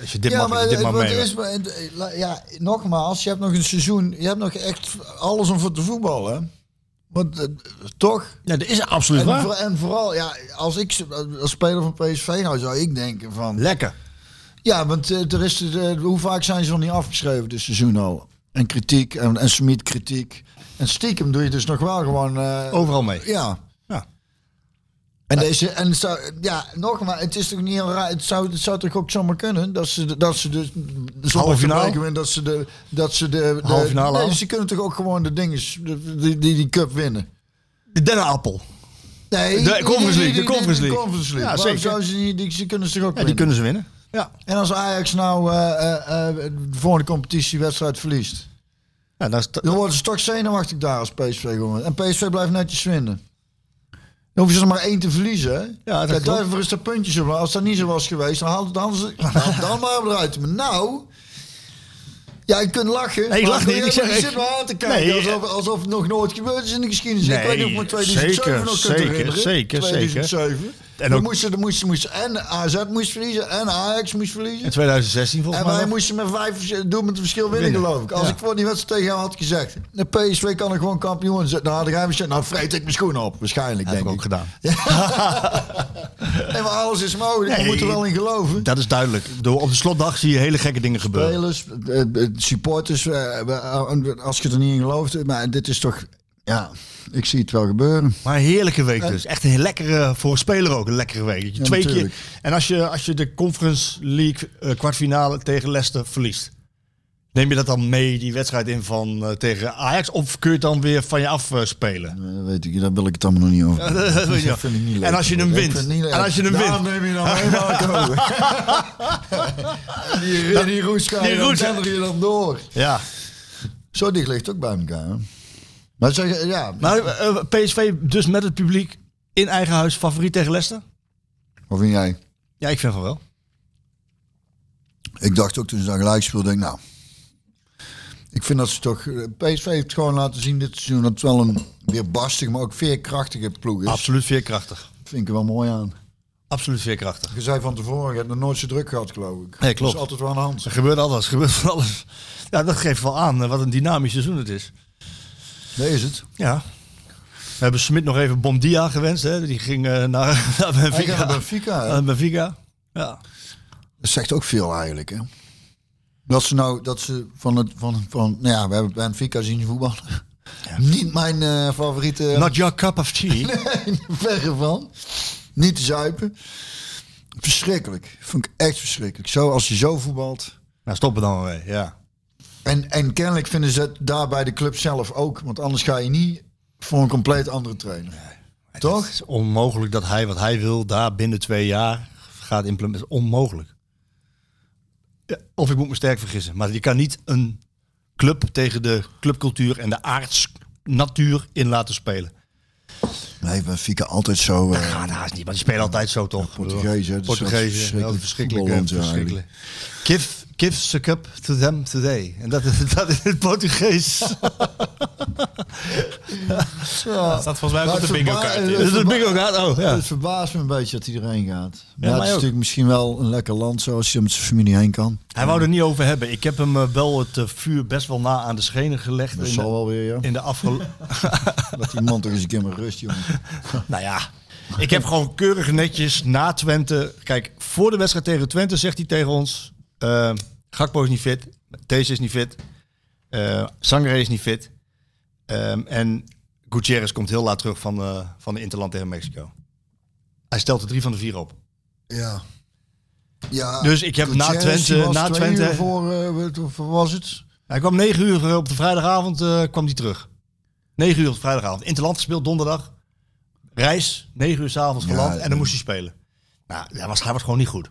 S8: Als je dit
S7: Ja,
S8: mag, als
S7: maar
S8: je dit
S7: het,
S8: mag
S7: het
S8: mee.
S7: is, maar het- la- ja, nogmaals, je hebt nog een seizoen, je hebt nog echt alles om voor te voetballen. hè? Want eh, toch?
S10: Ja, dat is absoluut
S7: En,
S10: waar.
S7: voor- en vooral, ja, als ik als speler van PSV nou zou ik denken van...
S10: Lekker.
S7: Ja, want eh, er is, eh, hoe vaak zijn ze nog niet afgeschreven dit seizoen al? En kritiek, en, en Smit kritiek. En stiekem doe je dus nog wel gewoon... eh,
S8: Overal mee.
S7: ja.
S8: Ja.
S7: En, deze, en het zou, ja, nogmaals, het is toch niet heel raar. Het zou, het zou toch ook zomaar kunnen dat ze, de- dat ze dus
S8: Halve finale?
S7: winnen, dat ze de, dat ze de, de
S8: Halve finale
S7: Nee,
S8: al?
S7: ze kunnen toch ook gewoon de dinges, de- die, die, die cup winnen.
S8: De dennenappel.
S7: Nee,
S8: De Conference League, de Conference League.
S7: Ja,
S8: Ja,
S7: Waarom
S8: zeker.
S7: zouden ze niet- die, ze kunnen ze toch ook
S8: Ja, die
S7: winnen?
S8: kunnen ze winnen. Ja.
S7: En als Ajax nou eh, eh, eh, de volgende competitiewedstrijd verliest,
S8: ja dat is t-
S7: dan worden ze toch zenuwachtig daar als PSV gewoon. En PSV blijft netjes winnen. Dan hoeven ze er maar één te verliezen. hè?
S8: dat
S7: Kijk,
S8: klopt.
S7: daarvoor is dat puntje op. Als dat niet zo was geweest, dan haalden dan ze dan, dan maar eruit. Maar nou, ja, je kunt lachen.
S8: Nee, ik
S7: maar
S8: lach niet. Ik zeg-
S7: je
S8: ik-
S7: zit maar aan te kijken
S8: Nee,
S7: alsof, alsof het nog nooit gebeurd is in de geschiedenis. ik
S8: Nee,
S7: weet niet of ik me 2007
S8: zeker,
S7: nog
S8: zeker,
S7: kunt herinneren.
S8: zeker, zeker.
S7: 2007.
S8: En
S7: En
S8: ook-
S7: dan moesten, dan moesten, moesten en AZ moest verliezen en Ajax moest verliezen.
S8: in 2016 volgens
S7: En
S8: mij.
S7: wij
S8: nog.
S7: moesten met vijf doen met het verschil winnen,
S8: Winnen.
S7: geloof ik. Als
S8: Ja.
S7: ik voor die wedstrijd tegen jou had gezegd, de PSV kan er gewoon kampioen zijn. Dan had jij gezegd, nou vreet ik mijn schoenen op. Waarschijnlijk,
S8: heb
S7: denk
S8: ik
S7: ik.
S8: ook gedaan.
S7: Nee, maar alles is mogelijk.
S8: Nee.
S7: We moeten er wel in geloven.
S8: Dat is duidelijk. Ik bedoel, Op de slotdag zie je hele gekke dingen gebeuren.
S7: Spelers, eh, eh, supporters, eh, eh, als je er niet in gelooft. Maar dit is toch, ja, ik zie het wel gebeuren.
S8: Maar een heerlijke week dus. Echt een lekkere, voor een speler ook een lekkere week. Dat je
S7: Ja,
S8: twee keer,
S7: natuurlijk.
S8: en als je, als je de Conference League eh, kwartfinale tegen Leicester verliest. Neem je dat dan mee, die wedstrijd in van eh, tegen Ajax? Of kun je het dan weer van je af eh, spelen?
S7: Eh, weet ik, daar wil ik het allemaal nog niet over.
S8: dat weet je
S7: vind ik niet leuk.
S8: En als je hem
S7: Ik
S8: wint?
S7: vind het niet leuk.
S8: En als je hem
S7: Daar
S8: wint?
S7: neem je nou helemaal over. die, die roes ga je
S8: Die
S7: dan,
S8: roes, hè?
S7: dender je dan door.
S8: Ja.
S7: Zo dicht ligt ook bij elkaar. hè. Maar zeg, ja,
S8: Maar eh, PSV dus met het publiek in eigen huis favoriet tegen Leicester?
S7: wat vind jij?
S8: Ja, ik vind van wel.
S7: Ik dacht ook toen ze dan gelijk speelden, denk ik, nou. Ik vind dat ze toch. eh, PSV heeft gewoon laten zien dit seizoen dat het wel een weer barstige, maar ook veerkrachtige ploeg is.
S8: Absoluut veerkrachtig.
S7: Vind ik er wel mooi aan.
S8: Absoluut veerkrachtig.
S7: Je zei van tevoren, je hebt nog nooit zo druk gehad, geloof ik.
S8: Nee, klopt.
S7: Dat is altijd wel aan de hand.
S8: Er gebeurt alles, er gebeurt van alles. Ja, dat geeft wel aan eh, wat een dynamisch seizoen het is.
S7: Dat is het.
S8: Ja. We hebben Smit nog even Bomdia gewenst. Hè? Die ging eh, naar, naar
S7: Hij gaat naar
S8: Benfica.
S7: Benfica. hè.
S8: Naar Benfica. Ja.
S7: Dat zegt ook veel eigenlijk, hè? Dat ze nou, dat ze van het, van, van nou ja, we hebben Benfica zien voetballen. Niet mijn eh, favoriete,
S8: Not your cup of tea.
S7: verre van. Niet te zuipen. Verschrikkelijk. Vond ik echt verschrikkelijk. Zo, als je zo voetbalt.
S8: Nou, stoppen dan maar mee. Ja.
S7: En, en kennelijk vinden ze het daar bij de club zelf ook. Want anders ga je niet voor een compleet andere trainer. Toch?
S8: Het is onmogelijk dat hij wat hij wil daar binnen twee jaar gaat implementeren. Onmogelijk. Ja, of ik moet me sterk vergissen. Maar je kan niet een club tegen de clubcultuur en de aardsnatuur in laten spelen.
S7: Nee, Benfica altijd zo... eh,
S8: Ja, dat is niet, maar die spelen altijd zo toch?
S7: Portugees, hè? Dat is
S8: Portugees,
S7: wel verschrikkelijk.
S8: ja, verschrikkelijk.
S7: Voetballand, ja,
S8: verschrikkelijk. Give, give the cup to them today. En dat, is- dat is het Portugees.
S9: Dat staat volgens mij ook
S7: Maar
S9: op de
S7: het
S9: bingo
S7: verba-
S9: kaart.
S7: eh,
S9: in.
S8: dat is het bingo gaat. Oh, ja.
S7: Het verbaast me een beetje dat iedereen gaat. Maar ja,
S8: mij
S7: het is
S8: ook.
S7: natuurlijk misschien wel een lekker land zo als je er met zijn familie heen kan.
S8: Hij wou er niet over hebben. Ik heb hem eh, wel het eh, vuur best wel na aan de schenen gelegd.
S7: Dat
S8: in,
S7: zal
S8: de,
S7: wel weer, ja.
S8: in de afgelopen...
S7: Dat die man toch eens een keer met rust, jongen.
S8: nou ja, ik heb gewoon keurig netjes na Twente... Kijk, voor de wedstrijd tegen Twente zegt hij tegen ons... eh, Gakpo is niet fit. Thees is niet fit. eh Sangre is niet fit. ehm, en Gutierrez komt heel laat terug van, eh, van de Interland tegen Mexico. Hij stelt er drie van de vier op.
S7: Ja. ja.
S8: Dus ik heb na
S7: Gutierrez, die
S8: Twente-
S7: was
S8: na
S7: twee
S8: Twente-
S7: uur voor, eh, wat- of was het?
S8: Hij kwam negen uur op de vrijdagavond eh, kwam hij terug. Negen uur op de vrijdagavond. Interland gespeeld donderdag. Reis, negen uur s'avonds geland. en dan moest hij spelen. Nou, hij was, hij was gewoon niet goed.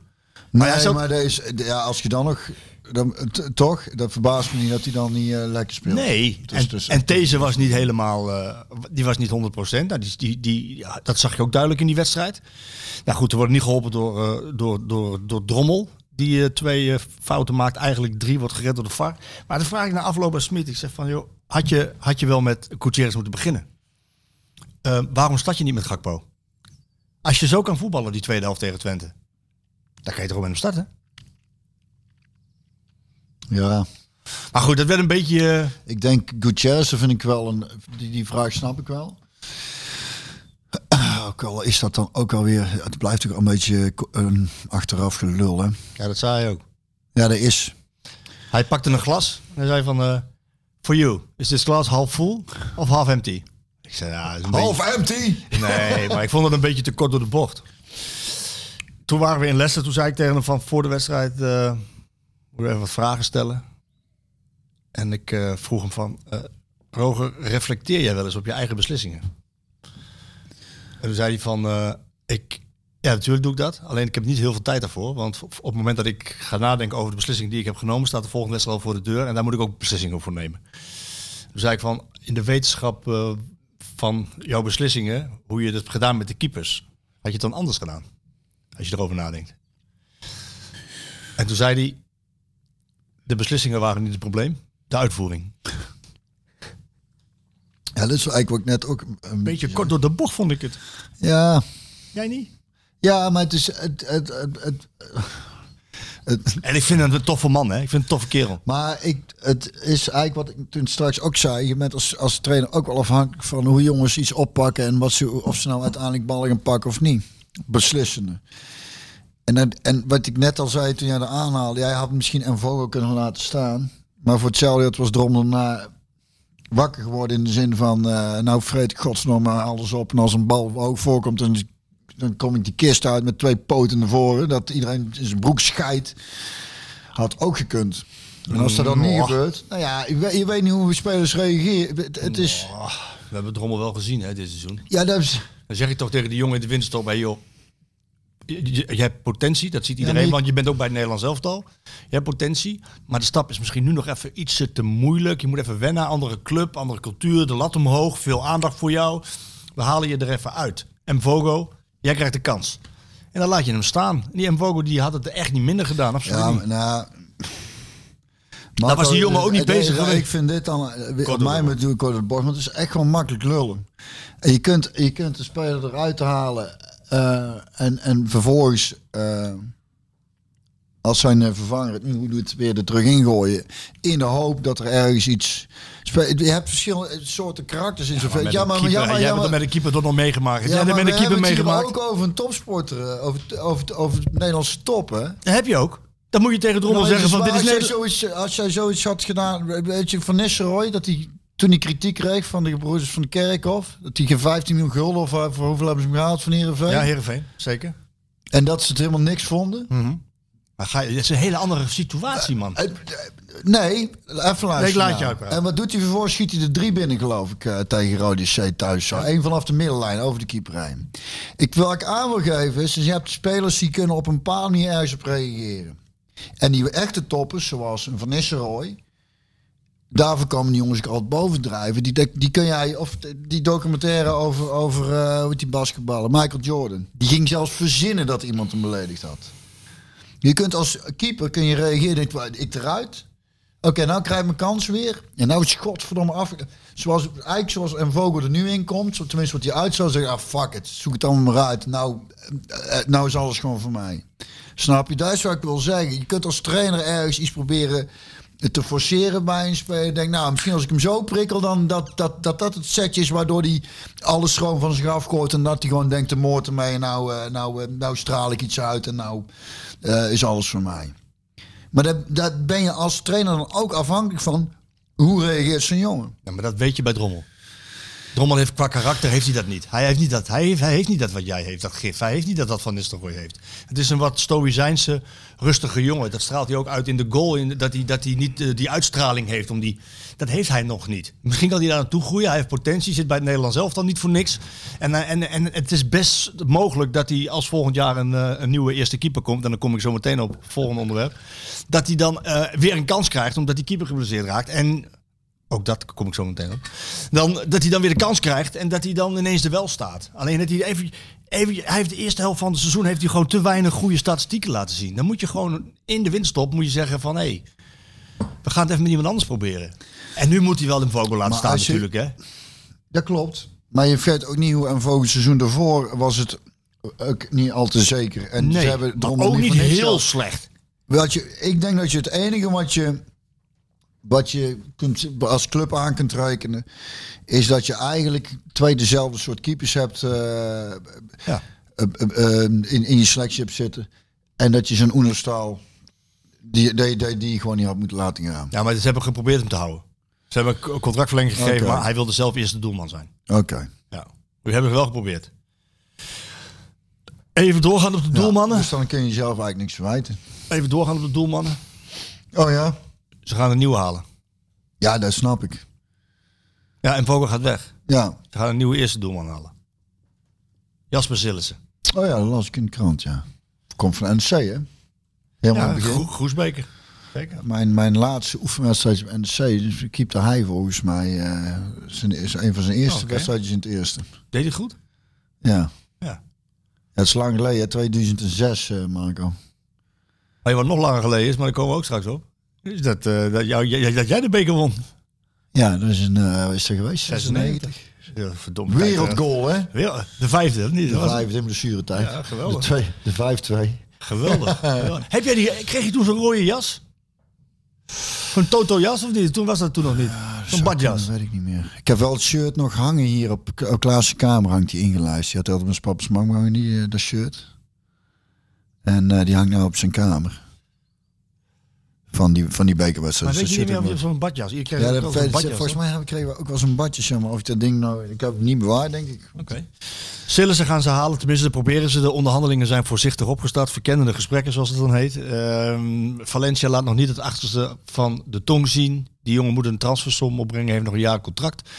S7: Nee,
S8: hij
S7: maar,
S8: zat-
S7: deze, ja, als je dan nog... Dan, t- toch, dat verbaast me niet dat hij dan niet eh, lekker speelt.
S8: Nee,
S7: Het is
S8: en,
S7: dus-
S8: en deze was niet helemaal, eh, die was niet 100%. Nou, die, die, die, ja, dat zag je ook duidelijk in die wedstrijd. Nou goed, er wordt niet geholpen door, eh, door, door, door Drommel, die eh, twee eh, fouten maakt. Eigenlijk drie wordt gered door de VAR. Maar dan vraag ik na afloop aan Smit, ik zeg van joh, had je, had je wel met Gutierrez moeten beginnen? Eh, waarom start je niet met Gakpo? Als je zo kan voetballen die tweede helft tegen Twente, dan kan je toch ook met hem starten?
S7: Ja,
S8: Maar goed, dat werd een beetje... eh,
S7: ik denk Gutierrez dat vind ik wel een... Die, die vraag snap ik wel. Ook al is dat dan ook alweer... Het blijft toch een beetje eh, een achteraf gelul, hè?
S8: ja, dat zei je ook.
S7: Ja, dat is...
S8: Hij pakte een glas en hij zei van... eh, For you, is this glass half full of half empty? Ik zei, ja, dat is een
S7: Half empty!
S8: beetje- Nee, maar ik vond het een beetje te kort door de bocht. Toen waren we in Leicester, toen zei ik tegen hem van voor de wedstrijd... eh moet ik even wat vragen stellen. En ik eh, vroeg hem van... eh, Roger, reflecteer jij wel eens op je eigen beslissingen? En toen zei hij van... eh, ik, ja, natuurlijk doe ik dat. Alleen ik heb niet heel veel tijd daarvoor. Want op op het moment dat ik ga nadenken over de beslissing die ik heb genomen, staat de volgende wedstrijd al voor de deur. En daar moet ik ook beslissingen voor nemen. Toen zei ik van, in de wetenschap eh, van jouw beslissingen, hoe je dat hebt gedaan met de keepers, had je het dan anders gedaan? Als je erover nadenkt. En toen zei hij, de beslissingen waren niet het probleem, de uitvoering.
S7: Ja, dat is eigenlijk wat ik net ook... Een
S8: Beetje kort door de bocht vond ik het.
S7: Ja,
S8: Jij niet?
S7: ja maar het is... Het, het, het, het, het-
S8: En ik vind hem een toffe man, hè? Ik vind hem een toffe kerel.
S7: maar ik, het is eigenlijk wat ik toen straks ook zei. Je bent als, als trainer ook wel afhankelijk van hoe jongens iets oppakken... en wat ze, of ze nou uiteindelijk ballen gaan pakken of niet. Beslissende. En, dat- en wat ik net al zei toen jij er aanhaalde... jij had misschien een vogel kunnen laten staan. Maar voor hetzelfde het was Drommel na wakker geworden... in de zin van, eh, nou vreet ik godsnorm alles op... en als een bal ook voorkomt... dan dan kom ik die kist uit met twee poten naar voren. Dat iedereen in zijn broek scheidt. Had ook gekund. En als dat dan niet gebeurt... Nou ja, je weet, je weet niet hoe spelers reageren. Het, het is...
S8: we hebben Drommel wel gezien, hè, dit seizoen.
S7: Ja, dat is...
S8: Dan zeg ik toch tegen die jongen in de winterstop, hey joh, je, je- je hebt potentie, dat ziet
S7: maar
S8: iedereen,
S7: je-
S8: want je bent ook bij het Nederlands elftal. Je hebt potentie, maar de stap is misschien nu nog even iets te moeilijk. Je moet even wennen, andere club, andere cultuur, de lat omhoog, veel aandacht voor jou. We halen je er even uit. En Vogo, jij krijgt de kans. En dan laat je hem staan. En die Mvogo die had het er echt niet minder gedaan, absoluut
S7: Ja,
S8: niet.
S7: maar nou...
S8: Daar was die jongen ook niet
S7: het- het-
S8: bezig geweest.
S7: Ik vind dit dan... eh, Wat
S8: door
S7: mij
S8: de
S7: moet doen, kort door de bocht. Want het is echt gewoon makkelijk lullen. En je kunt, je kunt de speler eruit halen. eh, en, en vervolgens... eh, als zijn eh, vervanger het nu doet, weer er terug ingooien. In de hoop dat er ergens iets... spe- Je hebt verschillende soorten karakters in zo'n veld.
S8: Met
S7: Ja,
S8: een
S7: maar...
S8: keeper,
S7: ja, maar-
S8: jij
S7: ja,
S8: hebt
S7: maar-
S8: het met een keeper toch nog meegemaakt. Ja, jij hebt
S7: maar
S8: het met
S7: we
S8: een keeper
S7: hebben het hier
S8: meegemaakt.
S7: ook over een topsporter, eh, over, over, over het Nederlandse top, hè?
S8: Dat heb je ook. Dan moet je tegen Drommel
S7: Nou,
S8: zeggen
S7: het
S8: van
S7: waar,
S8: dit is
S7: als, jij
S8: Nederland.
S7: zoiets, eh, als jij zoiets had gedaan, weet je, Van Nistelrooy, dat hij toen hij kritiek kreeg van de broers van de Kerkhof, dat hij geen 15 miljoen gulden of eh, voor hoeveel hebben ze hem gehaald van Heerenveen?
S8: Ja, Heerenveen, zeker.
S7: En dat ze het helemaal niks vonden.
S8: Hm. Maar ga je, dat is een hele andere situatie, man.
S7: Eh, eh, Nee, even luisteren.
S8: Nee, ik laat je
S7: nou.
S8: uitpraten.
S7: En wat doet hij vervolgens? Schiet hij er drie binnen, geloof ik, eh, tegen Rode C thuis. Zo. Eén vanaf de middenlijn, over de keeperlijn. Ik, wat ik aan wil geven is, is, je hebt spelers die kunnen op een paar manier ergens op reageren. En die echte toppers, zoals een Van Nistelrooy, daarvoor komen die jongens ook altijd bovendrijven. Die, dek- die kun jij, of die documentaire over, over eh, hoe heet die basketballer, Michael Jordan. Die ging zelfs verzinnen dat iemand hem beledigd had. Je kunt als keeper kun je reageren, denk, "Waar, ik eruit. Oké, nou krijg ik mijn kans weer. En nou is het godverdomme af. Zoals, eigenlijk zoals een vogel er nu in komt, zo- tenminste wat hij uit zou zeggen, ah fuck it, zoek het allemaal maar uit. Nou, eh, eh, nou is alles gewoon voor mij. Snap je? Dat is wat ik wil zeggen. Je kunt als trainer ergens iets proberen te forceren bij een speler. Denk, nou, misschien als ik hem zo prikkel, dan dat dat, dat, dat het setje is waardoor hij alles schoon van zich afgooit. En dat hij gewoon denkt, de moord ermee, nou, eh, nou, eh, nou straal ik iets uit en nou eh, is alles voor mij. Maar daar, daar ben je als trainer dan ook afhankelijk van hoe reageert zo'n jongen.
S8: Ja, maar dat weet je bij Drommel. Drommel heeft qua karakter heeft hij dat niet. Hij heeft niet dat, hij heeft, hij heeft niet dat wat jij heeft, dat gif. Hij heeft niet dat wat Van Nistelrooy heeft. Het is een wat stoïcijnse, rustige jongen. Dat straalt hij ook uit in de goal. In, dat, hij, dat hij niet eh, die uitstraling heeft. Om die, dat heeft hij nog niet. Misschien kan hij daar naartoe groeien. Hij heeft potentie, zit bij het Nederlands elftal niet voor niks. En, eh, en, en het is best mogelijk dat hij als volgend jaar een, eh, een nieuwe eerste keeper komt. En dan kom ik zo meteen op het volgende onderwerp. Dat hij dan eh, weer een kans krijgt omdat die keeper geblesseerd raakt. En ook dat kom ik zo meteen op. Dan, dat hij dan weer de kans krijgt en dat hij dan ineens er wel staat. Alleen dat hij even, even. Hij heeft de eerste helft van het seizoen heeft hij gewoon te weinig goede statistieken laten zien. Dan moet je gewoon in de winststop moet je zeggen van hé, hey, we gaan het even met iemand anders proberen. En nu moet hij wel de vogel laten
S7: Maar
S8: staan,
S7: als je-
S8: natuurlijk. Hè?
S7: Dat klopt. Maar je vergeet ook niet hoe en volgend seizoen daarvoor was het ook niet al te zeker. En ze
S8: Nee,
S7: hebben
S8: maar
S7: Drommel
S8: ook niet
S7: voor niks
S8: heel
S7: gehad.
S8: slecht.
S7: Wat je, ik denk dat je het enige wat je, wat je kunt, als club aan kunt rekenen, is dat je eigenlijk twee dezelfde soort keepers hebt eh,
S8: Ja.
S7: eh, eh, eh, in, in je selectie hebt zitten. En dat je zo'n Oenerstaal, die, die, die, die je gewoon niet had moeten laten gaan.
S8: Ja, maar ze hebben geprobeerd hem te houden. Ze hebben een contractverlenging gegeven,
S7: Oké.
S8: maar hij wilde zelf eerst de doelman zijn.
S7: Oké.
S8: Ja. Nou, We hebben het wel geprobeerd. Even doorgaan op de
S7: Ja,
S8: doelmannen.
S7: dus dan kun je jezelf eigenlijk niks verwijten.
S8: Even doorgaan op de doelmannen.
S7: Oh ja?
S8: Ze gaan een nieuwe halen.
S7: Ja, dat snap ik.
S8: Ja, en Vogel gaat weg.
S7: Ja.
S8: Ze gaan een nieuwe eerste doelman halen. Jasper Sillissen.
S7: Oh ja, dat las ik in de krant, ja. Komt van NC, hè? Helemaal aan het begin.
S8: Gro- Groesbeker.
S7: Mijn, mijn laatste oefenwedstrijd op NC, dus keepte hij volgens mij eh, zijn, is een van zijn eerste
S8: Oh, oké.
S7: wedstrijdjes in het eerste.
S8: Deed hij goed?
S7: Ja.
S8: Ja.
S7: Ja, Het is lang geleden, hè, 2006, eh, Marco.
S8: Maar wat nog langer geleden is, maar daar komen we ook straks op. Is dat, eh, dat, jou, jij- dat jij de beker won.
S7: Ja, dat is een, eh, wat is er geweest?
S8: 96. Ja, verdomme.
S7: Wereldgoal, hè?
S8: Ja, de vijfde. of Niet,
S7: De
S8: Dat was-
S7: vijfde in blessuretijd.
S8: Ja, geweldig.
S7: De twee- De 5-2.
S8: Geweldig. Heb jij die, kreeg je toen zo'n rode jas? Zo'n Toto-jas of niet? Toen was dat toen nog niet. zo'n badjas.
S7: Dat weet ik niet meer. Ik heb wel het shirt nog hangen hier op, op Klaas' kamer hangt die ingelijst. Die had altijd mijn papa's mama hangen, die, eh, dat shirt. En eh, die hangt nou op zijn kamer. Van die, van die
S8: Maar
S7: bekerwedstrijd. Dus
S8: weet je
S7: shirt
S8: niet meer
S7: heb ik
S8: of je
S7: nog.
S8: zo'n badjas... Je kreeg
S7: ja,
S8: ook
S7: dat
S8: wel
S7: weet
S8: zo'n
S7: ik.
S8: badjas,
S7: volgens
S8: toch?
S7: mij heb- kregen we ook wel zo'n badje, zeg maar. Of ik dat ding nou... Ik heb het niet bewaard, denk ik.
S8: Zullen ze gaan ze halen, tenminste dat proberen ze. De onderhandelingen zijn voorzichtig opgestart. Verkennende gesprekken, zoals het dan heet. Ehm, Valencia laat nog niet het achterste van de tong zien. Die jongen moet een transfersom opbrengen, heeft nog een jaar contract.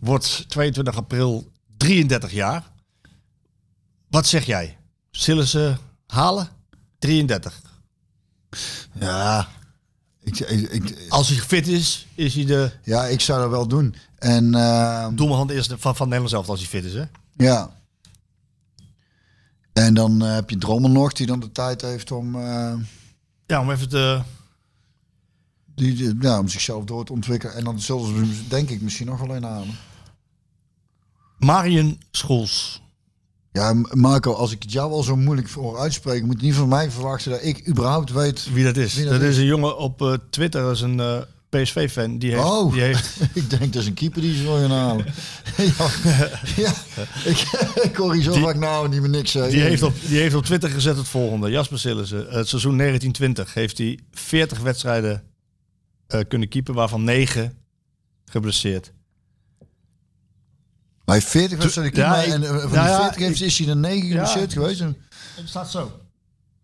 S8: Wordt 22 april 33 jaar. Wat zeg jij? Zullen ze halen? 33.
S7: Ja. Ik, ik, ik-
S8: Als hij fit is, is hij de
S7: ja, ik zou dat wel doen. En... ehm,
S8: doelman van, de eerste- van, van Nederland zelf als hij fit is. Hè?
S7: Ja. En dan eh, heb je Drommel nog, die dan de tijd heeft om, eh,
S8: Ja, om even te...
S7: die, die- ja, om zichzelf door te ontwikkelen. En dan zullen ze hem, denk ik misschien nog wel een halen.
S8: Marion Schoels.
S7: Ja, M- Marco, als ik het jou al zo moeilijk voor uitspreek, moet je niet van mij verwachten dat ik überhaupt weet.
S8: Wie dat is.
S7: Wie
S8: dat
S7: dat
S8: is een jongen op eh, Twitter, dat is een eh, PSV-fan. Die heeft,
S7: Oh.
S8: die heeft
S7: ik denk dat is een keeper die ze wil gaan halen. ja, ja, ik, ik hoor hier zo
S8: Die-
S7: vaak nou niet meer niks zeggen.
S8: Die heeft, op, die heeft op Twitter gezet het volgende. Jasper Sillissen, eh, het seizoen 1920 heeft hij 40 wedstrijden eh, kunnen keeper, waarvan 9 geblesseerd.
S7: Hij heeft 40 wedstrijden
S8: Ja,
S7: keeper
S8: ik-
S7: en eh, van
S8: nou
S7: die
S8: ja,
S7: 40 heeft, is hij er 9 geblesseerd geweest. En-
S8: Het staat zo.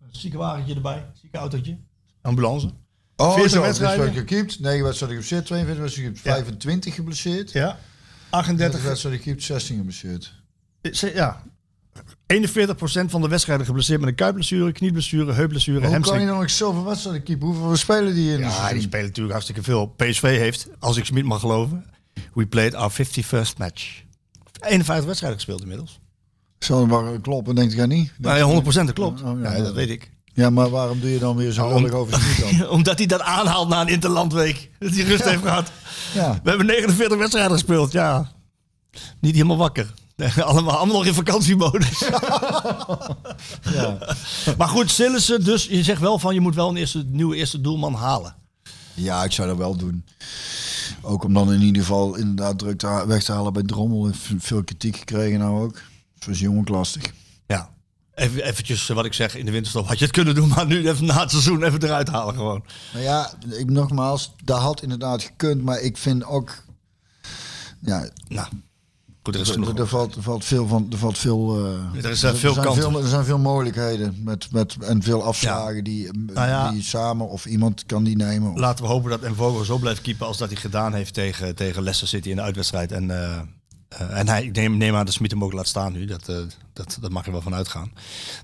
S8: Een zieke wagentje erbij, zieke autootje. Ambulance.
S7: Oh,
S8: 40
S7: zo,
S8: wedstrijden.
S7: Dus gekiept, 9 wedstrijden geblesseerd, 42 wedstrijden gekiept, 25 geblesseerd.
S8: Ja.
S7: 30
S8: 38
S7: wedstrijden gekiept, 16 geblesseerd.
S8: wedstrijden. Eh, Ja. 41% van de wedstrijden geblesseerd met een kuitblessure, knieblessure, heupblessure,
S7: Hoe kan
S8: hamstring.
S7: je dan nog zoveel wedstrijden keepen? Hoeveel spelen die in? een
S8: Ja,
S7: seizoen?
S8: die spelen natuurlijk hartstikke veel. PSV heeft, als ik Smit mag geloven, we played our 51st match. 51 wedstrijden gespeeld inmiddels.
S7: Zal het maar kloppen, denkt hij niet?
S8: Nou ja, 100% dat klopt.
S7: Oh, ja,
S8: ja,
S7: ja.
S8: dat weet ik.
S7: Ja, maar waarom doe je dan weer zo
S8: Nou,
S7: lullig
S8: om-
S7: over Smit dan?
S8: Omdat hij dat aanhaalt na een interlandweek. Dat hij rust heeft gehad.
S7: Ja.
S8: We hebben 49 wedstrijden gespeeld, ja. Niet helemaal wakker. Allemaal, allemaal nog in vakantiemodus. Maar goed, Sillissen, dus je zegt wel van je moet wel een eerste, nieuwe eerste doelman halen.
S7: ja, ik zou dat wel doen. Ook om dan in ieder geval inderdaad druk te ha- weg te halen bij Drommel. Heeft veel kritiek gekregen nou ook. Dus was jong ook lastig.
S8: Ja. Even eventjes eh, wat ik zeg, in de winterstop had je het kunnen doen, maar nu even na het seizoen even eruit halen gewoon.
S7: Nou ja, ik, nogmaals, dat had inderdaad gekund. Maar ik vind ook... Ja,
S8: Nou, Goed,
S7: Er,
S8: dat
S7: is-
S8: is genoeg.
S7: er, er valt, er valt veel van. Er valt veel. eh,
S8: Er zijn veel
S7: zijn
S8: kanten.
S7: veel, er zijn veel mogelijkheden met, met, en veel afslagen die, eh,
S8: Nou ja.
S7: die samen of iemand kan die nemen. Of-
S8: Laten we hopen dat Envogo zo blijft keepen als dat hij gedaan heeft tegen, tegen Leicester City in de uitwedstrijd. En, eh, eh, en hij, ik neem, neem aan dat Smit hem ook laat staan nu. Dat, eh, dat, dat mag je wel van uitgaan.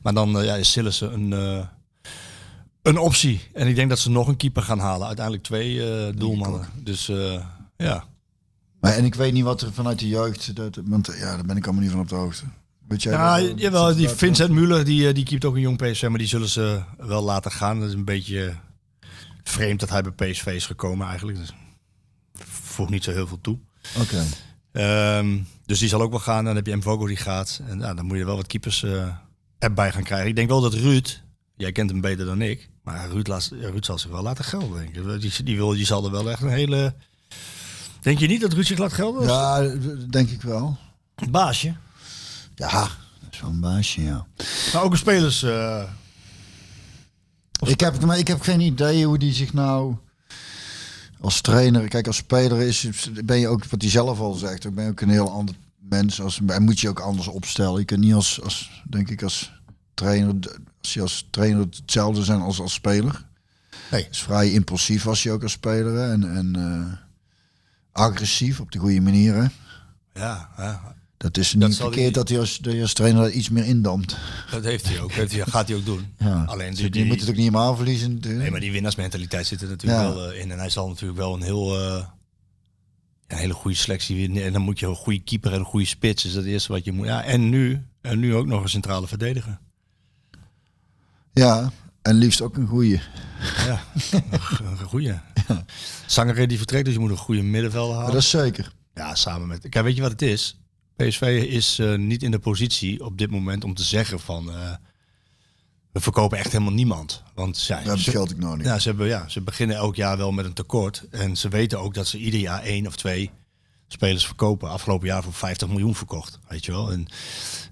S8: Maar dan eh, ja, is Sillissen een, eh, een optie. En ik denk dat ze nog een keeper gaan halen. Uiteindelijk twee eh, doelmannen. Dus eh, ja.
S7: Maar, en ik weet niet wat er vanuit de jeugd. Dat, want eh, ja, daar ben ik allemaal niet van op de hoogte. Weet jij
S8: Ja,
S7: dat, eh,
S8: jawel, die
S7: dat-
S8: Vincent Muller die, eh, die keept ook een jong PSV, maar die zullen ze wel laten gaan. Dat is een beetje vreemd dat hij bij PSV is gekomen eigenlijk. Dat voegt niet zo heel veel toe.
S7: Oké.
S8: Ehm, dus die zal ook wel gaan. Dan heb je M. Vogel die gaat. En ja, dan moet je wel wat keepers eh, erbij gaan krijgen. Ik denk wel dat Ruud, jij kent hem beter dan ik, maar Ruud, laat, Ruud zal zich wel laten gelden. Denk ik. Die, die, wil, die zal er wel echt een hele... Denk je niet dat Ruud zich laat gelden? Als
S7: Ja, dat denk ik wel.
S8: Baasje.
S7: Ja, dat is wel een baasje, ja.
S8: Maar ook een spelers... eh,
S7: Ik heb, maar ik heb geen idee hoe die zich nou als trainer, kijk als speler is, ben je ook wat hij zelf al zegt, dan ben je ook een heel ander mens. Als, en moet je ook anders opstellen. Je kunt niet als, als denk ik als trainer, als je als trainer hetzelfde zijn als als speler.
S8: Nee.
S7: Het is vrij impulsief was je ook als speler hè, en, en eh, agressief op de goede manier. Hè.
S8: ja, ja,
S7: Dat is niet
S8: zal hij
S7: verkeerd
S8: niet-
S7: dat hij als, dat je als trainer daar iets meer indampt.
S8: Dat heeft hij ook. Dat gaat hij ook doen.
S7: Ja.
S8: Alleen
S7: Dus
S8: die,
S7: je moet het ook niet helemaal verliezen. natuurlijk.
S8: nee, maar die winnaarsmentaliteit zit er natuurlijk
S7: Ja.
S8: wel eh, in. En hij zal natuurlijk wel een heel eh, een hele goede selectie winnen. En dan moet je een goede keeper en een goede spits. Is dat het eerste wat je moet. Ja, en nu, en nu ook nog een centrale verdediger.
S7: Ja, en liefst ook een goede.
S8: Ja, een goede. Zanger die vertrekt, dus je moet een goede middenvelder halen.
S7: Dat is zeker.
S8: Ja, samen met. Kijk, weet je wat het is? PSV is eh, niet in de positie op dit moment om te zeggen van. eh, we verkopen echt helemaal niemand. Want zij,
S7: Dat
S8: ze-
S7: geld ik nog niet.
S8: Ja ze, hebben, ja, ze beginnen elk jaar wel met een tekort. En ze weten ook dat ze ieder jaar één of twee spelers verkopen. Afgelopen jaar voor 50 miljoen verkocht, weet je wel. En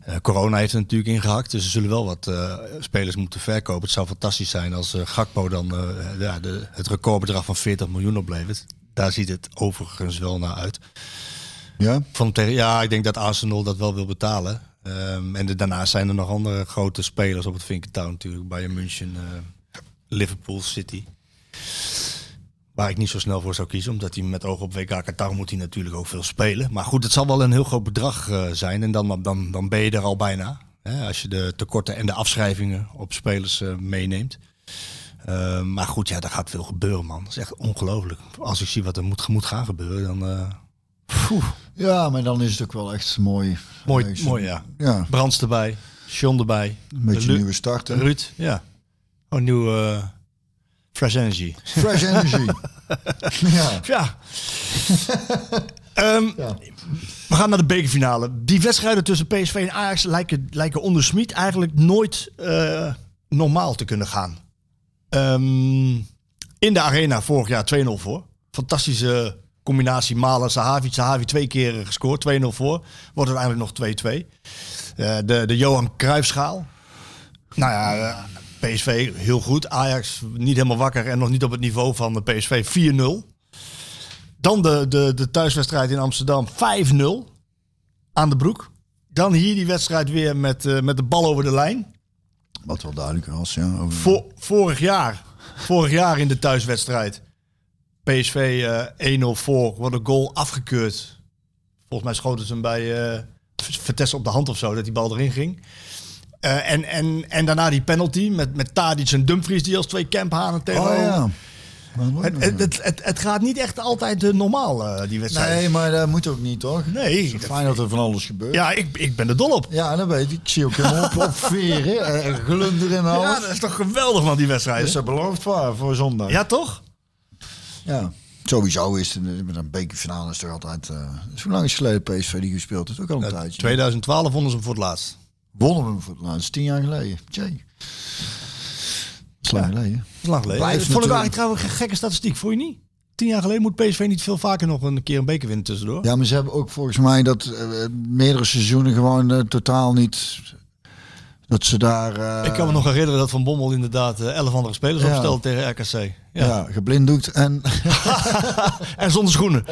S8: eh, corona heeft er natuurlijk ingehakt. Dus ze zullen wel wat eh, spelers moeten verkopen. Het zou fantastisch zijn als eh, Gakpo dan eh, ja, de, het recordbedrag van 40 miljoen oplevert. Daar ziet het overigens wel naar uit.
S7: Ja?
S8: Van tegen, ja, ik denk dat Arsenal dat wel wil betalen. Ehm, en de- daarnaast zijn er nog andere grote spelers op het Vinkentown natuurlijk. Bayern München, eh, Liverpool City. Waar ik niet zo snel voor zou kiezen, omdat hij met oog op WK Qatar moet hij natuurlijk ook veel spelen. Maar goed, het zal wel een heel groot bedrag eh, zijn en dan, dan, dan ben je er al bijna. Hè, als je de tekorten en de afschrijvingen op spelers eh, meeneemt. Eh, maar goed, ja, daar gaat veel gebeuren, man. Dat is echt ongelooflijk. Als ik zie wat er moet, moet gaan gebeuren, dan... eh,
S7: ja, maar dan is het ook wel echt mooi.
S8: Mooi,
S7: Eh,
S8: mooi ja.
S7: Ja,
S8: Brands erbij, Sean erbij,
S7: een beetje
S8: Lu-
S7: nieuwe start. hè?
S8: Ruud. Ja. Oh, nieuw eh, Fresh Energy.
S7: Fresh energy. ja.
S8: Ja. Ehm, We gaan naar de bekerfinale. Die wedstrijden tussen PSV en Ajax lijken, lijken onder Smit eigenlijk nooit eh, normaal te kunnen gaan. Ehm, in de arena vorig jaar 2-0 voor. Fantastische combinatie Malen, Sahavi. Sahavi twee keer gescoord, 2-0 voor. Wordt uiteindelijk nog 2-2. Eh, de, de Johan Cruijffschaal. Nou ja, eh, PSV heel goed. Ajax niet helemaal wakker en nog niet op het niveau van de PSV. 4-0. Dan de, de, de thuiswedstrijd in Amsterdam. 5-0 aan de broek. Dan hier die wedstrijd weer met, eh, met de bal over de lijn.
S7: Wat wel duidelijk was, ja. over-
S8: Vo- vorig, jaar, vorig jaar in de thuiswedstrijd. PSV eh 1-0 voor. Wordt een goal afgekeurd. Volgens mij schoten ze hem bij eh Vitesse op de hand of zo. Dat die bal erin ging. Eh, en, en, en daarna die penalty met, met Tadic en Dumfries die als twee camphanen tegen.
S7: Oh ja.
S8: Het, het, het, het, het gaat niet echt altijd eh, normaal, eh, die wedstrijd.
S7: Nee, maar dat moet ook niet, toch?
S8: Nee.
S7: Het is fijn dat er van alles gebeurt.
S8: Ja, ik, ik ben er dol op.
S7: Ja, dat weet ik. Ik zie ook helemaal op, op veren en glunderen en alles.
S8: Ja, dat is toch geweldig man, die wedstrijd.
S7: Dus
S8: hè?
S7: dat belooft waar voor zondag.
S8: Ja, toch?
S7: Ja. Sowieso is het met een bekerfinale is er altijd... eh dus hoe lang is het geleden PSV die gespeeld heeft? Ook al een tijdje.
S8: 2012 wonnen ze hem voor het laatst.
S7: Wonnen we hem voor het laatst. Tien jaar geleden. Jay. Dat is lang geleden.
S8: Dat is lang geleden.
S7: Blijft
S8: dat vond ik eigenlijk
S7: natuurlijk-
S8: trouwens een gekke statistiek, vond je niet? Tien jaar geleden moet PSV niet veel vaker nog een keer een beker winnen tussendoor.
S7: Ja, maar ze hebben ook volgens mij dat eh, meerdere seizoenen gewoon eh, totaal niet Dat ze daar eh,
S8: Ik kan me nog herinneren dat Van Bommel inderdaad eh, 11 andere spelers
S7: Ja.
S8: opstelde tegen RKC. Ja.
S7: ja. geblinddoekt. En,
S8: En zonder schoenen.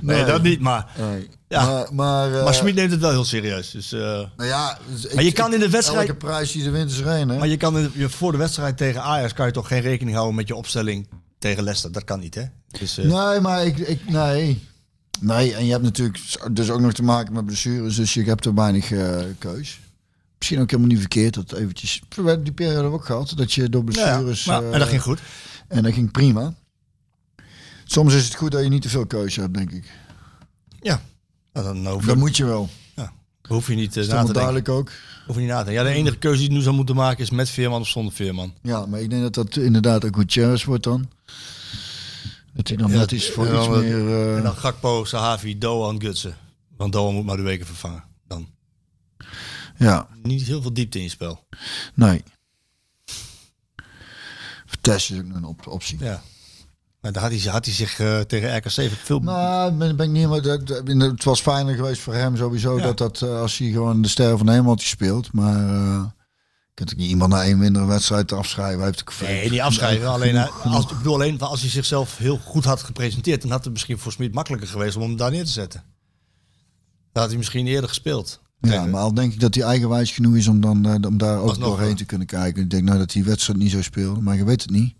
S8: nee, dat niet, maar...
S7: Nee.
S8: Ja.
S7: Maar, maar, eh,
S8: Maar Smit neemt het wel heel serieus. Dus, eh,
S7: nou ja,
S8: Maar je kan in de wedstrijd-
S7: Elke prijs die de wint is er één, hè?
S8: maar je kan in- je, voor de wedstrijd tegen Ajax kan je toch geen rekening houden met je opstelling tegen Leicester. Dat kan niet, hè? Dus, eh,
S7: Nee, maar ik, ik nee. Nee, en je hebt natuurlijk dus ook nog te maken met blessures, dus je hebt er weinig eh, keus. Misschien ook helemaal niet verkeerd dat eventjes. We hebben die periode ook gehad dat je door
S8: nou ja,
S7: blessures.
S8: maar-
S7: eh,
S8: en dat ging goed.
S7: en dat ging prima. Soms is het goed dat je niet te veel keuze hebt, denk ik.
S8: Ja. Nou, dan hoef je,
S7: Dat moet je wel.
S8: hoef je niet
S7: Dat
S8: eh, na
S7: is
S8: te denken.
S7: duidelijk ook.
S8: Hoef je niet na te denken. Ja, de enige keuze die je nu zou moeten maken is met Veerman of zonder Veerman.
S7: Ja, maar ik denk dat dat inderdaad ook Gutierrez wordt dan. Dat hij dan
S8: Ja,
S7: net iets voor
S8: en
S7: iets
S8: dan-
S7: meer... eh,
S8: En dan Gakpo, Sahavi, Doan, Gutsen. Want Doan moet maar de weken vervangen. Dan
S7: ja,
S8: niet heel veel diepte in je spel.
S7: nee. Test is ook nog een op optie.
S8: Ja. Maar daar had hij, had hij zich eh, tegen RKC veel...
S7: Nou, ben, ben ik niet helemaal. dat- dat- Het was fijner geweest voor hem sowieso
S8: Ja.
S7: dat dat eh, als hij gewoon de sterren van Nederland speelt. Maar eh je kunt ook niet iemand na één mindere wedstrijd afschrijven. Hij heeft ook
S8: Nee, niet afschrijven. Alleen, eh, als, ik bedoel alleen, als hij zichzelf heel goed had gepresenteerd, dan had het misschien voor Smit makkelijker geweest om hem daar neer te zetten. Dan had hij misschien eerder gespeeld.
S7: Ja,
S8: Tegen-
S7: maar al denk ik dat hij eigenwijs genoeg is om, dan, eh, om daar ook
S8: Alsnog,
S7: doorheen
S8: ja.
S7: te kunnen kijken. Ik denk nou dat die wedstrijd niet zo speelde, maar je weet het niet.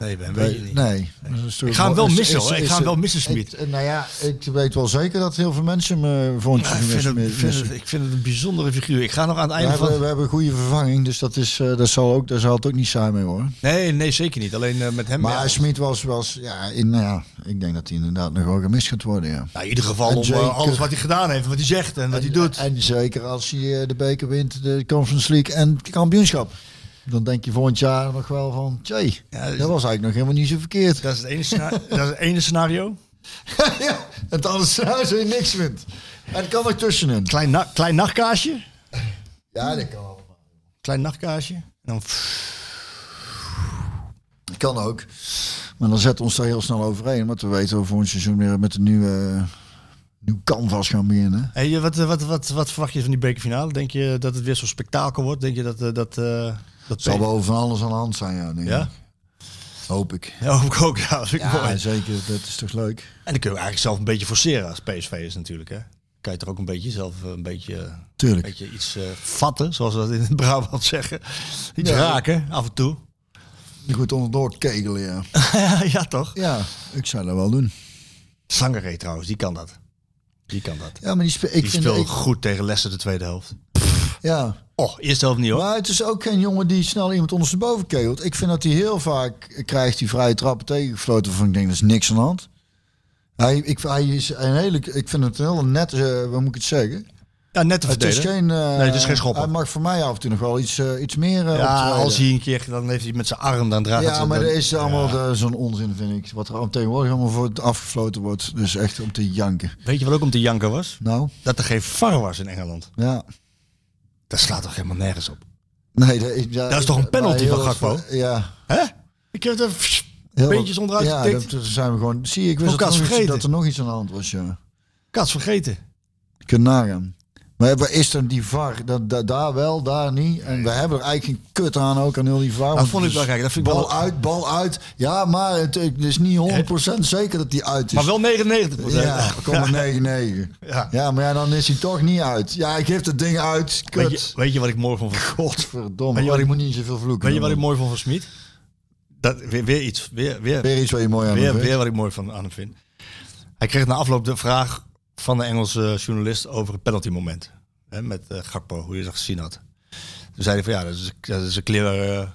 S8: Nee, Ben, weet je niet.
S7: Nee. Dat is toch-
S8: Ik ga hem wel
S7: is-
S8: missen,
S7: is-
S8: hoor. Ik
S7: is-
S8: ga hem wel missen, Smit.
S7: Ik- eh, Nou ja, ik weet wel zeker dat heel veel mensen me
S8: Ja,
S7: vondje
S8: Ah, ik, vind
S7: missen.
S8: het, ik vind het, ik vind het een bijzondere figuur. Ik ga nog aan het
S7: We
S8: einde
S7: hebben, we
S8: van...
S7: hebben een goede vervanging, dus dat is, eh, dat zal ook, daar zal het ook niet saai mee hoor.
S8: Nee, nee, zeker niet. Alleen eh, met hem.
S7: Maar
S8: ja.
S7: Smit was, was ja, in, nou ja, ik denk dat hij inderdaad nog wel gemist gaat worden, ja.
S8: Nou, in ieder geval
S7: En
S8: om eh,
S7: zeker-
S8: alles wat hij gedaan heeft, wat hij zegt en wat hij doet.
S7: En zeker als hij eh, de beker wint, de Conference League en het kampioenschap. Dan denk je volgend jaar nog wel van, tjee,
S8: Ja,
S7: dat
S8: dus-
S7: was eigenlijk nog helemaal niet zo verkeerd.
S8: Dat is, het ene scena- dat is het ene scenario.
S7: ja, het andere scenario is dat je niks wint. En het kan er tussenin.
S8: Klein, na- klein nachtkaasje.
S7: Ja, dat kan allemaal.
S8: Klein nachtkaasje. En dan pff,
S7: Dat kan ook. Maar dan zetten we ons daar heel snel overheen, want we weten dat we volgend seizoen weer met een nieuwe, eh, nieuw canvas gaan beginnen.
S8: Hey, eh, wat, eh, wat, wat, wat verwacht je van die bekerfinale? Denk je dat het weer zo'n spektakel wordt? Denk je dat... eh, dat, eh, dat
S7: Het zal wel van alles aan de hand zijn, ja, denk
S8: Ja?
S7: ik. Hoop ik.
S8: Ja, hoop ik ook. Ja, dat vind ik mooi.
S7: Ja, zeker. Dat is toch leuk?
S8: En dan kun je eigenlijk zelf een beetje forceren als PSV is natuurlijk. Hè? Kan je toch ook een beetje zelf eh, een beetje, een
S7: Tuurlijk.
S8: beetje iets eh, vatten, zoals we dat in het Brabant zeggen. Iets
S7: Ja.
S8: raken, af en toe.
S7: Je moet onderdoor kegelen, ja.
S8: ja, toch?
S7: Ja, ik zou dat wel doen.
S8: Sangaré trouwens, die kan dat. Die kan dat.
S7: Ja, maar die, spe- ik
S8: Die
S7: vind...
S8: speelde
S7: ik-
S8: goed tegen Leicester de tweede helft.
S7: ja.
S8: Oh, eerste helft niet hoor.
S7: Maar het is ook geen jongen die snel iemand ondersteboven kegelt. Ik vind dat hij heel vaak eh, krijgt die vrije trappen tegengefloten van ik denk, dat is niks aan de hand. Hij, ik, hij is een hele, ik vind het een hele net, hoe moet ik het zeggen?
S8: Ja, net te
S7: Het is
S8: verdedigen.
S7: geen, eh,
S8: Nee, het is Oh, dus geen schoppen.
S7: Hij mag voor mij af en toe nog wel iets, eh, iets meer eh,
S8: ja,
S7: optreden.
S8: als hij een keer, dan heeft hij met zijn arm, dan draagt
S7: Ja,
S8: hij-
S7: maar
S8: dan-
S7: dat is allemaal eh, zo'n onzin, vind ik. Wat er al- tegenwoordig allemaal voor afgefloten wordt. Dus echt om te janken.
S8: Weet je wat ook om te janken was?
S7: Nou,
S8: Dat er geen VAR was in Engeland.
S7: ja.
S8: Dat slaat toch helemaal nergens op?
S7: Nee, dat, ik- ja,
S8: Dat is
S7: ik-
S8: toch een penalty
S7: maar heel
S8: van
S7: erg-
S8: Gakpo?
S7: Ja.
S8: Hè? Ik heb het even...
S7: Heel-
S8: Beentjes onderuit
S7: ja,
S8: getikt.
S7: dat zijn we gewoon... Zie je, ik wist
S8: Ook
S7: dat,
S8: als
S7: er nog iets,
S8: vergeten.
S7: dat er nog iets aan de hand was, ja.
S8: Kats vergeten.
S7: Je kunt nagaan. Maar waar is dan die VAR? Dat, dat- daar wel, daar niet. En we hebben er eigenlijk geen kut aan ook, aan heel die VAR. want
S8: vond ik
S7: het is
S8: wel gek. Dat vind ik
S7: bal
S8: wel-
S7: uit, bal uit. Ja, maar het, het is niet 100% zeker dat die uit is.
S8: Maar wel 99
S7: Ja, kom 99.
S8: Ja.
S7: Ja. ja, maar ja, dan is hij toch niet uit. Ja, ik geef dat ding uit. Kut.
S8: Weet je, weet je wat ik mooi vond van
S7: Godverdomme.
S8: Weet je wat
S7: ik
S8: ik-
S7: moet niet zoveel vloeken.
S8: Weet je wat
S7: man.
S8: ik mooi vond van Smit? Dat weer, weer iets, weer, weer, weer,
S7: Weer iets wat je mooi aan
S8: weer,
S7: hebt. hè?
S8: wat ik mooi van aan hem vind. Hij kreeg na afloop de vraag van de Engelse journalist over het penaltymoment hè, met eh, Gakpo, hoe je dat gezien had. Toen zei hij van ja, dat is, dat is een clear, eh,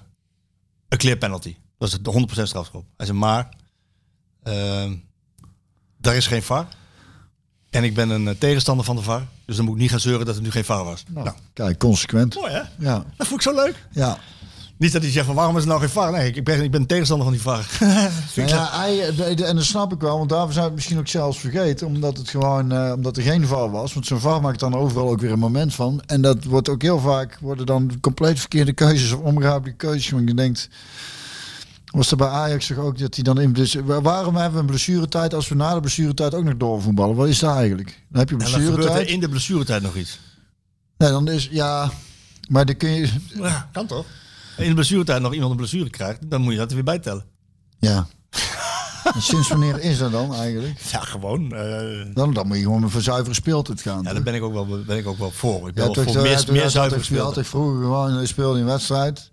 S8: een clear penalty. Dat is de 100% strafschop. Hij zei maar, ehm, daar is geen VAR. En ik ben een eh, tegenstander van de VAR. Dus dan moet ik niet gaan zeuren dat er nu geen VAR was. Nou,
S7: Kijk, consequent.
S8: mooi hè?
S7: Ja,
S8: Dat vond ik zo leuk.
S7: ja.
S8: Niet dat hij zegt van waarom is er nou geen VAR? Nee, ik ben, ik ben tegenstander van die VAR.
S7: Nou ja, hij, de- de- en dat snap ik wel, want daarvoor zijn we het misschien ook zelfs vergeten, omdat het gewoon, eh, omdat er geen VAR was. Want zo'n VAR maakt dan overal ook weer een moment van. En dat wordt ook heel vaak, worden dan compleet verkeerde keuzes of onbegrijpelijke keuzes. Want je denkt, was er bij Ajax toch ook dat hij dan in dus wa- Waarom hebben we een blessuretijd als we na de blessuretijd ook nog doorvoetballen? Wat is dat eigenlijk? Dan heb je
S8: En dan gebeurt
S7: blessuretijd.
S8: er in de blessuretijd nog iets.
S7: Nee, dan is, ja, maar dan kun je,
S8: Ja, kan toch? En in de blessuretijd nog iemand een blessure krijgt, dan moet je dat er weer bij tellen.
S7: ja. En sinds wanneer is dat dan eigenlijk?
S8: Ja, gewoon. eh,
S7: Dan, dan moet je gewoon voor zuivere speeltijd gaan.
S8: ja,
S7: toch?
S8: daar ben ik ook wel, ben ik ook wel voor. Ik ben
S7: Ja, eh,
S8: wel
S7: toch,
S8: voor meer,
S7: had-
S8: meer
S7: had-
S8: zuiver
S7: had- had
S8: gespeeld.
S7: ik vroeger gewoon, je speelde een wedstrijd.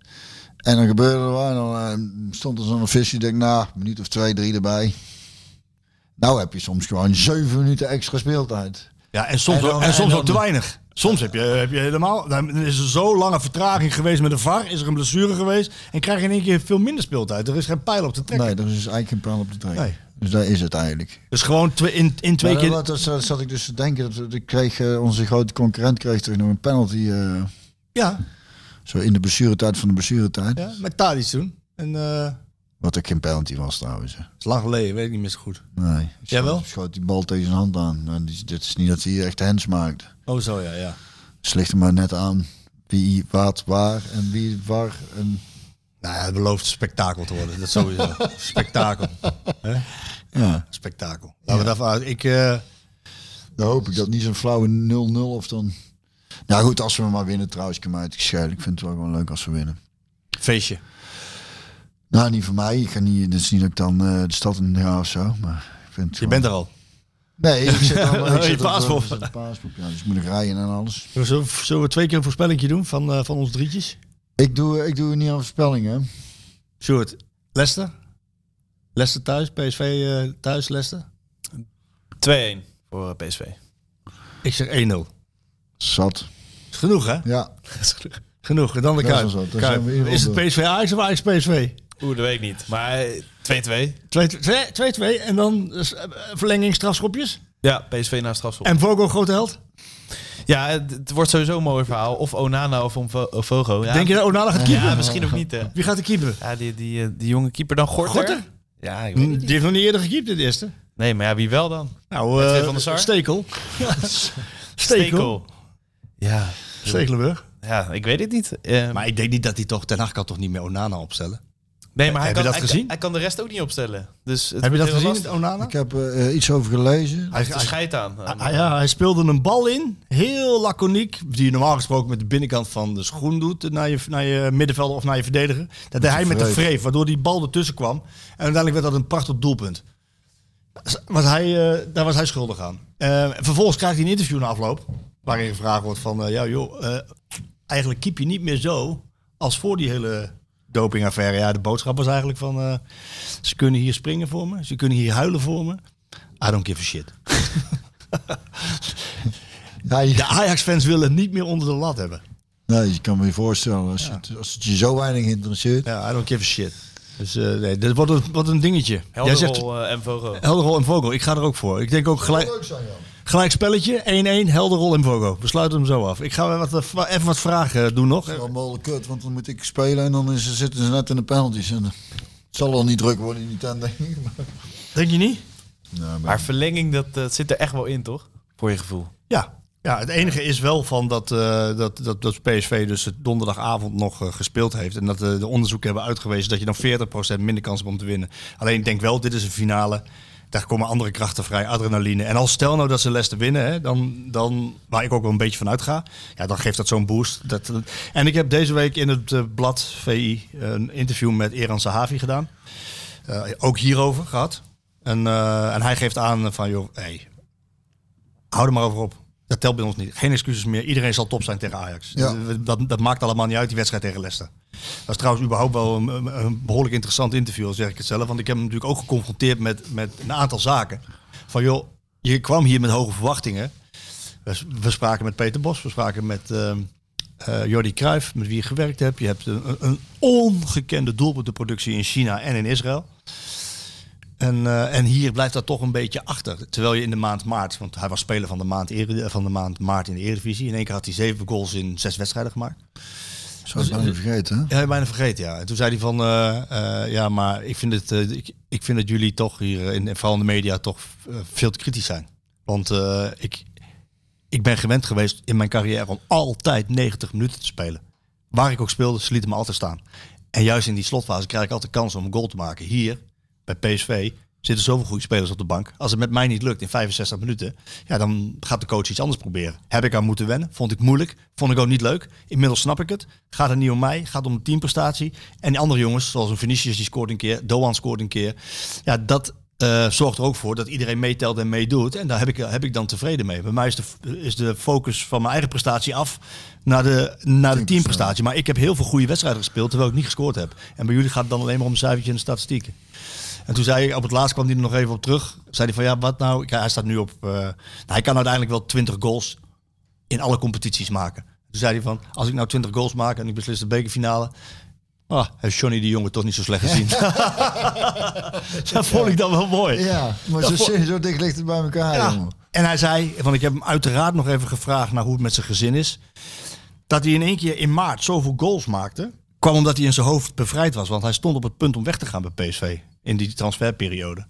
S7: En dan gebeurde er wat. En dan eh, stond er zo'n visje, denk na een minuut of twee, drie erbij. Nou heb je soms gewoon zeven minuten extra speeltijd.
S8: Ja, en soms,
S7: En dan-
S8: ook, en soms
S7: en
S8: ook te
S7: dan-
S8: weinig. Soms heb je, heb je helemaal. Dan is er zo lange vertraging geweest met de VAR. Is er een blessure geweest. En krijg je in één keer veel minder speeltijd. Er is geen pijl op te trekken.
S7: Nee, er is dus eigenlijk geen plan op de trein.
S8: Nee.
S7: Dus daar is het eigenlijk.
S8: Dus gewoon twee, in, in twee
S7: Maar
S8: keer.
S7: dat, dat, dat zat ik dus te denken. Dat, dat kreeg, eh, onze grote concurrent kreeg terug nog een penalty. eh,
S8: Ja,
S7: zo in de blessuretijd van de blessuretijd.
S8: ja, met Tadic toen. En eh, dat
S7: Wat ook geen penalty was trouwens. hè.
S8: is lang geleden, weet ik niet meer zo goed.
S7: Nee. Schoot-
S8: Jawel?
S7: Schoot die bal tegen zijn hand aan. En die, dit is niet dat hij hier echt hands maakt.
S8: Oh, zo ja, ja.
S7: slecht hem maar net aan wie wat waar en wie waar. En,
S8: Nou ja, het belooft spektakel te worden. Dat sowieso. spektakel. Hè?
S7: ja.
S8: Spektakel. Laten we daarvan uit. Ik, eh,
S7: Dan hoop ik dat niet zo'n flauwe 0-0 of dan... Nou goed, als we maar winnen trouwens, kan mij het schelen. Ik vind het wel gewoon leuk als we winnen.
S8: feestje.
S7: Nou, niet voor mij. Ik ga niet, het is niet dat ik dan eh, de stad in ga of zo. Maar ik vind het
S8: Je
S7: gewoon-
S8: bent er al.
S7: Nee, ik zit dan...
S8: Oh,
S7: ik
S8: je
S7: zit op, eh,
S8: paaspoort.
S7: ik zit op paaspoort, ja, dus ik moet nog rijden en alles.
S8: Zullen we, zullen we twee keer een voorspellingje doen van, eh, van ons drietjes?
S7: Ik doe, ik doe niet aan voorspellingen. hè.
S8: Sjoerd, Leicester? Leicester thuis, PSV eh, thuis, Leicester?
S9: 2-1 voor eh, PSV.
S8: Ik zeg 1-0.
S7: Zat.
S8: Is genoeg, hè?
S7: Ja.
S8: Genoeg. En dan de
S7: Dat is
S8: Kuip.
S7: wel zo. Dan
S8: Kuip.
S7: zijn we in ieder
S8: Is het
S7: geval
S8: PSV Ajax of Ajax PSV?
S9: Oeh, dat weet ik niet. Maar eh, 2-2.
S8: 2-2 en dan dus, eh, verlenging strafschopjes.
S9: Ja, PSV na strafschop.
S8: En Vogel grote held.
S9: Ja, het, het wordt sowieso een mooi verhaal. Of Onana of Onvo- of Vogo. Ja,
S8: Denk je dat Onana gaat keeper?
S9: Ja, misschien of niet. Hè.
S8: Wie gaat de keeper?
S9: Ja, die, die, eh, die jonge keeper dan Gorter.
S8: Gorter? Hm.
S9: Ja, ik weet het
S8: Die
S9: niet.
S8: heeft nog niet eerder gekiept in de eerste.
S9: Nee, maar ja, wie wel dan?
S8: Nou,
S9: Edwin
S8: eh,
S9: van der Sar?
S8: Stekel. Stekel.
S9: Ja,
S8: Stekelenburg.
S9: ja, ik weet het niet. Eh,
S8: Maar ik denk niet dat hij toch... Ten Hag kan toch niet meer Onana opstellen?
S9: nee, maar hij
S8: heb
S9: kan,
S8: je dat
S9: hij,
S8: gezien?
S9: Hij kan de rest ook niet opstellen. Dus het
S8: Heb je
S9: wordt
S8: dat
S9: heel
S8: gezien,
S9: lastig.
S8: Onana?
S7: Ik heb eh, eh, iets over gelezen.
S8: Hij,
S9: Er
S8: hij-
S9: scheidt aan. aan-
S8: Ah, ja, hij speelde een bal in, heel laconiek, die je normaal gesproken met de binnenkant van de schoen doet naar je, naar je middenvelder of naar je verdediger. Dat deed hij met de
S7: wreef.
S8: vreef, waardoor die bal ertussen kwam. En uiteindelijk werd dat een prachtig doelpunt. Was hij, eh, daar was hij schuldig aan. Eh, vervolgens krijgt hij een interview na afloop, waarin gevraagd wordt van, eh, ja joh, eh, eigenlijk keep je niet meer zo als voor die hele dopingaffaire. Ja, de boodschap was eigenlijk van, eh, ze kunnen hier springen voor me, ze kunnen hier huilen voor me. I don't give a shit.
S7: Hij,
S8: De Ajax-fans willen niet meer onder de lat hebben.
S7: Nou, je kan me je voorstellen, als, het, als het je zo weinig interesseert.
S8: Ja, I don't give a shit. Dus eh, nee, dit wordt een, wordt een dingetje. Jij zegt
S9: Helderol eh, en Vogo.
S8: Helderol en Vogel, ik ga er ook voor. Ik denk ook gelijk,
S7: zijn, Jan.
S8: gelijk spelletje, 1-1, Helderol en Vogel. We sluiten hem zo af. Ik ga weer wat, wa- even wat vragen eh, doen nog.
S7: Dat is wel mogelijk kut, want dan moet ik spelen en dan is, zitten ze net in de penalties. En, eh, het zal al niet druk worden in die tent, denk ik. maar-
S8: Denk je niet?
S7: Nou, maar-
S9: Maar verlenging, dat eh, zit er echt wel in, toch? Voor je gevoel.
S8: Ja. Ja, het enige is wel van dat, eh, dat, dat, dat PSV dus het donderdagavond nog eh, gespeeld heeft. En dat eh, de onderzoeken hebben uitgewezen dat je dan 40% minder kans hebt om te winnen. Alleen ik denk wel, dit is een finale. Daar komen andere krachten vrij, adrenaline. En als stel nou dat ze Leicester winnen, hè, dan, dan, waar ik ook wel een beetje van uitga, ja, dan geeft dat zo'n boost. Dat, dat- en ik heb deze week in het eh, blad VI een interview met Eran Sahavi gedaan. Eh, ook hierover gehad. En, eh, en hij geeft aan van, joh, hey, hou er maar over op. Dat telt bij ons niet. Geen excuses meer. Iedereen zal top zijn tegen Ajax. Eh,
S7: Ja.
S8: Dat, dat maakt allemaal niet uit, die wedstrijd tegen Leicester. Dat is trouwens überhaupt wel een, een- een behoorlijk interessant interview, al zeg ik het zelf. Want ik heb hem natuurlijk ook geconfronteerd met, met een aantal zaken. Van joh, je kwam hier met hoge verwachtingen. We, we spraken met Peter Bos, we spraken met ehm eh, Jordi Cruijff, met wie je gewerkt hebt. Je hebt een, een ongekende doelpuntenproductie in China en in Israël. En, eh, en hier blijft dat toch een beetje achter. Terwijl je in de maand maart, want hij was speler van de maand, Eredi- van de maand maart in de Eredivisie. In één keer had hij zeven goals in zes wedstrijden gemaakt.
S7: zou ik bijna vergeten, hè?
S8: Ja, heb je bijna vergeten, ja. En toen zei hij van, eh, eh, ja, maar ik vind, het, eh, ik, ik vind dat jullie toch hier, eh, in, en vooral in de media, toch eh, veel te kritisch zijn. Want eh, ik, ik ben gewend geweest in mijn carrière om altijd 90 minuten te spelen. Waar ik ook speelde, ze lieten me altijd staan. En juist in die slotfase krijg ik altijd kans om een goal te maken. Hier, bij PSV, zitten zoveel goede spelers op de bank. Als het met mij niet lukt in 65 minuten, ja, dan gaat de coach iets anders proberen. Heb ik aan moeten wennen. Vond ik moeilijk. Vond ik ook niet leuk. Inmiddels snap ik het. Gaat het niet om mij. Gaat om de teamprestatie. En die andere jongens, zoals een Vinicius, die scoort een keer. Doan scoort een keer. Ja, dat eh, zorgt er ook voor dat iedereen meetelt en meedoet. En daar heb ik, heb ik dan tevreden mee. Bij mij is de, is de focus van mijn eigen prestatie af naar de, naar de teamprestatie. Maar ik heb heel veel goede wedstrijden gespeeld, terwijl ik niet gescoord heb. En bij jullie gaat het dan alleen maar om een cijfertje en de statistieken. En toen zei hij, op het laatst kwam hij er nog even op terug. Zei hij van, ja, wat nou? Ik- Hij staat nu op... eh, nou, hij kan uiteindelijk wel 20 goals in alle competities maken. Toen zei hij van, als ik nou 20 goals maak en ik beslis de bekerfinale... Ah, heeft Johnny de Jonge toch niet zo slecht gezien. dat vond ik dan wel mooi.
S7: Ja, maar zo, zo dicht ligt het bij elkaar,
S8: Ja.
S7: jongen.
S8: En hij zei, want ik heb hem uiteraard nog even gevraagd naar hoe het met zijn gezin is. Dat hij in één keer in maart zoveel goals maakte. Kwam omdat hij in zijn hoofd bevrijd was. Want hij stond op het punt om weg te gaan bij PSV. In die transferperiode.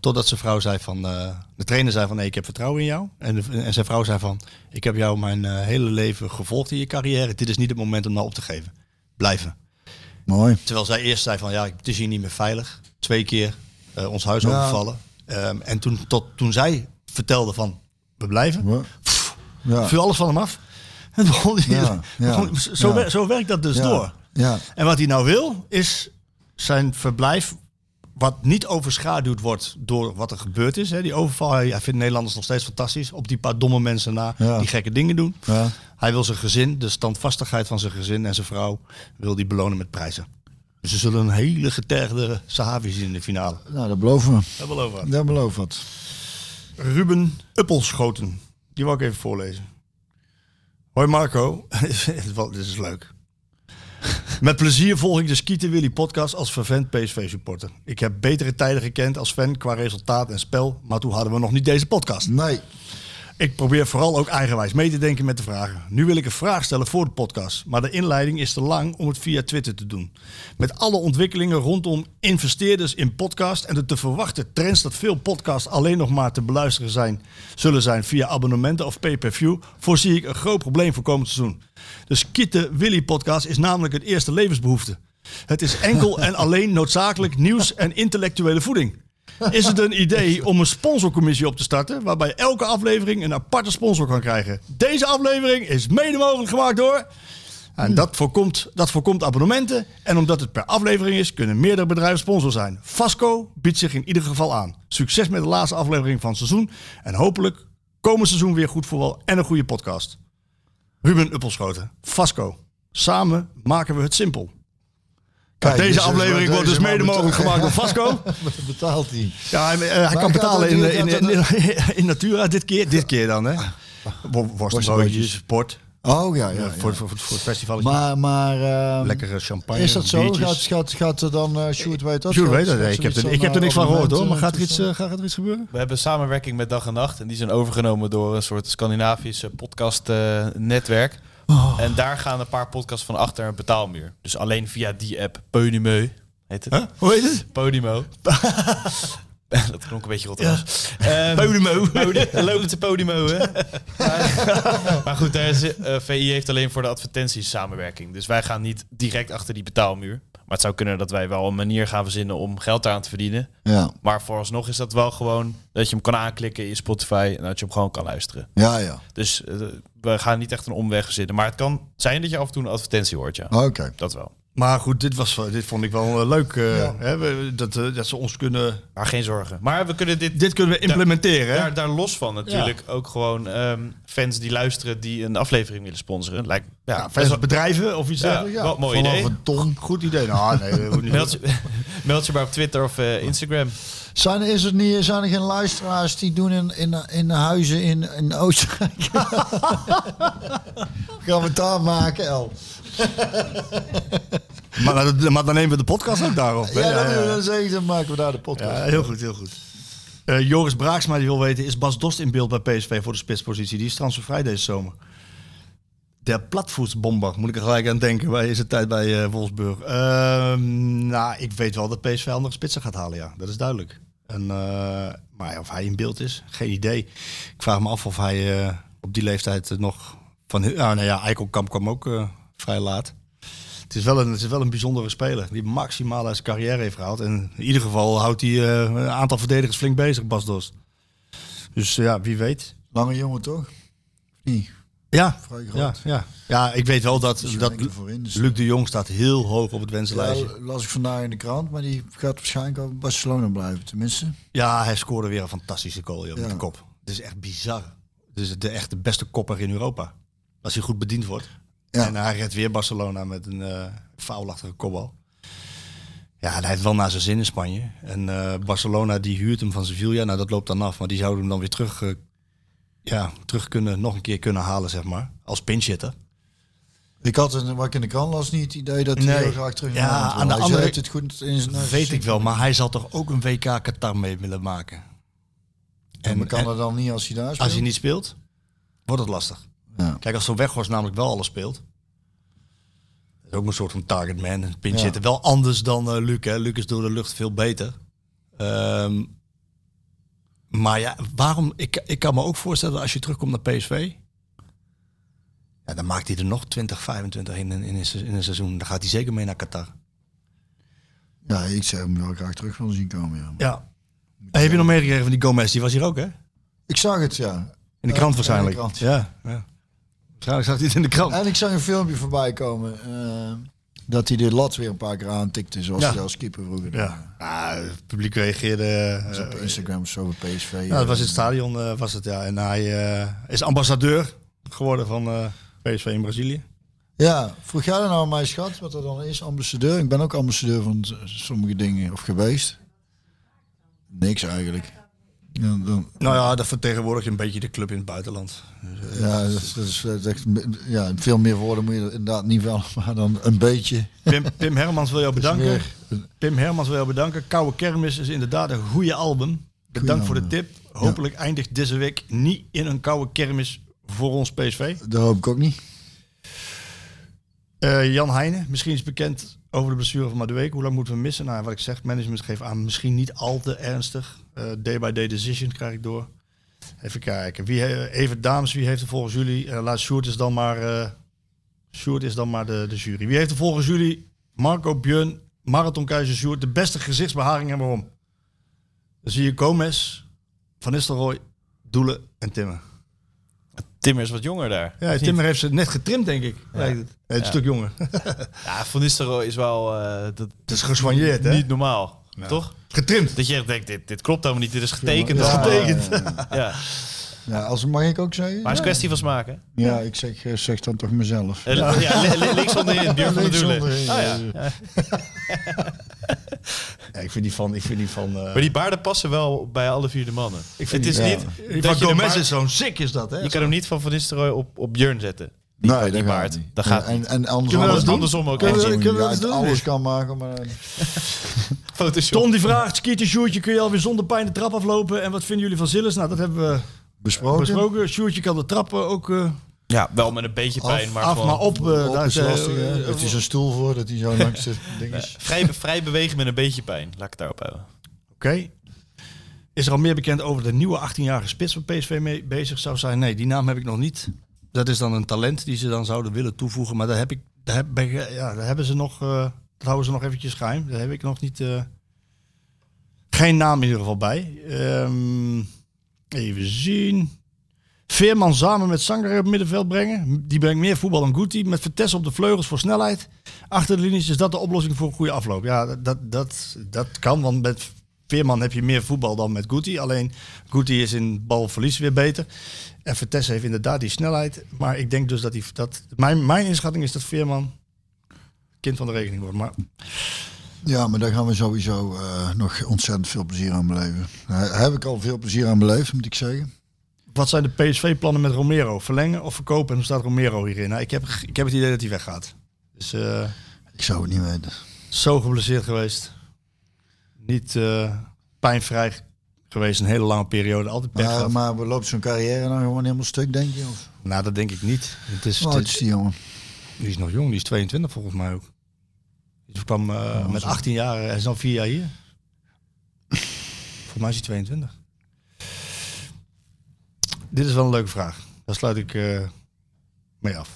S8: Totdat zijn vrouw zei van... eh, de trainer zei van, nee, ik heb vertrouwen in jou. En, de- en zijn vrouw zei van, ik heb jou mijn eh, hele leven gevolgd in je carrière. Dit is niet het moment om nou op te geven. Blijven.
S7: Mooi.
S8: Terwijl zij eerst zei van ja, het is hier niet meer veilig. Twee keer eh, ons huis
S7: Ja.
S8: overvallen. Ehm, en toen, tot, toen zij vertelde van we blijven,
S7: Ja. Ja.
S8: viel alles van hem af. En begon hij-
S7: Ja, ja,
S8: begon- zo,
S7: ja.
S8: wer- zo werkt dat dus
S7: Ja.
S8: door.
S7: Ja.
S8: En wat hij nou wil, is zijn verblijf, wat niet overschaduwd wordt door wat er gebeurd is. Hè. Die overval, hij, hij vindt Nederlanders nog steeds fantastisch. Op die paar domme mensen na,
S7: Ja.
S8: die gekke dingen doen.
S7: Ja.
S8: Hij wil zijn gezin, de standvastigheid van zijn gezin en zijn vrouw, wil die belonen met prijzen. Dus ze zullen een hele getergde Sahavi zien in de finale.
S7: Nou, dat beloven we.
S8: Daar beloven we.
S7: Dat beloof wat.
S8: Ruben Uppelschoten. Die wil ik even voorlezen. Hoi Marco. Wat- Dit is leuk. Met plezier volg ik de Skieten Willy podcast als vervent PSV-supporter. Ik heb betere tijden gekend als fan qua resultaat en spel, maar toen hadden we nog niet deze podcast.
S7: Nee.
S8: Ik probeer vooral ook eigenwijs mee te denken met de vragen. Nu wil ik een vraag stellen voor de podcast, maar de inleiding is te lang om het via Twitter te doen. Met alle ontwikkelingen rondom investeerders in podcast en de te verwachten trends dat veel podcasts alleen nog maar te beluisteren zijn, zullen zijn via abonnementen of pay-per-view, voorzie ik een groot probleem voor komend seizoen. De Skieten Willy podcast is namelijk het eerste levensbehoefte. Het is enkel en alleen noodzakelijk nieuws en intellectuele voeding. Is het een idee om een sponsorcommissie op te starten waarbij elke aflevering een aparte sponsor kan krijgen? Deze aflevering is mede mogelijk gemaakt door.
S7: Hmm.
S8: En dat voorkomt, dat voorkomt abonnementen. En omdat het per aflevering is, kunnen meerdere bedrijven sponsor zijn. Vasco biedt zich in ieder geval aan. Succes met de laatste aflevering van het seizoen. En hopelijk komend seizoen weer goed voetbal en een goede podcast. Ruben Uppelschoten, Vasco. Samen maken we het simpel.
S7: Kijk,
S8: deze
S7: dus is
S8: aflevering
S7: waar
S8: wordt dus
S7: deze man
S8: mede mogelijk
S7: betaalt.
S8: gemaakt door Vasco.
S7: Betaalt hij.
S8: Ja, hij, eh, hij
S7: Maar
S8: kan
S7: gaat
S8: betalen
S7: dat
S8: in,
S7: duur-
S8: in,
S7: gaat
S8: in,
S7: dat-
S8: in Natura dit keer, dit keer dan, hè? Wo- Worstenbroodjes,
S7: Worstenbroodjes.
S8: sport.
S7: Oh ja, ja.
S8: eh,
S7: ja.
S8: Voor, voor, voor het festival.
S7: Maar, maar ehm,
S8: Lekkere champagne.
S7: Is dat zo?
S8: biertjes.
S7: Gaat, gaat, gaat er dan, eh Sjoerd weet dat?
S8: Sjoerd
S7: Gaat-
S8: weet dat,
S7: gaat
S8: nee, ik heb,
S7: zoiets
S8: er, ik heb er niks van gehoord
S7: abonnement,
S8: hoor, maar
S7: eh,
S8: gaat er, iets,
S7: tussen-
S8: eh, gaat er iets gebeuren?
S9: We hebben samenwerking met Dag en Nacht. En die zijn overgenomen door een soort Scandinavisch podcastnetwerk. En daar gaan een paar podcasts van achter een betaalmuur. Dus alleen via die app Podimo heet het.
S8: Hoe heet het?
S9: Podimo. dat klonk een beetje Rotterdams. Ehm,
S8: Podimo.
S9: Podi- Lopend de Podimo, hè? maar, maar goed, daar is, eh, VI heeft alleen voor de advertenties samenwerking. Dus wij gaan niet direct achter die betaalmuur. Maar het zou kunnen dat wij wel een manier gaan verzinnen om geld daaraan te verdienen.
S8: eh?
S7: Ja,
S9: Maar vooralsnog is dat wel gewoon dat je hem kan aanklikken in Spotify en dat je hem gewoon kan luisteren.
S7: ja, ja.
S9: Dus eh, we gaan niet echt een omweg verzinnen. Maar het kan zijn dat je af en toe een advertentie hoort, ja.
S7: Oké.
S9: Dat wel.
S8: Maar goed, dit, was, dit vond ik wel eh, leuk. eh, hè, we- dat, eh, dat ze ons kunnen...
S9: Maar geen zorgen. Maar we kunnen dit,
S8: Dit kunnen we implementeren. hè?
S9: daar, daar los van natuurlijk ook gewoon ehm, fans die luisteren die een aflevering willen sponsoren. Lijkt, ja,
S8: Ja,
S9: best wel-
S8: versus bedrijven of iets
S9: Ja,
S8: dergelijks.
S9: wat een mooi
S8: Vanaf
S9: idee.
S8: een ton. Goed idee. Nou, nee, we hoeven niet.
S9: Meld je, meld je maar op Twitter of eh, Instagram.
S7: Zijn, is het niet, zijn er geen luisteraars die doen in, in, in huizen in, in Oostenrijk? Gaan we het daar maken, El?
S8: Maar, dat- maar dan nemen we de podcast ook daarop. hè?
S7: Ja,
S8: Ja, ja,
S7: dan,
S8: ja.
S7: dan zeg ik, dan maken we daar de podcast.
S8: Ja, heel goed, heel goed. Eh, Joris Braaksma die wil weten, is Bas Dost in beeld bij PSV voor de spitspositie? Die is transfervrij deze zomer. Der platvoetsbomber, moet ik er gelijk aan denken. Bij is het tijd bij eh, Wolfsburg. Ehm, nou, ik weet wel dat PSV andere spitsen gaat halen, ja. Dat is duidelijk. En, eh, maar ja, of hij in beeld is, geen idee. Ik vraag me af of hij eh, op die leeftijd nog van... Ah, nou ja, Eikelkamp kwam ook eh, vrij laat. Het is, wel een, het is wel een bijzondere speler die maximaal uit zijn carrière heeft gehaald. En in ieder geval houdt hij eh, een aantal verdedigers flink bezig, Bas Dost. Dus eh, ja, wie weet.
S7: Lange jongen toch? Nee,
S8: Ja,
S7: vrij
S8: ja,
S7: groot.
S8: ja. ja ik weet wel dat,
S7: Dus we
S8: dat
S7: denken voorin, dus-
S8: Luc de Jong staat heel hoog op het wensenlijstje.
S7: Ja, las ik vandaag in de krant, maar die gaat waarschijnlijk ook Barcelona blijven tenminste.
S8: Ja, hij scoorde weer een fantastische goal joh, met
S7: Ja.
S8: de kop. Het is echt bizar. Het is de, echt de beste kopper in Europa. Als hij goed bediend wordt.
S7: Ja.
S8: En hij redt weer Barcelona met een eh foulachtige kopbal. Ja, en hij heeft wel naar zijn zin in Spanje. En eh, Barcelona die huurt hem van Sevilla. Nou, dat loopt dan af. Maar die zouden hem dan weer terug, eh, ja, terug kunnen, nog een keer kunnen halen, zeg maar. Als pinchitter.
S7: Ik had, een- wat ik in de krant las, niet het idee dat hij
S8: Nee.
S7: heel graag terug
S8: Ja,
S7: naar Nederland
S8: aan de
S7: wil. Hij
S8: andere-
S7: heeft het goed in zijn
S8: Weet ik wel, maar hij zal toch ook een WK Qatar mee willen maken.
S7: En, maar kan dat dan niet als hij daar speelt?
S8: Als hij niet speelt, wordt het lastig.
S7: Ja.
S8: Kijk, als zo'n Weghorst namelijk wel alles speelt. Dat is ook een soort van target man. Een pinch
S7: Ja.
S8: hitter. Wel anders dan eh, Luc. Hè. Luc is door de lucht veel beter. Ehm, maar ja, waarom? Ik, ik kan me ook voorstellen dat als je terugkomt naar PSV. Ja, dan maakt hij er nog 20, 25 in, een- in, een, se- in een seizoen. Dan gaat hij zeker mee naar Qatar.
S7: Ja, ik zou hem wel graag terug willen zien komen. Ja.
S8: Ja. En heb je nog meegekregen van die Gomez? Die was hier ook, hè?
S7: Ik zag het, ja.
S8: In de krant
S7: Ja,
S8: waarschijnlijk.
S7: in de krant.
S8: Ja, ja. Waarschijnlijk zag hij het in de krant.
S7: En ik zag een filmpje voorbij komen eh, dat hij de lat weer een paar keer aantikte, zoals
S8: Ja.
S7: hij als keeper vroeger deed.
S8: Ja. Ah, het publiek reageerde. eh,
S7: Dus op Instagram of zo bij PSV.
S8: ja, dat was in het stadion, eh, was het ja. En hij eh, is ambassadeur geworden van eh, PSV in Brazilië.
S7: Ja, vroeg jij dan nou aan mij, schat, wat er dan is, ambassadeur? Ik ben ook ambassadeur van s- sommige dingen, of geweest. Niks eigenlijk. Ja, dan,
S8: Nou ja, dat vertegenwoordigt een beetje de club in het buitenland.
S7: ja, dus, dat, is- dat is, dat is echt, ja, veel meer woorden moet je er inderdaad niet wel, maar dan een beetje.
S8: Pim, Pim Hermans wil jou bedanken.
S7: meer
S8: Pim Hermans wil jou bedanken. Koude Kermis is inderdaad een goede album. Bedankt voor de
S7: album.
S8: tip. Hopelijk eindigt deze week niet in een koude kermis voor ons PSV.
S7: Dat hoop ik ook niet.
S8: Eh, Jan Heijnen, misschien is bekend over de blessure van Madueke. Hoe lang moeten we hem missen? Nou, ja, wat ik zeg, management geeft aan, misschien niet al te ernstig. Eh, day by day decision krijg ik door. Even kijken. Wie, he- even dames, wie heeft er volgens jullie... eh, laat Sjoerd is dan maar, eh Sjoerd is dan maar de, de jury. Wie heeft er volgens jullie, Marco Björn, Marathonkeizer Sjoerd, de beste gezichtsbeharing en waarom? Dan zie je Gomez, Van Nistelrooy, Doelen en Timmer.
S9: Timmer is wat jonger daar.
S8: Ja,
S9: Of niet?
S8: Timmer heeft ze net getrimd, denk ik. Lijkt het. Nee, het is
S9: Ja.
S8: een stuk jonger.
S9: Ja, Van Nistelrooy is wel... eh, dat,
S8: Het is geswanjeerd, hè?
S9: Niet normaal, toch?
S8: Getrimd.
S9: Dat je echt denkt, dit, dit klopt helemaal niet, dit is getekend.
S7: Ja,
S9: allemaal.
S8: getekend.
S7: ja, ja.
S9: Ja. Maar
S7: Ja, als mag ik ook zeggen?
S9: het is
S7: Ja.
S9: kwestie van smaken.
S7: Ja, ik zeg, eh, zeg dan toch mezelf.
S9: Eh, li- Ja, li- li- links onderin, Björn van der
S7: Links
S9: Doelen.
S7: onderin,
S9: Ah, ja.
S7: ja.
S8: Ja, ik vind die van, ik vind die van. eh,
S9: Maar die baarden passen wel bij alle vier de mannen. Ik vind het is
S7: die- ja.
S9: niet
S8: die
S9: dat
S8: van
S9: je de
S8: Gomez
S9: baard-
S8: is zo'n sick is dat, hè?
S9: Je kan hem niet van Van Nistelrooy op, op Björn zetten. Die,
S7: nee,
S9: die
S7: dat
S9: baard.
S7: gaat niet.
S9: Dat gaat
S7: Ja, en,
S9: niet.
S7: en andersom,
S8: Kunnen we dat doen?
S9: Andersom ook.
S8: Kunnen we-
S9: eentje.
S8: kunnen we dat
S7: Ja,
S8: doen?
S7: alles kan maken, maar...
S9: Photoshop.
S8: Ton die vraagt, skiertje Sjoertje, kun je alweer zonder pijn de trap aflopen? En wat vinden jullie van Zillis? Nou, dat hebben we
S7: Besproken?
S8: besproken. Sjoertje kan de trap eh, ook eh,
S9: Ja, wel met een beetje pijn, maar
S8: af,
S9: gewoon...
S8: maar op. eh,
S7: Op
S8: daar
S7: is
S8: eh,
S7: lastig, hè?
S8: eh,
S7: Heeft hij zo'n stoel voor dat hij zo langs de ding is?
S9: Vrij, vrij bewegen met een beetje pijn. Laat ik het daarop houden.
S8: Oké. Is er al meer bekend over de nieuwe 18-jarige spits waar PSV mee bezig zou zijn? Nee, die naam heb ik nog niet. Dat is dan een talent die ze dan zouden willen toevoegen. Maar daar, heb ik, daar, heb, ben ik- ja, daar hebben ze nog, eh, dat houden ze nog eventjes geheim. Daar heb ik nog niet... eh, geen naam in ieder geval bij. Ehm, even zien. Veerman samen met Zanger op het middenveld brengen. Die brengt meer voetbal dan Guti. Met Vertes op de vleugels voor snelheid. Achter de linies is dat de oplossing voor een goede afloop. Ja, dat, dat, dat, dat kan, want met Veerman heb je meer voetbal dan met Guti. Alleen Guti is in balverlies weer beter. En Vertes heeft inderdaad die snelheid. Maar ik denk dus dat die... Dat, mijn, mijn inschatting is dat Veerman kind van de rekening wordt. Maar
S7: Ja, maar daar gaan we sowieso eh, nog ontzettend veel plezier aan beleven. Daar heb ik al veel plezier aan beleefd, moet ik zeggen.
S8: Wat zijn de PSV-plannen met Romero? Verlengen of verkopen? En hoe staat Romero hierin? Nou, ik, heb, ik heb het idee dat hij weggaat. Dus eh,
S7: Ik zou het niet weten.
S8: zo geblesseerd geweest. Niet eh, pijnvrij geweest. Een hele lange periode. Altijd pech
S7: Maar,
S8: gehad.
S7: maar loopt zo'n carrière dan gewoon helemaal stuk, denk je? Of?
S8: Nou, dat denk ik niet. Het is,
S7: Hoe oud is die jongen?
S8: die is nog jong. Die is 22 volgens mij ook. Die kwam eh, met 18 jaar. Hij is dan vier jaar hier. volgens mij is hij 22. Dit is wel een leuke vraag. Daar sluit ik eh, mee af.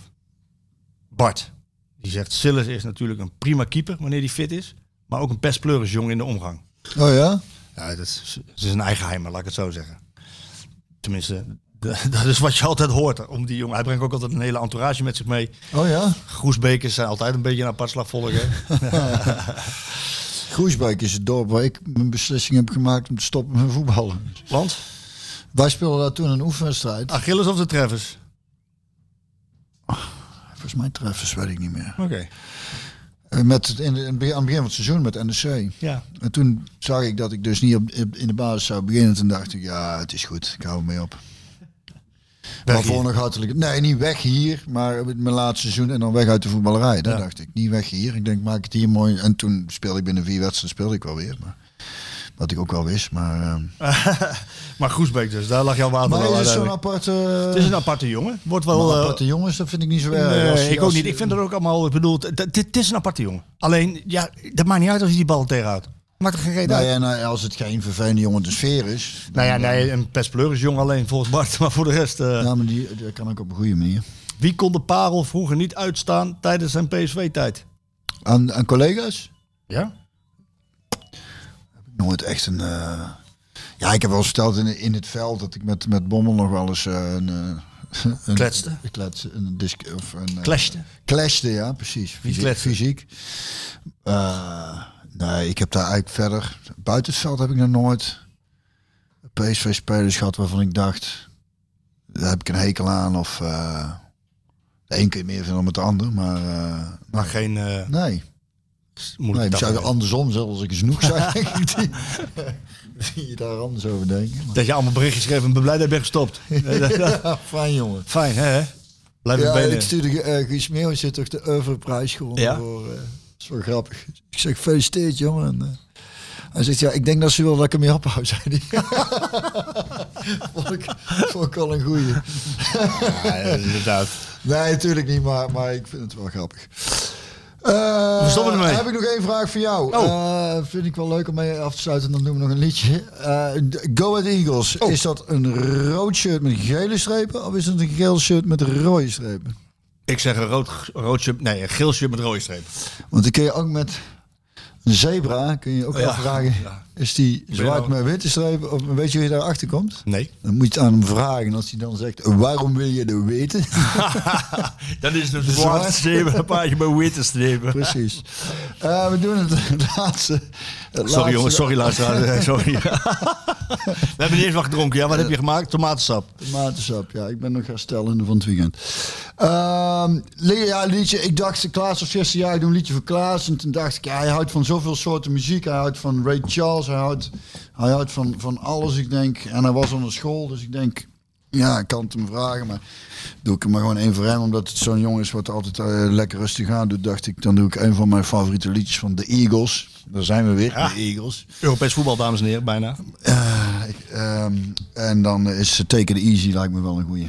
S8: Bart. Die Die zegt, Sillis is natuurlijk een prima keeper wanneer hij fit is. Maar ook een pestpleuris jong in de omgang.
S7: Oh ja?
S8: Ja, dat is, het is een eigenheimer, laat ik het zo zeggen. Tenminste, d- dat is wat je altijd hoort om die jongen. Hij brengt ook altijd een hele entourage met zich mee.
S7: Oh ja?
S8: Groesbekers zijn altijd een beetje een apart slagvolk. hè.
S7: Groesbeek is het dorp waar ik mijn beslissing heb gemaakt om te stoppen met voetballen.
S8: Want?
S7: Wij speelden daar toen een oefenwedstrijd. Ah,
S8: Achilles of de Travis?
S7: Volgens mij treffers, weet ik niet meer.
S8: Oké.
S7: Eh, Met, het- in, de- in, het begin- aan het begin van het seizoen met NEC.
S8: Ja.
S7: En toen zag ik dat ik dus niet op, op- in de basis zou beginnen. Toen dacht ik, ja, het is goed. Ik hou ermee op. maar voor nog hartelijk... Nee, niet weg hier, maar met mijn laatste seizoen en dan weg uit de voetballerij. Dat dacht ik. Niet weg hier. Ik denk, maak het hier mooi. En toen speelde ik binnen vier wedstrijden, speelde ik wel weer. Maar, wat ik ook wel wist, maar... ehm,
S8: Maar Groesbeek dus, daar lag jouw water
S7: maar
S8: wel
S7: is het zo'n
S8: uiteindelijk.
S7: aparte...
S8: Het is een aparte jongen. Wordt wel...
S7: Wel,
S8: eh,
S7: aparte jongens, dat vind ik niet zo erg.
S8: nee,
S7: Als-
S8: ik ook
S7: als-
S8: niet. Ik vind dat ook allemaal... Ik bedoel, het- het het is een aparte jongen. Alleen, ja, dat maakt niet uit als je die bal tegenhoudt. Maakt er geen reden
S7: Nou
S8: uit.
S7: ja, nou, als het geen vervelende jongen de sfeer is.
S8: Nou ja, nee, een pestpleur is jong alleen volgens Bart. Maar voor de rest... eh,
S7: Ja, nou, maar die, dat kan ook op een goede manier.
S8: Wie kon de parel vroeger niet uitstaan tijdens zijn PSV-tijd?
S7: Aan, aan collega's?
S8: Ja?
S7: Nooit echt een. eh, Ja, ik heb wel eens verteld in, in het veld dat ik met, met Bommel nog wel eens eh, een. eh, een
S8: Kletste.
S7: Een klets, een disc, of een, eh,
S8: Clashte.
S7: Clashte, ja, precies. Fysiek.
S8: kletste?
S7: fysiek. Eh, nee, ik heb daar eigenlijk verder. Buiten het veld heb ik nog nooit PSV-spelers gehad waarvan ik dacht. Daar heb ik een hekel aan. Of. eh de een kun je meer vinden dan met de ander. Maar. eh,
S8: Maar geen eh
S7: nee. Nee,
S8: moeilijke
S7: ik zou
S8: tafereel.
S7: er andersom zelfs als ik eens genoeg zou, denk ik. Die, die je daar anders over denken. Maar,
S8: Dat je allemaal berichtjes schreef en ben blij dat je bent gestopt. Nee, dat- dat-
S7: ja, fijn jongen.
S8: Fijn, hè? Blijf
S7: Ja,
S8: ja,
S7: ik
S8: benen.
S7: stuurde eh Guus Meeuwis heeft toch de Overprijs gewonnen
S8: Ja?
S7: voor... eh, dat is wel grappig. Ik zeg, gefeliciteerd jongen. En, eh, hij zegt, ja, ik denk dat ze wil dat ik ermee ophoud, zei hij. vond, ik, vond ik wel een goeie.
S8: Ja, ja, inderdaad.
S7: Nee, natuurlijk niet, maar, maar ik vind het wel grappig. Eh,
S8: We stoppen ermee. Oh.
S7: Heb ik nog één vraag voor jou? Eh, vind ik wel leuk om mee af te sluiten. Dan doen we nog een liedje. Eh, d- Go Ahead Eagles.
S8: Oh.
S7: Is dat een rood shirt met gele strepen? Of is het een geel shirt met rode strepen?
S8: Ik zeg een rood, rood shirt, nee, een geel shirt met rode strepen.
S7: Want dan kun je ook met een zebra kun je ook
S8: Oh Ja.
S7: afvragen.
S8: Ja.
S7: Is die zwart
S8: nou-
S7: met witte strepen? Of weet je wie daarachter komt?
S8: Nee.
S7: Dan moet je het aan hem vragen. En als hij dan zegt, waarom wil je dat weten?
S8: Dan is dus het
S7: zwarte
S8: zwart strepen, een paardje met witte strepen.
S7: Precies. Eh, we doen het, laatste. het
S8: Sorry
S7: laatste-
S8: jongens, sorry luisteraar, sorry. We hebben niet eens wat gedronken. Ja, wat heb je gemaakt? Tomatensap.
S7: Tomatensap, ja. Ik ben nog herstellende van het weekend. Ehm, li- ja, liedje. Ik dacht, Klaas of 16 jaar, ik doe een liedje voor Klaas. En toen dacht ik, ja, hij houdt van zoveel soorten muziek. Hij houdt van Ray Charles, hij houdt, hij houdt van, van alles, ik denk. En hij was onder school, dus ik denk... Ja, ik kan het hem vragen, maar doe ik hem maar gewoon één voor hem. Omdat het zo'n jongen is wat altijd eh, lekker rustig aan doet, dacht ik. Dan doe ik een van mijn favoriete liedjes van The Eagles. Daar zijn we weer, The Eagles.
S8: Europees voetbal, dames en heren, bijna.
S7: Ik, ehm, en dan is eh, Take It Easy lijkt me wel een goeie.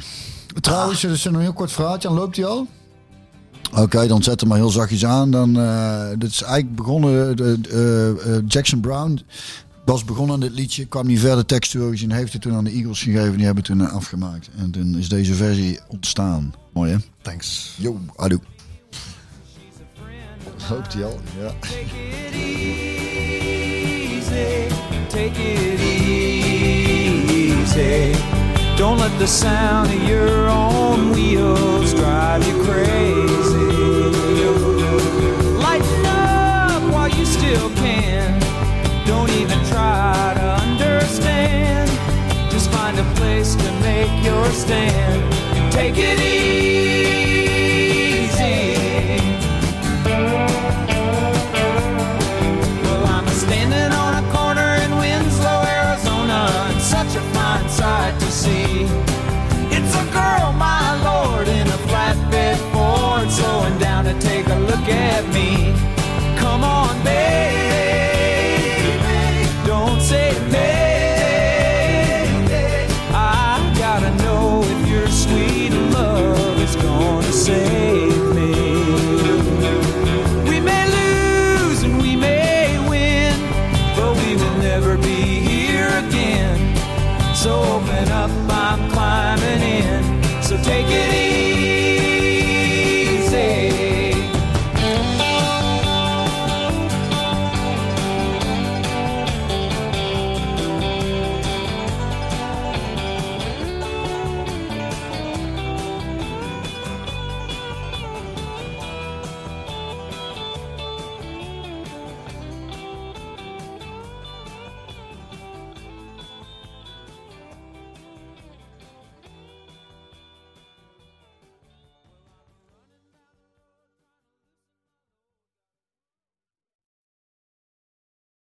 S7: Trouwens, er is nog een heel kort verhaaltje. En loopt hij al? Oké, dan zet hem maar heel zachtjes aan. Dan, eh, dit is eigenlijk begonnen... de- de, eh, eh, Jackson Brown was begonnen aan dit liedje. Kwam niet verder textueel en heeft het toen aan de Eagles gegeven. Die hebben het toen eh, afgemaakt. En toen is deze versie ontstaan. Mooi, hè?
S8: Thanks.
S7: Yo, adoe. Loopt hij al? Ja.
S1: Take it easy. Take it easy. Don't let the sound of your own wheels drive you crazy. Lighten up while you still can. Don't even try to understand. Just find a place to make your stand. Take it easy.